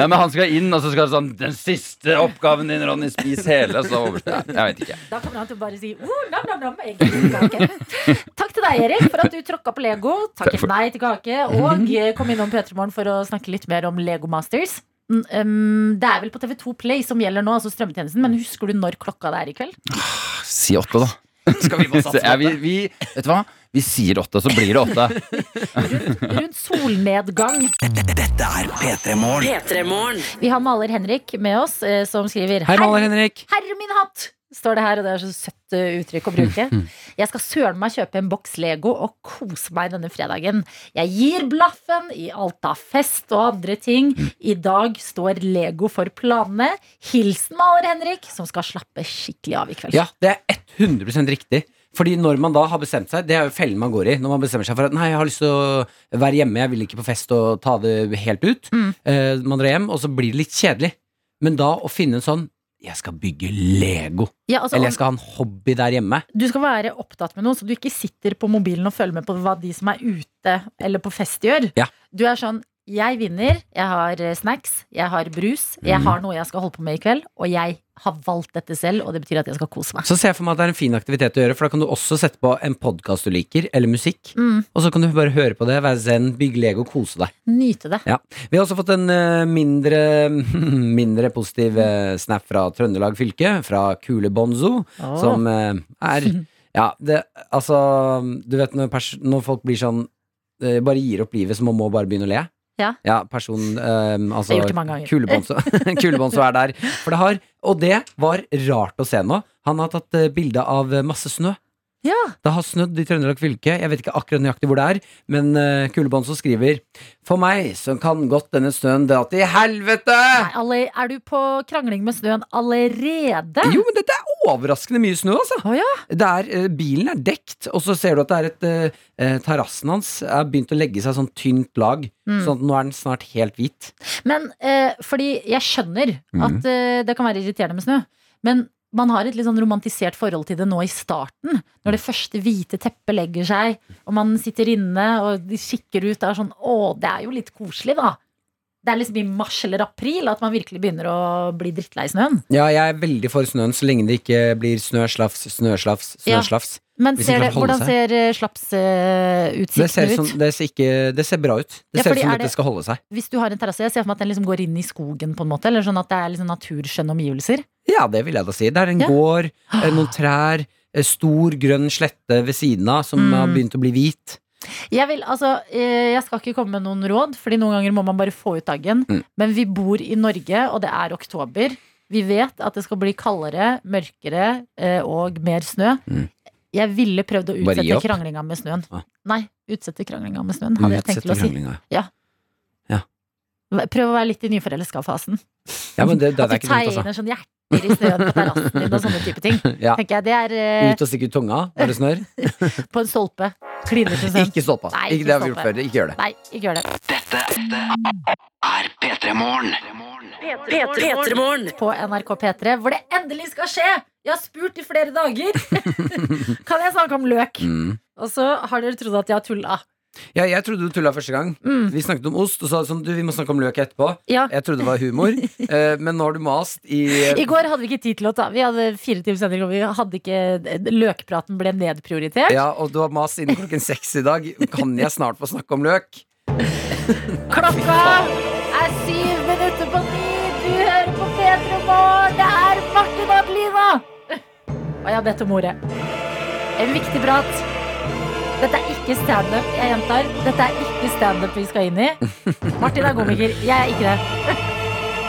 Speaker 9: Nei, men han skal inn, og så skal det sånn Den siste oppgaven din, Ronny, spis hele. Så over. Nei, jeg vet ikke.
Speaker 2: Da kommer han til å bare si oh, nam, nam, nam, egentlig kake. Takk til deg, Erik, for at du tråkka på Lego. Takket nei til kake. Og eh, kom innom P3morgen for å snakke litt mer om Lego Masters. Mm, Um, det er vel på TV2 Play som gjelder nå, altså strømmetjenesten. Men husker du når klokka det er i kveld?
Speaker 9: Si åtte, da.
Speaker 3: Skal vi få
Speaker 9: Så,
Speaker 3: satse
Speaker 9: ja,
Speaker 3: på
Speaker 9: vi,
Speaker 3: det?
Speaker 9: vi, vet du hva? Vi sier åtte, så blir det åtte.
Speaker 2: Rundt solnedgang.
Speaker 6: Dette er P3 Morgen.
Speaker 1: P3morgen.
Speaker 2: Vi har maler Henrik med oss, eh, som skriver
Speaker 3: Hei, Maler
Speaker 2: "Herre-
Speaker 3: Henrik.
Speaker 2: Herre min hatt! Står det her, og det er så søtt eh, uttrykk å bruke.
Speaker 3: Mhm.
Speaker 2: Jeg skal søren meg kjøpe en boks Lego og kose meg denne fredagen. Jeg gir blaffen i alt av fest og andre ting.
Speaker 3: Mm.
Speaker 2: I dag står Lego for planene. Hilsen maler Henrik, som skal slappe skikkelig av i kveld.
Speaker 3: Ja, det er 100 riktig. Fordi når man da har bestemt seg, det er jo fellen man går i, når man bestemmer seg for at nei, jeg har lyst til å være hjemme, jeg vil ikke på fest og ta det helt ut.
Speaker 2: Mm.
Speaker 3: Eh, man drar hjem, og så blir det litt kjedelig. Men da å finne en sånn jeg skal bygge Lego,
Speaker 2: Ja, altså,
Speaker 3: eller jeg skal ha en hobby der hjemme.
Speaker 2: Du skal være opptatt med noe, så du ikke sitter på mobilen og følger med på hva de som er ute eller på fest gjør.
Speaker 3: Ja.
Speaker 2: Du er sånn jeg vinner, jeg har eh, snacks, jeg har brus,
Speaker 3: Mm.
Speaker 2: jeg har noe jeg skal holde på med i kveld, og jeg har valgt dette selv, og det betyr at jeg skal kose meg.
Speaker 3: Så ser jeg for meg at det er en fin aktivitet å gjøre, for da kan du også sette på en podkast du liker, eller musikk.
Speaker 2: Mm,
Speaker 3: Og så kan du bare høre på det, være zen, bygge Lego, kose deg.
Speaker 2: nyte det.
Speaker 3: Ja. Vi har også fått en eh, mindre, mindre positiv eh, snap fra Trøndelag fylke, fra Kule Bonzo,
Speaker 2: Åh.
Speaker 3: som eh, er Ja, det Altså, du vet når, pers når folk blir sånn eh, Bare gir opp livet, så man må bare begynne å le.
Speaker 2: Ja.
Speaker 3: personen eh, altså,
Speaker 2: Jeg har gjort det mange ganger.
Speaker 3: Kule Bonzo. Kule Bonzo er der. For det har Og det var rart å se nå. Han har tatt eh, bilde av eh, masse snø.
Speaker 2: Ja.
Speaker 3: Det har snødd i Trøndelag fylke. Jeg vet ikke akkurat nøyaktig hvor det er, men uh, Kulebånd som skriver For meg så kan godt denne snøen dra til helvete!
Speaker 2: Nei, alle, er du på krangling med snøen allerede?
Speaker 3: Jo, men dette er overraskende mye snø, altså.
Speaker 2: Å ja.
Speaker 3: Det er, eh, bilen er dekt, og så ser du at det er et eh, eh, Terrassen hans er begynt å legge seg sånn tynt lag,
Speaker 2: Mm.
Speaker 3: sånn at nå er den snart helt hvit.
Speaker 2: Men eh, fordi jeg skjønner
Speaker 3: Mm.
Speaker 2: at eh, det kan være irriterende med snø. Men man har et litt sånn romantisert forhold til det nå i starten. Når det
Speaker 3: Mm.
Speaker 2: første hvite teppet legger seg, og man sitter inne og de kikker ut og er sånn Å, det er jo litt koselig, da. Det er liksom i mars eller april at man virkelig begynner å bli drittlei snøen.
Speaker 3: Ja, jeg er veldig for snøen, så lenge det ikke blir snøslafs, snøslafs,
Speaker 2: Ja.
Speaker 3: snøslafs.
Speaker 2: Men
Speaker 3: Hvis
Speaker 2: ser
Speaker 3: ikke
Speaker 2: det,
Speaker 3: man holder
Speaker 2: hvordan
Speaker 3: seg.
Speaker 2: ser eh,
Speaker 3: Det, ser
Speaker 2: slapsutsiktene
Speaker 3: ut
Speaker 2: ut?
Speaker 3: som, det, ser ikke, det ser bra ut. Det
Speaker 2: Ja,
Speaker 3: ser
Speaker 2: fordi
Speaker 3: ut som
Speaker 2: er
Speaker 3: dette
Speaker 2: det-
Speaker 3: skal holde seg.
Speaker 2: Hvis du har en terrasse, jeg ser for meg at den liksom går inn i skogen, på en måte. Eller sånn at det er liksom naturskjønne omgivelser.
Speaker 3: Ja, det vil jeg da si. Det er en
Speaker 2: Ja.
Speaker 3: gård, eh, noen trær, eh, stor grønn slette ved siden av som
Speaker 2: Mm.
Speaker 3: har begynt å bli hvit.
Speaker 2: Jeg, vil, altså, eh, jeg skal ikke komme med noen råd, Fordi noen ganger må man bare få ut dagen.
Speaker 3: Mm.
Speaker 2: Men vi bor i Norge, og det er oktober. Vi vet at det skal bli kaldere, mørkere eh, og mer snø.
Speaker 3: Mm.
Speaker 2: Jeg ville prøvd å
Speaker 3: Bare gi
Speaker 2: utsette
Speaker 3: opp?
Speaker 2: kranglinga med snøen.
Speaker 3: Ah.
Speaker 2: Nei, utsette kranglinga med snøen, hadde jeg tenkt
Speaker 3: Utsette
Speaker 2: til å si.
Speaker 3: kranglinga.
Speaker 2: Prøv å være litt i nyforelska-fasen.
Speaker 3: Ja, men det, det,
Speaker 2: At
Speaker 3: er
Speaker 2: du
Speaker 3: ikke dumt,
Speaker 2: tegner sånn hjerter i snøen på terrassen din og sånne type ting.
Speaker 3: altså. Ja.
Speaker 2: Tenker jeg, Det er eh,
Speaker 3: Ut og stikke ut tunga når det snør.
Speaker 2: på en stolpe. Kliner til snøen.
Speaker 3: Ikke stå på.
Speaker 2: Nei,
Speaker 3: Ikke
Speaker 2: ikke
Speaker 3: det har
Speaker 2: stå
Speaker 3: vi gjort
Speaker 2: på.
Speaker 3: før. Ikke gjør det.
Speaker 2: Nei, ikke gjør det.
Speaker 6: er P3 Morgen.
Speaker 1: P3morgen.
Speaker 2: på NRK P3, hvor det endelig skal skje! Jeg har spurt i flere dager! kan jeg snakke om løk?
Speaker 3: Mm.
Speaker 2: Og så har dere trodd at jeg har tulla.
Speaker 3: Ja, jeg trodde du tulla første gang.
Speaker 2: Mm.
Speaker 3: Vi snakket om ost, og sa sånn, du, vi må snakke om løk etterpå.
Speaker 2: Ja.
Speaker 3: Jeg trodde det var humor, eh, men nå har du mast i
Speaker 2: I går hadde vi ikke tid til å ta Vi hadde fire timer sending, og vi hadde ikke Løkpraten ble nedprioritert.
Speaker 3: ja, og du har mast siden klokken seks i dag. Kan jeg snart få snakke om løk?
Speaker 2: Klokka er syv minutter på ni! Du hører på P3 Morgen! Det er Martin og Adelina! Og jeg har bedt om ordet. En viktig prat. Dette er ikke standup. Jeg gjentar, dette er ikke standup vi skal inn i. Martin er komiker, jeg er ikke det.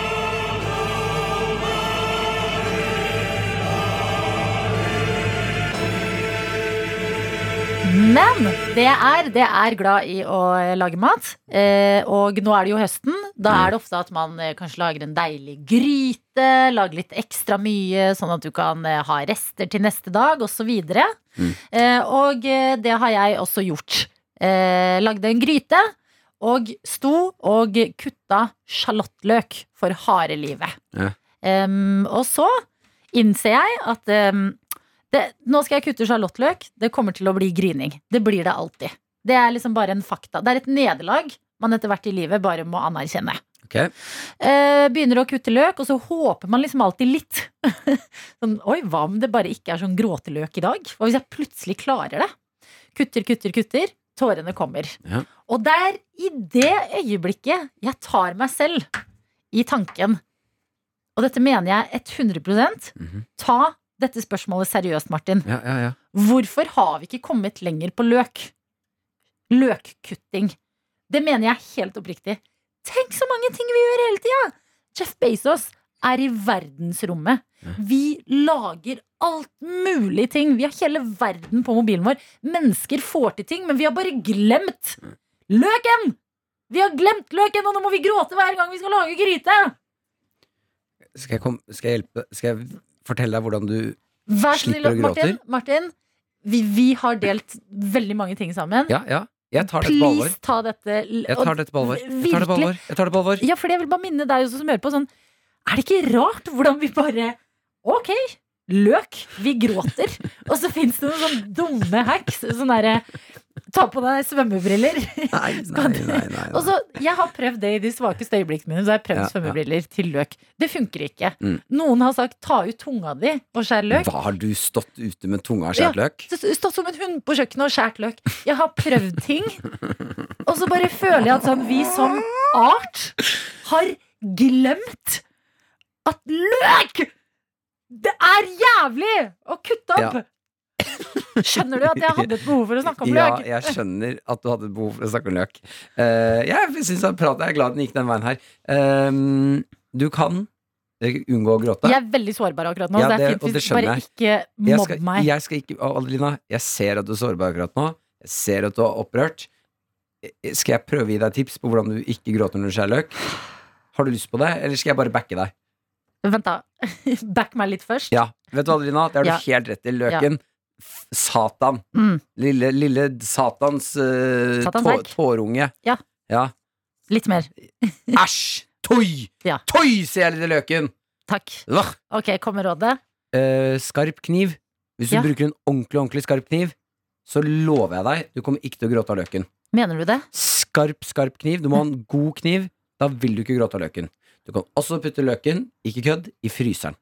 Speaker 2: Men det jeg er, det er glad i å lage mat. Eh, og nå er det jo høsten. Da er det ofte at man eh, kanskje lager en deilig gryte, lager litt ekstra mye, sånn at du kan eh, ha rester til neste dag, osv. Mm. Eh, og eh, det har jeg også gjort. Eh, lagde en gryte og sto og kutta sjalottløk for harde livet.
Speaker 3: Ja.
Speaker 2: Em, og så innser jeg at em, det, nå skal jeg kutte sjalottløk. Det kommer til å bli grining. Det blir det alltid. Det er liksom bare en fakta. Det er et nederlag man etter hvert i livet bare må anerkjenne.
Speaker 3: Ok.
Speaker 2: Eh, begynner å kutte løk, og så håper man liksom alltid litt. sånn, Oi, hva om det bare ikke er sånn gråteløk i dag? Hva hvis jeg plutselig klarer det? Kutter, kutter, kutter. Tårene kommer.
Speaker 3: Ja.
Speaker 2: Og det er i det øyeblikket jeg tar meg selv i tanken, og dette mener jeg 100
Speaker 3: Mhm.
Speaker 2: ta dette spørsmålet seriøst, Martin.
Speaker 3: Ja, ja, ja.
Speaker 2: Hvorfor har vi ikke kommet lenger på løk? Løkkutting. Det mener jeg helt oppriktig. Tenk så mange ting vi gjør hele tida! Jeff Bezos er i verdensrommet. Vi lager alt mulig ting. Vi har hele verden på mobilen vår. Mennesker får til ting, men vi har bare glemt løken! Vi har glemt løken, og nå må vi gråte hver gang vi skal lage gryte!
Speaker 3: Skal jeg, kom, skal jeg hjelpe Skal jeg fortelle deg hvordan du
Speaker 2: Vær så snill,
Speaker 3: Slipper å
Speaker 2: Martin.
Speaker 3: gråte.
Speaker 2: Martin vi, vi har delt veldig mange ting sammen.
Speaker 3: Ja, ja. Jeg tar dette på alvor.
Speaker 2: Please ta dette l-
Speaker 3: Jeg tar dette på alvor. Jeg tar det på
Speaker 2: Virkelig.
Speaker 3: alvor. Jeg tar det på alvor.
Speaker 2: Ja, for jeg vil bare minne deg også som hører på sånn Er det ikke rart hvordan vi bare Ok, løk, vi gråter Og så finnes det noen sånne dumme hacks Sånn derre Ta på deg svømmebriller
Speaker 3: Nei,
Speaker 2: Skal du- Og så, jeg har prøvd det i de svakeste øyeblikkene mine Så har jeg prøvd
Speaker 3: Ja, ja.
Speaker 2: svømmebriller til løk Det funker ikke
Speaker 3: Mm.
Speaker 2: Noen har sagt, ta ut tunga di og skjær løk
Speaker 3: Hva har du stått ute med tunga og skjært løk?
Speaker 2: Så- Stått som en hund på kjøkkenet og skjært løk Jeg har prøvd ting Og så bare føler jeg at sånn, vi som art Har glemt At løk Det er jævlig Å kutte opp Skjønner du at jeg hadde et behov for å snakke om
Speaker 3: Ja,
Speaker 2: løk?
Speaker 3: jeg skjønner at du hadde behov for å snakke om løk. Eh, jeg synes at praten, jeg er glad den gikk den veien her. Ehm, Eh, du kan eh, unngå å gråte.
Speaker 2: Jeg er veldig sårbar akkurat nå,
Speaker 3: Ja,
Speaker 2: så det er
Speaker 3: det-
Speaker 2: fint
Speaker 3: og det
Speaker 2: hvis du bare
Speaker 3: skjønner
Speaker 2: ikke
Speaker 3: Jeg
Speaker 2: mobb
Speaker 3: skal,
Speaker 2: meg.
Speaker 3: jeg skal ikke, Adelina, jeg ser at du er sårbar akkurat nå. Jeg ser at du er opprørt. Eh, Skal jeg prøve å gi deg tips på hvordan du ikke gråter når du skjærer løk? Har du lyst på det, eller skal jeg bare backe deg?
Speaker 2: Vent, da. Back meg litt først.
Speaker 3: Ja, vet du Adelina, det har
Speaker 2: Ja.
Speaker 3: du helt rett i. Løken. f- Satan.
Speaker 2: Mm.
Speaker 3: Lille, lille Satans eh,
Speaker 2: Satans
Speaker 3: tå,
Speaker 2: verk.
Speaker 3: tårunge.
Speaker 2: Ja. Litt mer.
Speaker 3: Æsj! Toi!
Speaker 2: Ja.
Speaker 3: Toi, sier jeg lille løken!
Speaker 2: Takk.
Speaker 3: Vah!
Speaker 2: Ok, kommer rådet?
Speaker 3: Eh, skarp kniv. Hvis du
Speaker 2: Ja.
Speaker 3: bruker en ordentlig, ordentlig skarp kniv, så lover jeg deg, du kommer ikke til å gråte av løken.
Speaker 2: Mener du det?
Speaker 3: Skarp, skarp kniv. Du må ha en god kniv. Da vil du ikke gråte av løken. Du kan også putte løken, ikke kødd, i fryseren.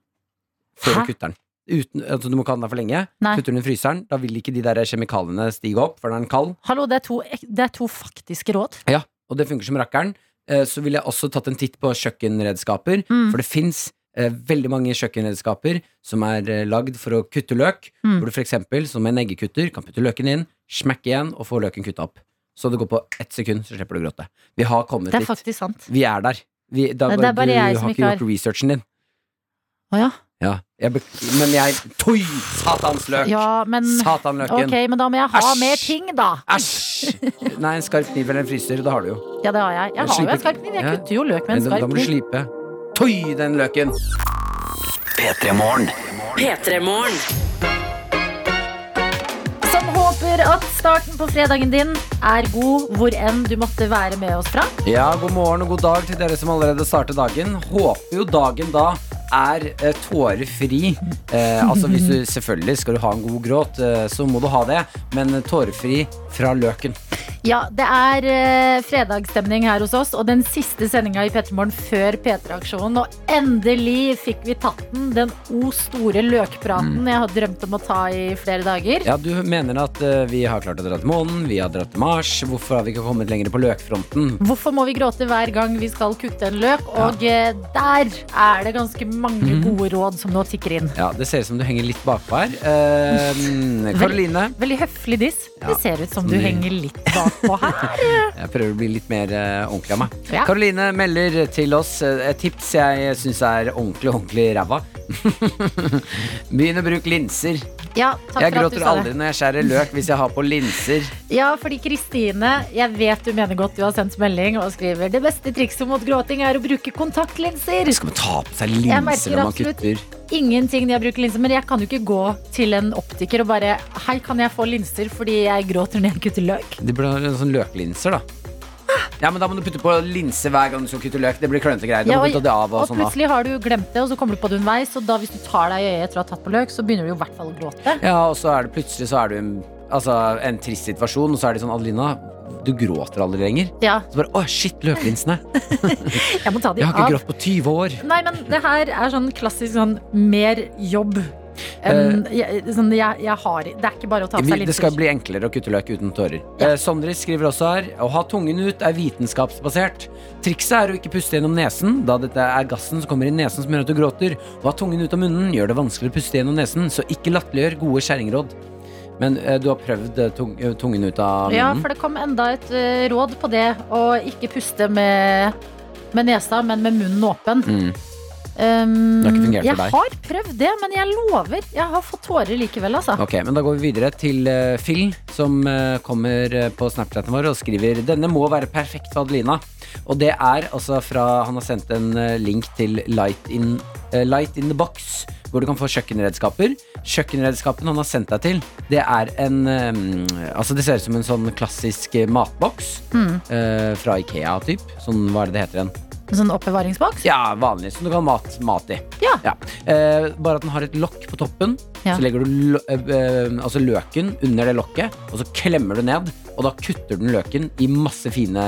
Speaker 3: Før
Speaker 2: Hæ?
Speaker 3: du kutter den. Uten, altså, du må ikke ha den der for lenge.
Speaker 2: Nei.
Speaker 3: Putter den i fryseren, da vil ikke de der kjemikaliene stige opp, for den er kald.
Speaker 2: Hallo, det er to, ek- det er to faktiske råd.
Speaker 3: Og det funker som rakkeren. Eh, Så ville jeg også tatt en titt på kjøkkenredskaper,
Speaker 2: Mm.
Speaker 3: for det fins veldig mange kjøkkenredskaper som er eh, lagd for å kutte løk.
Speaker 2: Mm.
Speaker 3: Hvor du for eksempel, som en eggekutter, kan putte løken inn, smekke igjen og få løken kutta opp. Så det går på ett sekund, så slipper du å gråte. Vi har kommet
Speaker 2: Det er
Speaker 3: dit.
Speaker 2: faktisk sant.
Speaker 3: Vi er der. Vi, da,
Speaker 2: Nei, det er bare
Speaker 3: du
Speaker 2: jeg som
Speaker 3: har
Speaker 2: ikke
Speaker 3: ikke
Speaker 2: har-
Speaker 3: gjort researchen din.
Speaker 2: Å ja.
Speaker 3: Ja, jeg bek men jeg Toi! Satans løk!
Speaker 2: ja, men
Speaker 3: Satanløken!
Speaker 2: Ok, men da må jeg ha
Speaker 3: Æsj.
Speaker 2: mer ting, da.
Speaker 3: Æsj! Nei, en skarp kniv eller en fryser, det har du jo.
Speaker 2: Ja, det har jeg. Jeg har jo en
Speaker 3: Sliper-
Speaker 2: skarp kniv. Jeg
Speaker 3: Ja.
Speaker 2: kutter jo løk med en
Speaker 3: Men da, da
Speaker 2: skarp
Speaker 3: må du
Speaker 2: kniv.
Speaker 3: slipe. Toi, den løken!
Speaker 6: P3-morgen.
Speaker 1: P3-morgen.
Speaker 2: Som håper at starten på fredagen din er god hvor enn du måtte være med oss fra.
Speaker 3: Ja, god morgen og god dag til dere som allerede starter dagen. Håper jo dagen da er eh, tårefri. Eh, altså hvis du selvfølgelig skal du ha en god gråt, eh, så må du ha det. Men tårefri fra løken.
Speaker 2: Ja, det er eh, fredagsstemning her hos oss, og den siste sendinga i P3 Morgen før P3-aksjonen. Og endelig fikk vi tatt den, den o store løkpraten
Speaker 3: Mm.
Speaker 2: jeg har drømt om å ta i flere dager.
Speaker 3: Ja, du mener at eh, vi har klart å dra til månen, vi har dratt til Mars. Hvorfor har vi ikke kommet lenger på løkfronten?
Speaker 2: Hvorfor må vi gråte hver gang vi skal kutte en løk? Og eh, der er det ganske
Speaker 3: Mhm.
Speaker 2: mange gode råd som nå tikker inn.
Speaker 3: Ja, det ser ut som du henger litt bakpå her. Eh, Karoline,
Speaker 2: Veldig høflig diss.
Speaker 3: Ja.
Speaker 2: Det ser ut som du
Speaker 3: Sånn i-
Speaker 2: henger litt bakpå her.
Speaker 3: jeg prøver å bli litt mer eh, ordentlig av meg.
Speaker 2: Ja.
Speaker 3: Karoline melder til oss eh, et tips jeg syns er ordentlig, ordentlig ræva. Begynn å bruke linser.
Speaker 2: Ja, takk for at
Speaker 3: jeg
Speaker 2: du
Speaker 3: gråter
Speaker 2: sa
Speaker 3: aldri
Speaker 2: det.
Speaker 3: når jeg skjærer løk hvis jeg har på linser.
Speaker 2: Ja, fordi Kristine, jeg vet du mener godt du har sendt melding og skriver det beste trikset mot gråting er å bruke kontaktlinser.
Speaker 3: Skal man ta på seg
Speaker 2: Jeg
Speaker 3: linser
Speaker 2: merker
Speaker 3: når man
Speaker 2: absolutt.
Speaker 3: kutter?
Speaker 2: Ingenting når jeg bruker linser, men jeg kan jo ikke gå til en optiker og bare Hei, kan jeg få linser fordi jeg gråter når jeg kutter løk?
Speaker 3: De burde ha sånn løklinser, da. Ja, men Da må du putte på linse hver gang du skal kutte løk. Det blir klønete greier. Du
Speaker 2: Ja,
Speaker 3: må putte det av og
Speaker 2: og
Speaker 3: sånn da.
Speaker 2: plutselig har du glemt det, og så kommer du på det underveis, og da hvis du tar deg i øyet etter å ha tatt på løk, så begynner du jo i hvert fall å gråte.
Speaker 3: Ja, og så er det plutselig så er du i en, altså, en trist situasjon, og så er de sånn Adelina, du gråter aldri lenger.
Speaker 2: Ja,
Speaker 3: Så bare Å, shit, løklinsene.
Speaker 2: jeg må ta de
Speaker 3: Jeg har ikke
Speaker 2: av.
Speaker 3: grått på 20 år.
Speaker 2: Nei, men det her er sånn klassisk sånn mer jobb. enn- jeg, sånn, jeg, jeg har Det er ikke bare å ta på
Speaker 3: Vi,
Speaker 2: seg
Speaker 3: Eh. det skal
Speaker 2: linser.
Speaker 3: bli enklere å kutte løk uten tårer. Eh, Sondre skriver også her å ha tungen ut er vitenskapsbasert. Trikset er å ikke puste gjennom nesen, da dette er gassen som kommer i nesen som gjør at du gråter. Å ha tungen ut av munnen gjør det vanskelig å puste gjennom nesen, så ikke latterliggjør gode skjæringråd. Men eh, du har prøvd eh, tung, eh, tungen ut av
Speaker 2: Ja,
Speaker 3: munnen?
Speaker 2: for det kom enda et eh, råd på det å ikke puste med, med nesa, men med munnen åpen.
Speaker 3: Mm.
Speaker 2: Um,
Speaker 3: Det har ikke fungert for
Speaker 2: jeg
Speaker 3: deg.
Speaker 2: har prøvd det, men jeg lover. Jeg har fått tårer likevel, altså.
Speaker 3: Ok, men Da går vi videre til eh, Phil, som eh, kommer eh, på Snapchaten vår og skriver Denne må være perfekt for Adelina. Og det er altså fra Han har sendt en eh, link til Light in, eh, Light in the Box, hvor du kan få kjøkkenredskaper. Kjøkkenredskapen han har sendt deg til, det er en eh, Altså, det ser ut som en sånn klassisk eh, matboks eh, fra Ikea, typ. Sånn, hva er det det heter igjen?
Speaker 2: En sånn oppbevaringsboks.
Speaker 3: Ja, vanlig, som du kan ha mat, mat i.
Speaker 2: Ja.
Speaker 3: Eh, bare at den har et lokk på toppen.
Speaker 2: Ja.
Speaker 3: Så legger du lo eh, eh, altså løken under det lokket, og så klemmer du ned. Og da kutter den løken i masse fine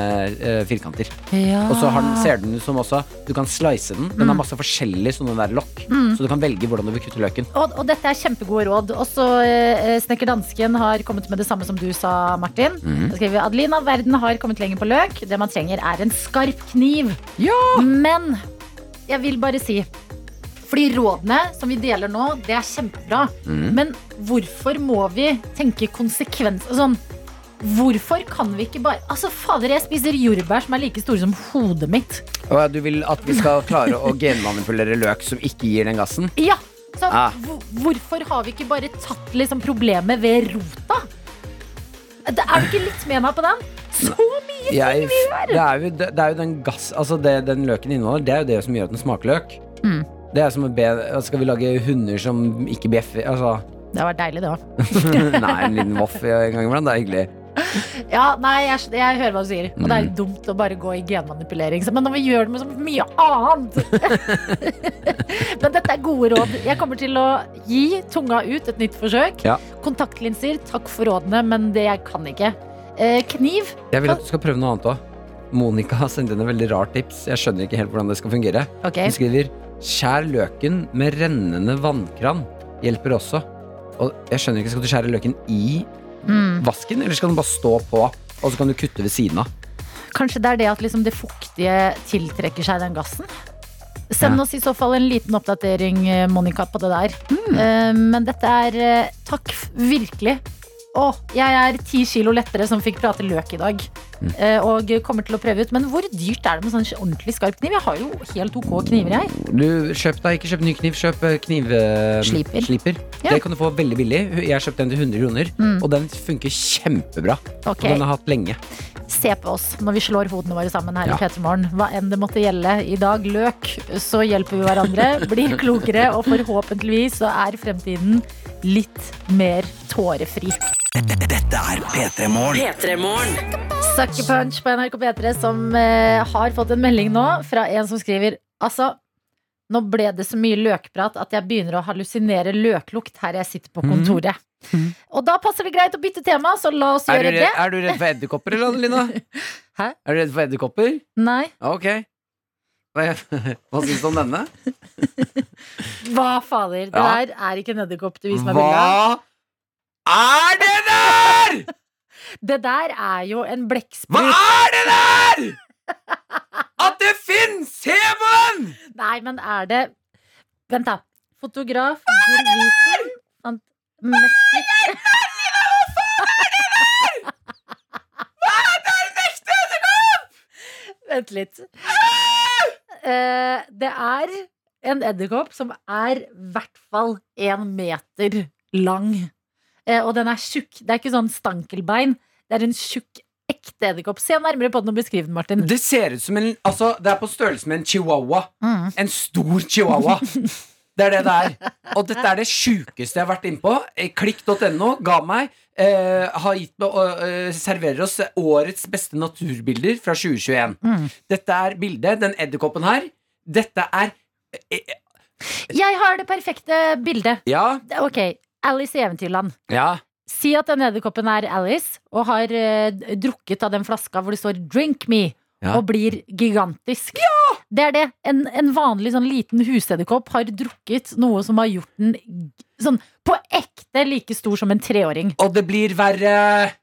Speaker 3: eh, firkanter.
Speaker 2: Ja.
Speaker 3: Og så har den,
Speaker 2: Ah.
Speaker 3: ser den ut som også Du kan slice den. Den
Speaker 2: Mm.
Speaker 3: har masse forskjellige sånne der lokk, så du kan velge hvordan du vil kutte løken.
Speaker 2: og, og dette er kjempegode råd. Også eh, Snekker Dansken har kommet med det samme som du sa, Martin. Da skriver vi, Adelina, verden har kommet lenger på løk. Det man trenger, er en skarp kniv. Men jeg vil bare si fordi rådene som vi deler nå, det er kjempebra. Men hvorfor må vi tenke konsekvens og sånn? altså Hvorfor kan vi ikke bare Altså, fader, jeg spiser jordbær som er like store som hodet mitt.
Speaker 3: Og ja, du vil at vi skal klare å genmanipulere løk som ikke gir den gassen?
Speaker 2: Ja, så
Speaker 3: Ah.
Speaker 2: hvor- Hvorfor har vi ikke bare tatt liksom problemet ved rota? Det, er du ikke litt med meg på den? Så mye!
Speaker 3: Jeg, det, er jo, det er jo den gass Altså det den løken inneholder, det er jo det som gjør at den smaker løk.
Speaker 2: Mm.
Speaker 3: Det er som å be Skal vi lage hunder som ikke bjeffer? Altså,
Speaker 2: Det var deilig, det òg.
Speaker 3: nei, en liten voff en gang iblant. Det er hyggelig.
Speaker 2: Ja, nei, jeg, skj- jeg hører hva du sier. Og det er
Speaker 3: Mm.
Speaker 2: jo dumt å bare gå i genmanipulering. så- Men når vi gjør det med så mye annet Men dette er gode råd. Jeg kommer til å gi tunga ut et nytt forsøk.
Speaker 3: Ja.
Speaker 2: Kontaktlinser, takk for rådene, men det jeg kan ikke. Eh, kniv.
Speaker 3: Jeg vil at du skal prøve noe annet òg. Monica har sendt inn et veldig rart tips. Jeg skjønner ikke helt hvordan det skal fungere.
Speaker 2: Ok.
Speaker 3: Hun skriver Skjær løken med rennende vannkran. Hjelper også. Og jeg skjønner ikke, Skal du skjære løken i
Speaker 2: Mm.
Speaker 3: vasken, eller skal den bare stå på? Og så kan du kutte ved siden av.
Speaker 2: Kanskje det er det at liksom det fuktige tiltrekker seg den gassen? Send
Speaker 3: Ja.
Speaker 2: oss i så fall en liten oppdatering, eh, Monica, på det der. Eh, Men dette er eh, Takk f- virkelig. Å, jeg er ti kilo lettere som fikk prate løk i dag. Eh, Og kommer til å prøve ut. Men hvor dyrt er det med sånn ordentlig skarp kniv? Jeg har jo helt ok kniver, jeg.
Speaker 3: Du, kjøp deg ikke kjøp ny kniv, kjøp eh, kniv... eh,
Speaker 2: Sliper. Ja. Mm.
Speaker 3: Det kan du få veldig billig. Jeg kjøpte den til 100 kroner, og den funker kjempebra.
Speaker 2: Ok.
Speaker 3: Og den har jeg hatt lenge.
Speaker 2: Se på oss når vi slår hodene våre sammen her
Speaker 3: Ja.
Speaker 2: i P3morgen. Hva enn det måtte gjelde i dag, løk, så hjelper vi hverandre, blir klokere, og forhåpentligvis så er fremtiden litt mer tårefri.
Speaker 6: Dette er P3 Morgen.
Speaker 1: P3morgen.
Speaker 2: Sucker Punch på NRK P3 som eh, har fått en melding nå fra en som skriver Altså, nå ble det så mye løkprat at jeg begynner å hallusinere løklukt her jeg sitter på
Speaker 3: Mhm.
Speaker 2: kontoret. Og da passer det greit å bytte tema, så la oss
Speaker 3: Er du,
Speaker 2: gjøre
Speaker 3: redd,
Speaker 2: det.
Speaker 3: er du redd for edderkopper, eller, Adelina?
Speaker 2: Hæ?
Speaker 3: Er du redd for edderkopper?
Speaker 2: Nei,
Speaker 3: Ok. Hva, hva syns du om denne?
Speaker 2: hva fader. Det
Speaker 3: Ja.
Speaker 2: der er ikke en edderkopp du viser meg bilde av.
Speaker 3: Hva er det der?!
Speaker 2: Det der er jo en
Speaker 3: Hva
Speaker 2: blekksprut.
Speaker 3: er det der?! At det fins! Se på den!
Speaker 2: Nei, men er det Vent, da. Fotograf Gull Wiesen fant mest Vent litt. Eh, det er en edderkopp som er i hvert fall én meter lang. Eh, og den er tjukk. Det er ikke sånn stankelbein. Det er en tjukk, ekte edderkopp. Se nærmere på den og beskriv den, Martin.
Speaker 3: Det ser ut som en Altså, det er på størrelse med en chihuahua.
Speaker 2: Mm.
Speaker 3: En stor chihuahua. Det er det det er. Og dette er det sjukeste jeg har vært innpå. Eh, Klikk.no ga meg eh, har gitt, meg, eh, serverer oss årets beste naturbilder fra 2021.
Speaker 2: Mm.
Speaker 3: Dette er bildet. Den edderkoppen her. Dette er eh,
Speaker 2: Jeg har det perfekte bildet.
Speaker 3: Ja.
Speaker 2: Det- Ok, Alice i Eventyrland.
Speaker 3: Ja.
Speaker 2: Si at den edderkoppen er Alice og har eh, drukket av den flaska hvor det står 'drink me'
Speaker 3: Ja.
Speaker 2: og blir gigantisk. Det er det. En, en vanlig sånn liten husedderkopp har drukket noe som har gjort den g- sånn på ekte like stor som en treåring.
Speaker 3: Og det blir verre.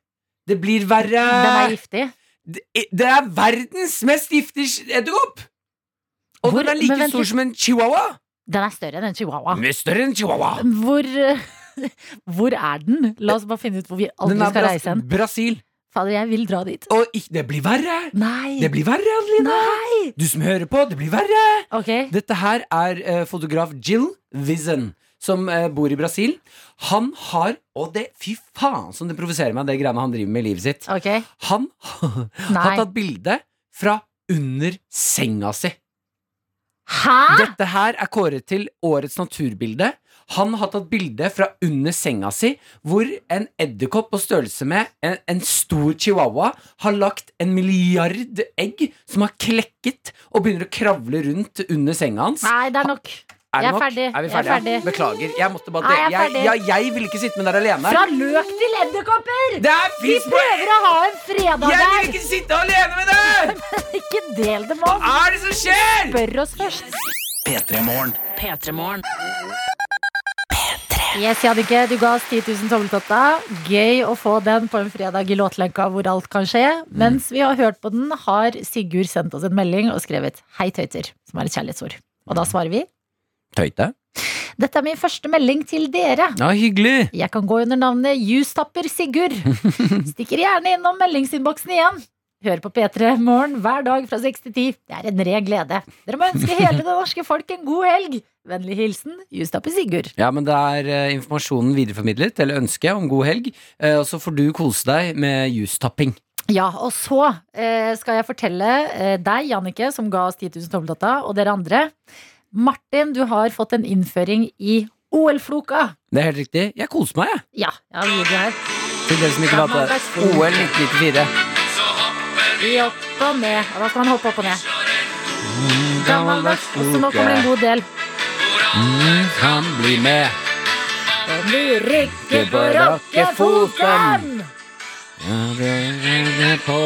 Speaker 3: Det blir verre.
Speaker 2: Den er giftig.
Speaker 3: Det det er verdens mest giftige sk- edderkopp! Og
Speaker 2: Hvor-
Speaker 3: den er
Speaker 2: men
Speaker 3: like
Speaker 2: vent
Speaker 3: stor
Speaker 2: litt. Ah.
Speaker 3: som en chihuahua.
Speaker 2: Den er større enn en chihuahua.
Speaker 3: Mye større enn chihuahua.
Speaker 2: Hvor, eh, hvor er den? La oss bare finne ut hvor vi
Speaker 3: Den
Speaker 2: aldri
Speaker 3: er
Speaker 2: skal
Speaker 3: Bras-
Speaker 2: reise hen.
Speaker 3: Brasil.
Speaker 2: Fader, jeg vil dra dit.
Speaker 3: Og ikk- det blir verre.
Speaker 2: Nei!
Speaker 3: Det blir verre, Adelina.
Speaker 2: Nei!
Speaker 3: Du som hører på, det blir verre.
Speaker 2: Ok.
Speaker 3: Dette her er eh, fotograf Jill Vizen, som eh, bor i Brasil. Han har Og det, fy faen som det provoserer meg, det greiene han driver med i livet sitt.
Speaker 2: Ok.
Speaker 3: Han
Speaker 2: Nei.
Speaker 3: har tatt bilde fra under senga si.
Speaker 2: Hæ?!
Speaker 3: Dette her er kåret til årets naturbilde. Han har tatt bilde fra under senga si, hvor en edderkopp på størrelse med en, en stor chihuahua har lagt en milliard egg som har klekket og begynner å kravle rundt under senga hans.
Speaker 2: Nei, det er nok.
Speaker 3: Er det
Speaker 2: Ah, jeg er
Speaker 3: nok?
Speaker 2: ferdig.
Speaker 3: Er
Speaker 2: Jeg
Speaker 3: vi
Speaker 2: er
Speaker 3: ferdige?
Speaker 2: ferdig.
Speaker 3: Beklager. Jeg måtte bare
Speaker 2: Nei, jeg er
Speaker 3: dele. Jeg,
Speaker 2: ferdig.
Speaker 3: ja, jeg ville ikke sitte med dere alene.
Speaker 2: Fra løk til edderkopper!
Speaker 3: Det er
Speaker 2: Vi
Speaker 3: fisk på
Speaker 2: prøver å ha en fredag
Speaker 3: Jeg vil
Speaker 2: der!
Speaker 3: ikke sitte alene med deg!
Speaker 2: Ikke del det med oss.
Speaker 3: Hva er det som skjer?
Speaker 2: Spør oss først.
Speaker 6: P3 Morgen.
Speaker 1: P3morgen.
Speaker 2: Yes, Jannicke, du ga oss 10 000 tommeltotta. Gøy å få den på en fredag i låtlenka hvor alt kan skje. Mens vi har hørt på den, har Sigurd sendt oss en melding og skrevet 'Hei, tøyter', som er et kjærlighetsord. Og da svarer vi
Speaker 3: Tøyte.
Speaker 2: 'Dette er min første melding til dere'.
Speaker 3: Ja, hyggelig.
Speaker 2: Jeg kan gå under navnet Justapper Sigurd. Stikker gjerne innom meldingsinnboksen igjen. Hør på P3 Morgen hver dag fra 6 til 10. Det er en ren glede. Dere må ønske hele det norske folk en god helg. Vennlig hilsen Justappe Sigurd.
Speaker 3: Ja, men det er eh, informasjonen videreformidlet, eller ønsket om god helg. Eh, og så får du kose deg med justapping.
Speaker 2: Ja, og så eh, skal jeg fortelle eh, deg, Jannicke, som ga oss 10 000 tommeltotta, og dere andre. Martin, du har fått en innføring i OL-floka.
Speaker 3: Det er helt riktig. Jeg koser meg, jeg.
Speaker 2: Ja, jeg har video her.
Speaker 3: Til dere som ikke
Speaker 2: Ja,
Speaker 3: vet det.
Speaker 2: man vet.
Speaker 3: OL 1994.
Speaker 2: I opp og ned. Og da skal man hoppe opp og ned. Gammeldags. Og så nå kommer det en god del.
Speaker 3: Kan bli med.
Speaker 2: Og vi rykker på rockefoten!
Speaker 3: På.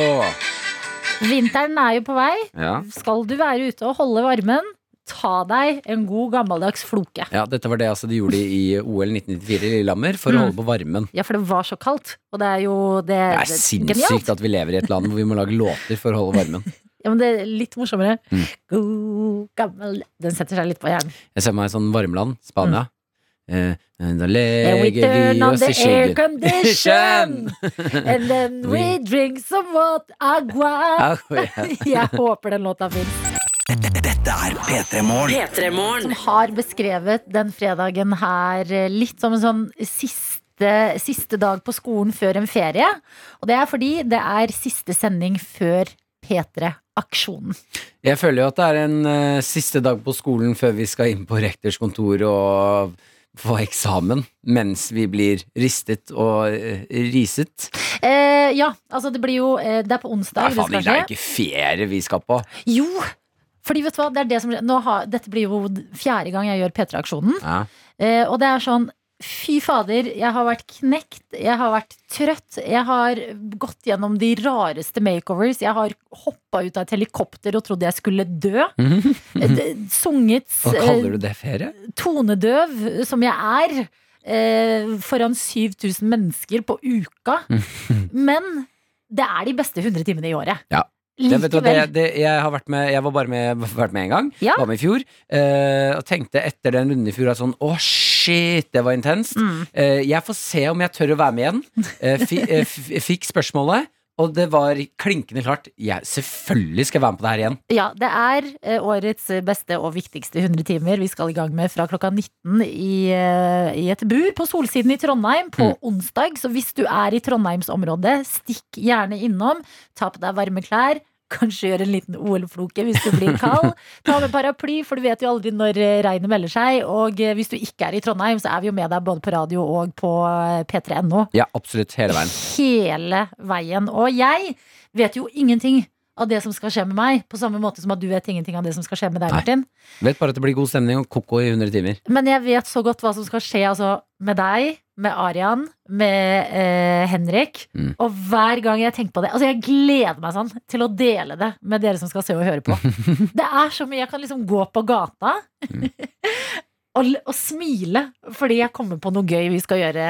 Speaker 2: Vinteren er jo på vei.
Speaker 3: Ja.
Speaker 2: Skal du være ute og holde varmen, ta deg en god gammeldags floke.
Speaker 3: ja, dette var det altså, de gjorde i OL 1994 i Lillehammer for
Speaker 2: Mm.
Speaker 3: å holde på varmen.
Speaker 2: Ja, for det var så kaldt, og det er jo det,
Speaker 3: Det er
Speaker 2: Eh, genialt.
Speaker 3: sinnssykt at vi lever i et land hvor vi må lage låter for å holde varmen.
Speaker 2: Ja, men det er litt morsommere.
Speaker 3: Mm.
Speaker 2: God gammel Den setter seg litt på hjernen.
Speaker 3: Jeg ser meg i sånn varmland, Spania. Eh, da legger
Speaker 2: And Mm. we turn
Speaker 3: vi
Speaker 2: on
Speaker 3: oss
Speaker 2: the
Speaker 3: i
Speaker 2: air
Speaker 3: skyggen.
Speaker 2: condition, and then we
Speaker 3: We-
Speaker 2: drink some what agua.
Speaker 3: Au, ja.
Speaker 2: Jeg håper den låta fins.
Speaker 6: Dette er P3 Morgen.
Speaker 1: P3 Morgen.
Speaker 2: Har beskrevet den fredagen her eh, litt som en sånn siste, siste dag på skolen før en ferie. Og det er fordi det er siste sending før P3-aksjonen.
Speaker 3: Jeg føler jo at det er en eh, siste dag på skolen før vi skal inn på rektors kontor og få eksamen, mens vi blir ristet og eh, riset.
Speaker 2: Eh, ja, altså det blir jo eh, Det er på onsdag.
Speaker 3: Nei,
Speaker 2: det
Speaker 3: faen, det er
Speaker 2: skal skje.
Speaker 3: jo ikke ferie vi skal på.
Speaker 2: Jo! Fordi vet du hva, det er det som nå har, Dette blir jo fjerde gang jeg gjør P3-aksjonen.
Speaker 3: Ja.
Speaker 2: Eh, og det er sånn Fy fader, jeg har vært knekt, jeg har vært trøtt, jeg har gått gjennom de rareste makeovers, jeg har hoppa ut av et helikopter og trodde jeg skulle dø. Eh, det- Sunget
Speaker 3: Mhm. Hva
Speaker 2: eh,
Speaker 3: kaller du det ferie?
Speaker 2: tonedøv, som jeg er, eh, foran 7000 mennesker på uka. Men det er de beste 100 timene i året.
Speaker 3: Mhm. Ja. Det, vet du, hva, det,
Speaker 2: Likevel.
Speaker 3: det, jeg har vært med Jeg var bare med, vært med en gang.
Speaker 2: Ja.
Speaker 3: Var med i fjor. eh, og tenkte etter den runden i fjor at sånn Å, shit, det var intenst.
Speaker 2: Mm.
Speaker 3: Eh, jeg får se om jeg tør å være med igjen. Eh, fi, eh, f- fikk spørsmålet, og det var klinkende klart. Jeg, selvfølgelig skal jeg være med på det her igjen.
Speaker 2: Ja, det er eh, årets beste og viktigste 100 timer vi skal i gang med fra klokka 19 i, eh, i et bur på Solsiden i Trondheim på onsdag. Så hvis du er i Trondheimsområdet, stikk gjerne innom. Ta på deg varme klær. Kanskje gjøre en liten OL-floke hvis du blir kald. Ta med paraply, for du vet jo aldri når eh, regnet melder seg. Og eh, hvis du ikke er i Trondheim, så er vi jo med deg både på radio og på eh, p3.no
Speaker 3: Ja, absolutt. Hele veien.
Speaker 2: hele veien. Og jeg vet jo ingenting av det som skal skje med meg, på samme måte som at du vet ingenting av det som skal skje med deg,
Speaker 3: Nei.
Speaker 2: Martin.
Speaker 3: Vet bare at det blir god stemning og koko i 100 timer.
Speaker 2: Men jeg vet så godt hva som skal skje altså, med deg, med Arian, med eh, Henrik.
Speaker 3: Mm.
Speaker 2: Og hver gang jeg tenker på det Altså, jeg gleder meg sånn til å dele det med dere som skal se og høre på. det er så mye. Jeg kan liksom gå på gata.
Speaker 3: Mm.
Speaker 2: Og, l- og smile fordi jeg kommer på noe gøy vi skal gjøre.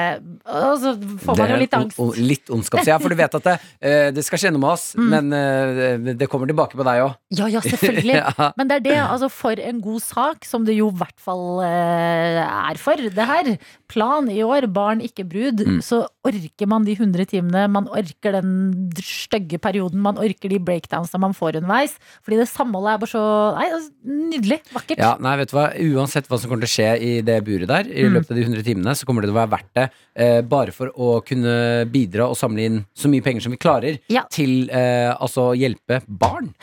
Speaker 2: Og så får man
Speaker 3: Det er
Speaker 2: jo litt
Speaker 3: on-
Speaker 2: angst.
Speaker 3: on- litt ondskap. Så ja, for du vet at det, eh, det skal skje noe med oss,
Speaker 2: Mm.
Speaker 3: men eh, det kommer tilbake på deg òg.
Speaker 2: Ja, ja, selvfølgelig.
Speaker 3: Ja.
Speaker 2: Men det er det, altså for en god sak, som det jo i hvert fall eh, er for, det her. Plan i år, barn ikke brud. Så orker man de 100 timene, man orker den stygge perioden, man orker de breakdownsa man får underveis. Fordi det samholdet er bare så nei, altså, nydelig, vakkert.
Speaker 3: Ja, nei, vet du hva Uansett hva som kommer til å skje i det buret der, i
Speaker 2: Mm.
Speaker 3: løpet av de 100 timene, så kommer det til å være verdt det. Eh, bare for å kunne bidra og samle inn så mye penger som vi klarer,
Speaker 2: Ja.
Speaker 3: til eh, altså å hjelpe barn.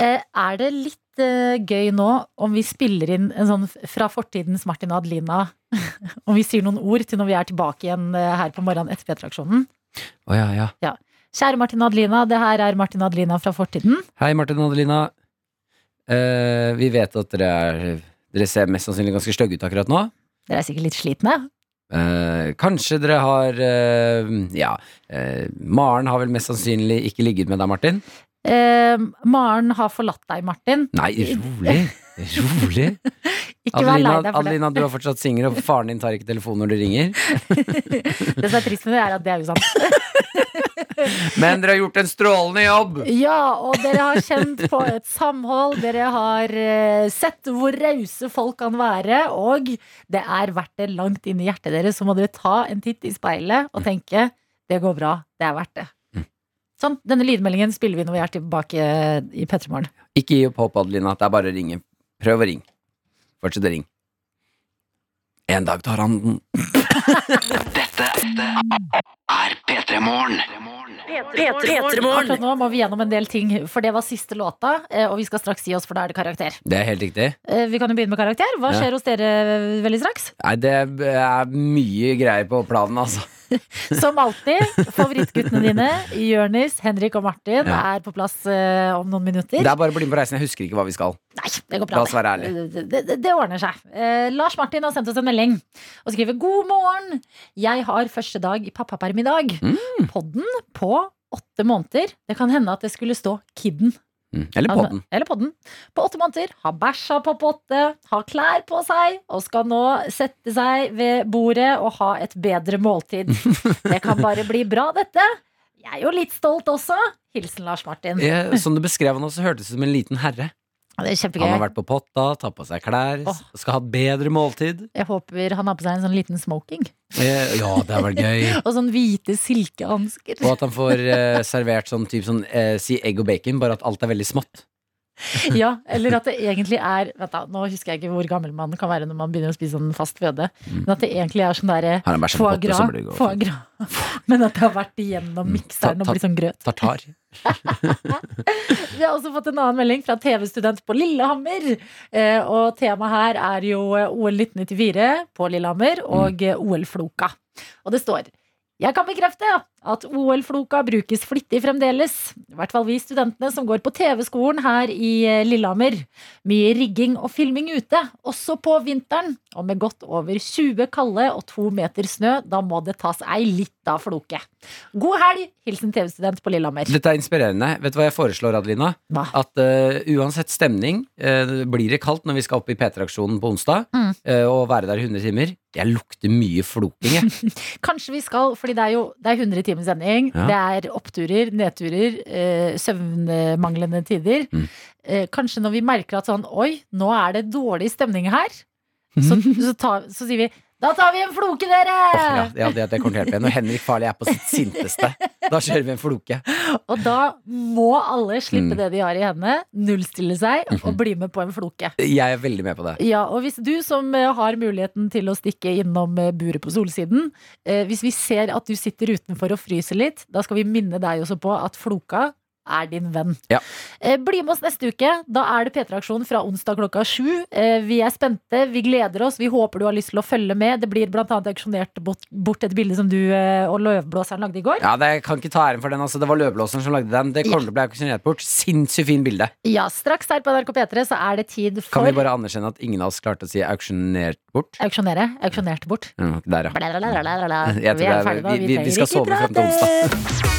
Speaker 2: Eh, er det litt eh, gøy nå om vi spiller inn en sånn f- fra fortidens Martin og Adelina? om vi sier noen ord til når vi er tilbake igjen eh, her på morgenen etter P-traksjonen?
Speaker 3: Å ja, ja.
Speaker 2: Kjære Martin og Adelina, det her er Martin og Adelina fra fortiden.
Speaker 3: Hei, Martin og Adelina. Eh, vi vet at dere er Dere ser mest sannsynlig ganske stygge ut akkurat nå.
Speaker 2: Dere er sikkert litt slitne.
Speaker 3: Eh, kanskje dere har eh, Ja, eh, Maren har vel mest sannsynlig ikke ligget med deg, Martin?
Speaker 2: Eh, Maren har forlatt deg, Martin.
Speaker 3: Nei, rolig. Rolig.
Speaker 2: Ikke vær lei
Speaker 3: Adelina,
Speaker 2: deg for
Speaker 3: Adelina, du er fortsatt singel, og faren din tar ikke telefonen når du ringer.
Speaker 2: det. Det som er trist med det, er at det er usant.
Speaker 3: Men dere har gjort en strålende jobb!
Speaker 2: Ja, og dere har kjent på et samhold. Dere har eh, sett hvor rause folk kan være. Og det er verdt det langt inn i hjertet deres. Så må dere ta en titt i speilet og tenke det går bra. Det er verdt det. Sånn, denne lydmeldingen spiller vi når vi er tilbake eh, i P3 Morgen.
Speaker 3: Ikke gi opp håpet, Adelina. Det er bare å ringe. Prøv å ringe. Fortsett å ringe. En dag tar han den.
Speaker 6: er P3 Morgen.
Speaker 1: P3morgen.
Speaker 2: Akkurat nå må vi gjennom en del ting, for det var siste låta, eh, og vi skal straks gi oss, for da er det karakter.
Speaker 3: Det er helt riktig.
Speaker 2: Eh, Vi kan jo begynne med karakter. Hva
Speaker 3: Ja.
Speaker 2: skjer hos dere eh, veldig straks?
Speaker 3: Nei, det er mye greier på planen, altså.
Speaker 2: Som alltid, favorittguttene dine, Jørnis, Henrik og Martin,
Speaker 3: Ja.
Speaker 2: er på plass eh, om noen minutter.
Speaker 3: Det er bare å bli med på reisen. Jeg husker ikke hva vi skal.
Speaker 2: Nei, det går
Speaker 3: La
Speaker 2: bra.
Speaker 3: oss være ærlige.
Speaker 2: det, det, det, det ordner seg. Eh, Lars Martin har sendt oss en melding og skriver God morgen! Jeg har første dag i pappaperm i dag.
Speaker 3: Mm.
Speaker 2: Podden på åtte måneder. Det kan hende at det skulle stå Kidden.
Speaker 3: Mm. Eller
Speaker 2: Han-
Speaker 3: podden.
Speaker 2: Eller podden. På åtte måneder. Har bæsja på på åtte. Har klær på seg. Og skal nå sette seg ved bordet og ha et bedre måltid. Det kan bare bli bra, dette. Jeg er jo litt stolt også. Hilsen Lars Martin.
Speaker 3: Eh, Som du beskrev han også, hørtes det ut som en liten herre.
Speaker 2: Det er kjempegøy.
Speaker 3: Han har vært på potta, tatt på seg klær,
Speaker 2: Åh.
Speaker 3: skal ha et bedre måltid.
Speaker 2: Jeg håper han har på seg en sånn liten smoking.
Speaker 3: Eh, Ja, det er vel gøy.
Speaker 2: Og sånn hvite silkehansker.
Speaker 3: Og at han får eh, servert sånn type sånn, eh, si egg og bacon, bare at alt er veldig smått.
Speaker 2: Ja, eller at det egentlig er Vent da, Nå husker jeg ikke hvor gammel man kan være når man begynner å spise sånn fast føde. Men at det egentlig er sånn derre
Speaker 3: Har han bæsja på
Speaker 2: foie
Speaker 3: potta, så
Speaker 2: gras.
Speaker 3: blir Mm. det godt. Mm.
Speaker 2: foie gras. Men at det har vært igjennom mikseren
Speaker 3: Ta-
Speaker 2: og
Speaker 3: ta-
Speaker 2: blitt sånn grøt.
Speaker 3: Tartar.
Speaker 2: Vi har også fått en annen melding fra TV-student på Lillehammer. Eh, og temaet her er jo eh, OL 1994 på Lillehammer og eh, OL-floka. Og det står jeg kan bekrefte at OL-floka brukes flittig fremdeles. I hvert fall vi studentene som går på TV-skolen her i eh, Lillehammer. Mye rigging og filming ute, også på vinteren. Og med godt over 20 kalde og to meter snø, da må det tas ei lita floke. God helg! Hilsen TV-student på Lillehammer.
Speaker 3: Dette er inspirerende. Vet du hva jeg foreslår, Adelina?
Speaker 2: Hva?
Speaker 3: At eh, uansett stemning, eh, blir det kaldt når vi skal opp i P3-aksjonen på onsdag,
Speaker 2: Mm.
Speaker 3: eh, og være der i 100 timer. Jeg lukter mye floking, jeg.
Speaker 2: Kanskje vi skal, fordi det er jo det er 100 timers sending.
Speaker 3: Ja.
Speaker 2: Det er oppturer, nedturer, eh, søvnmanglende tider.
Speaker 3: Mm.
Speaker 2: Eh, kanskje når vi merker at sånn Oi, nå er det dårlig stemning her. Så, så, tar- så sier vi Da tar vi en floke, dere!
Speaker 3: Mhm. Åh, ja, ja, det, det kommer til å hjelpe. Når Henrik Farley er på sitt sinteste, da kjører vi en floke.
Speaker 2: Og da må alle slippe
Speaker 3: Mm. Mhm.
Speaker 2: det de har i hendene, nullstille seg og bli med på en floke.
Speaker 3: Jeg er veldig med på det.
Speaker 2: Ja, og hvis du som eh, har muligheten til å stikke innom eh, buret på Solsiden, eh, hvis vi ser at du sitter utenfor og fryser litt, da skal vi minne deg også på at floka er din venn.
Speaker 3: Ja.
Speaker 2: Eh, Bli med oss neste uke. Da er det P3-aksjon fra onsdag klokka sju. Eh, Vi er spente, vi gleder oss, vi håper du har lyst til å følge med. Det blir blant annet auksjonert bort bort et bilde som du eh, og løvblåseren lagde i går.
Speaker 3: Ja, det, Jeg kan ikke ta æren for den. altså Det var løvblåseren som lagde den. Det kommer til å bli auksjonert bort. Sinnssykt fin bilde.
Speaker 2: Ja, straks her på NRK P3 så er det tid
Speaker 3: Kan
Speaker 2: for
Speaker 3: vi bare anerkjenne at ingen av oss klarte å si auksjonert bort?
Speaker 2: Auksjonere. Auksjonert bort.
Speaker 3: Ja, Der, ja.
Speaker 2: Blablabla. Vi
Speaker 3: Jeg tror det
Speaker 2: er
Speaker 3: er-
Speaker 2: ferdige nå.
Speaker 3: vi-
Speaker 2: Vi
Speaker 3: vi- vi
Speaker 2: trenger
Speaker 3: skal
Speaker 2: ikke
Speaker 3: sove frem til
Speaker 2: prate.
Speaker 3: onsdag.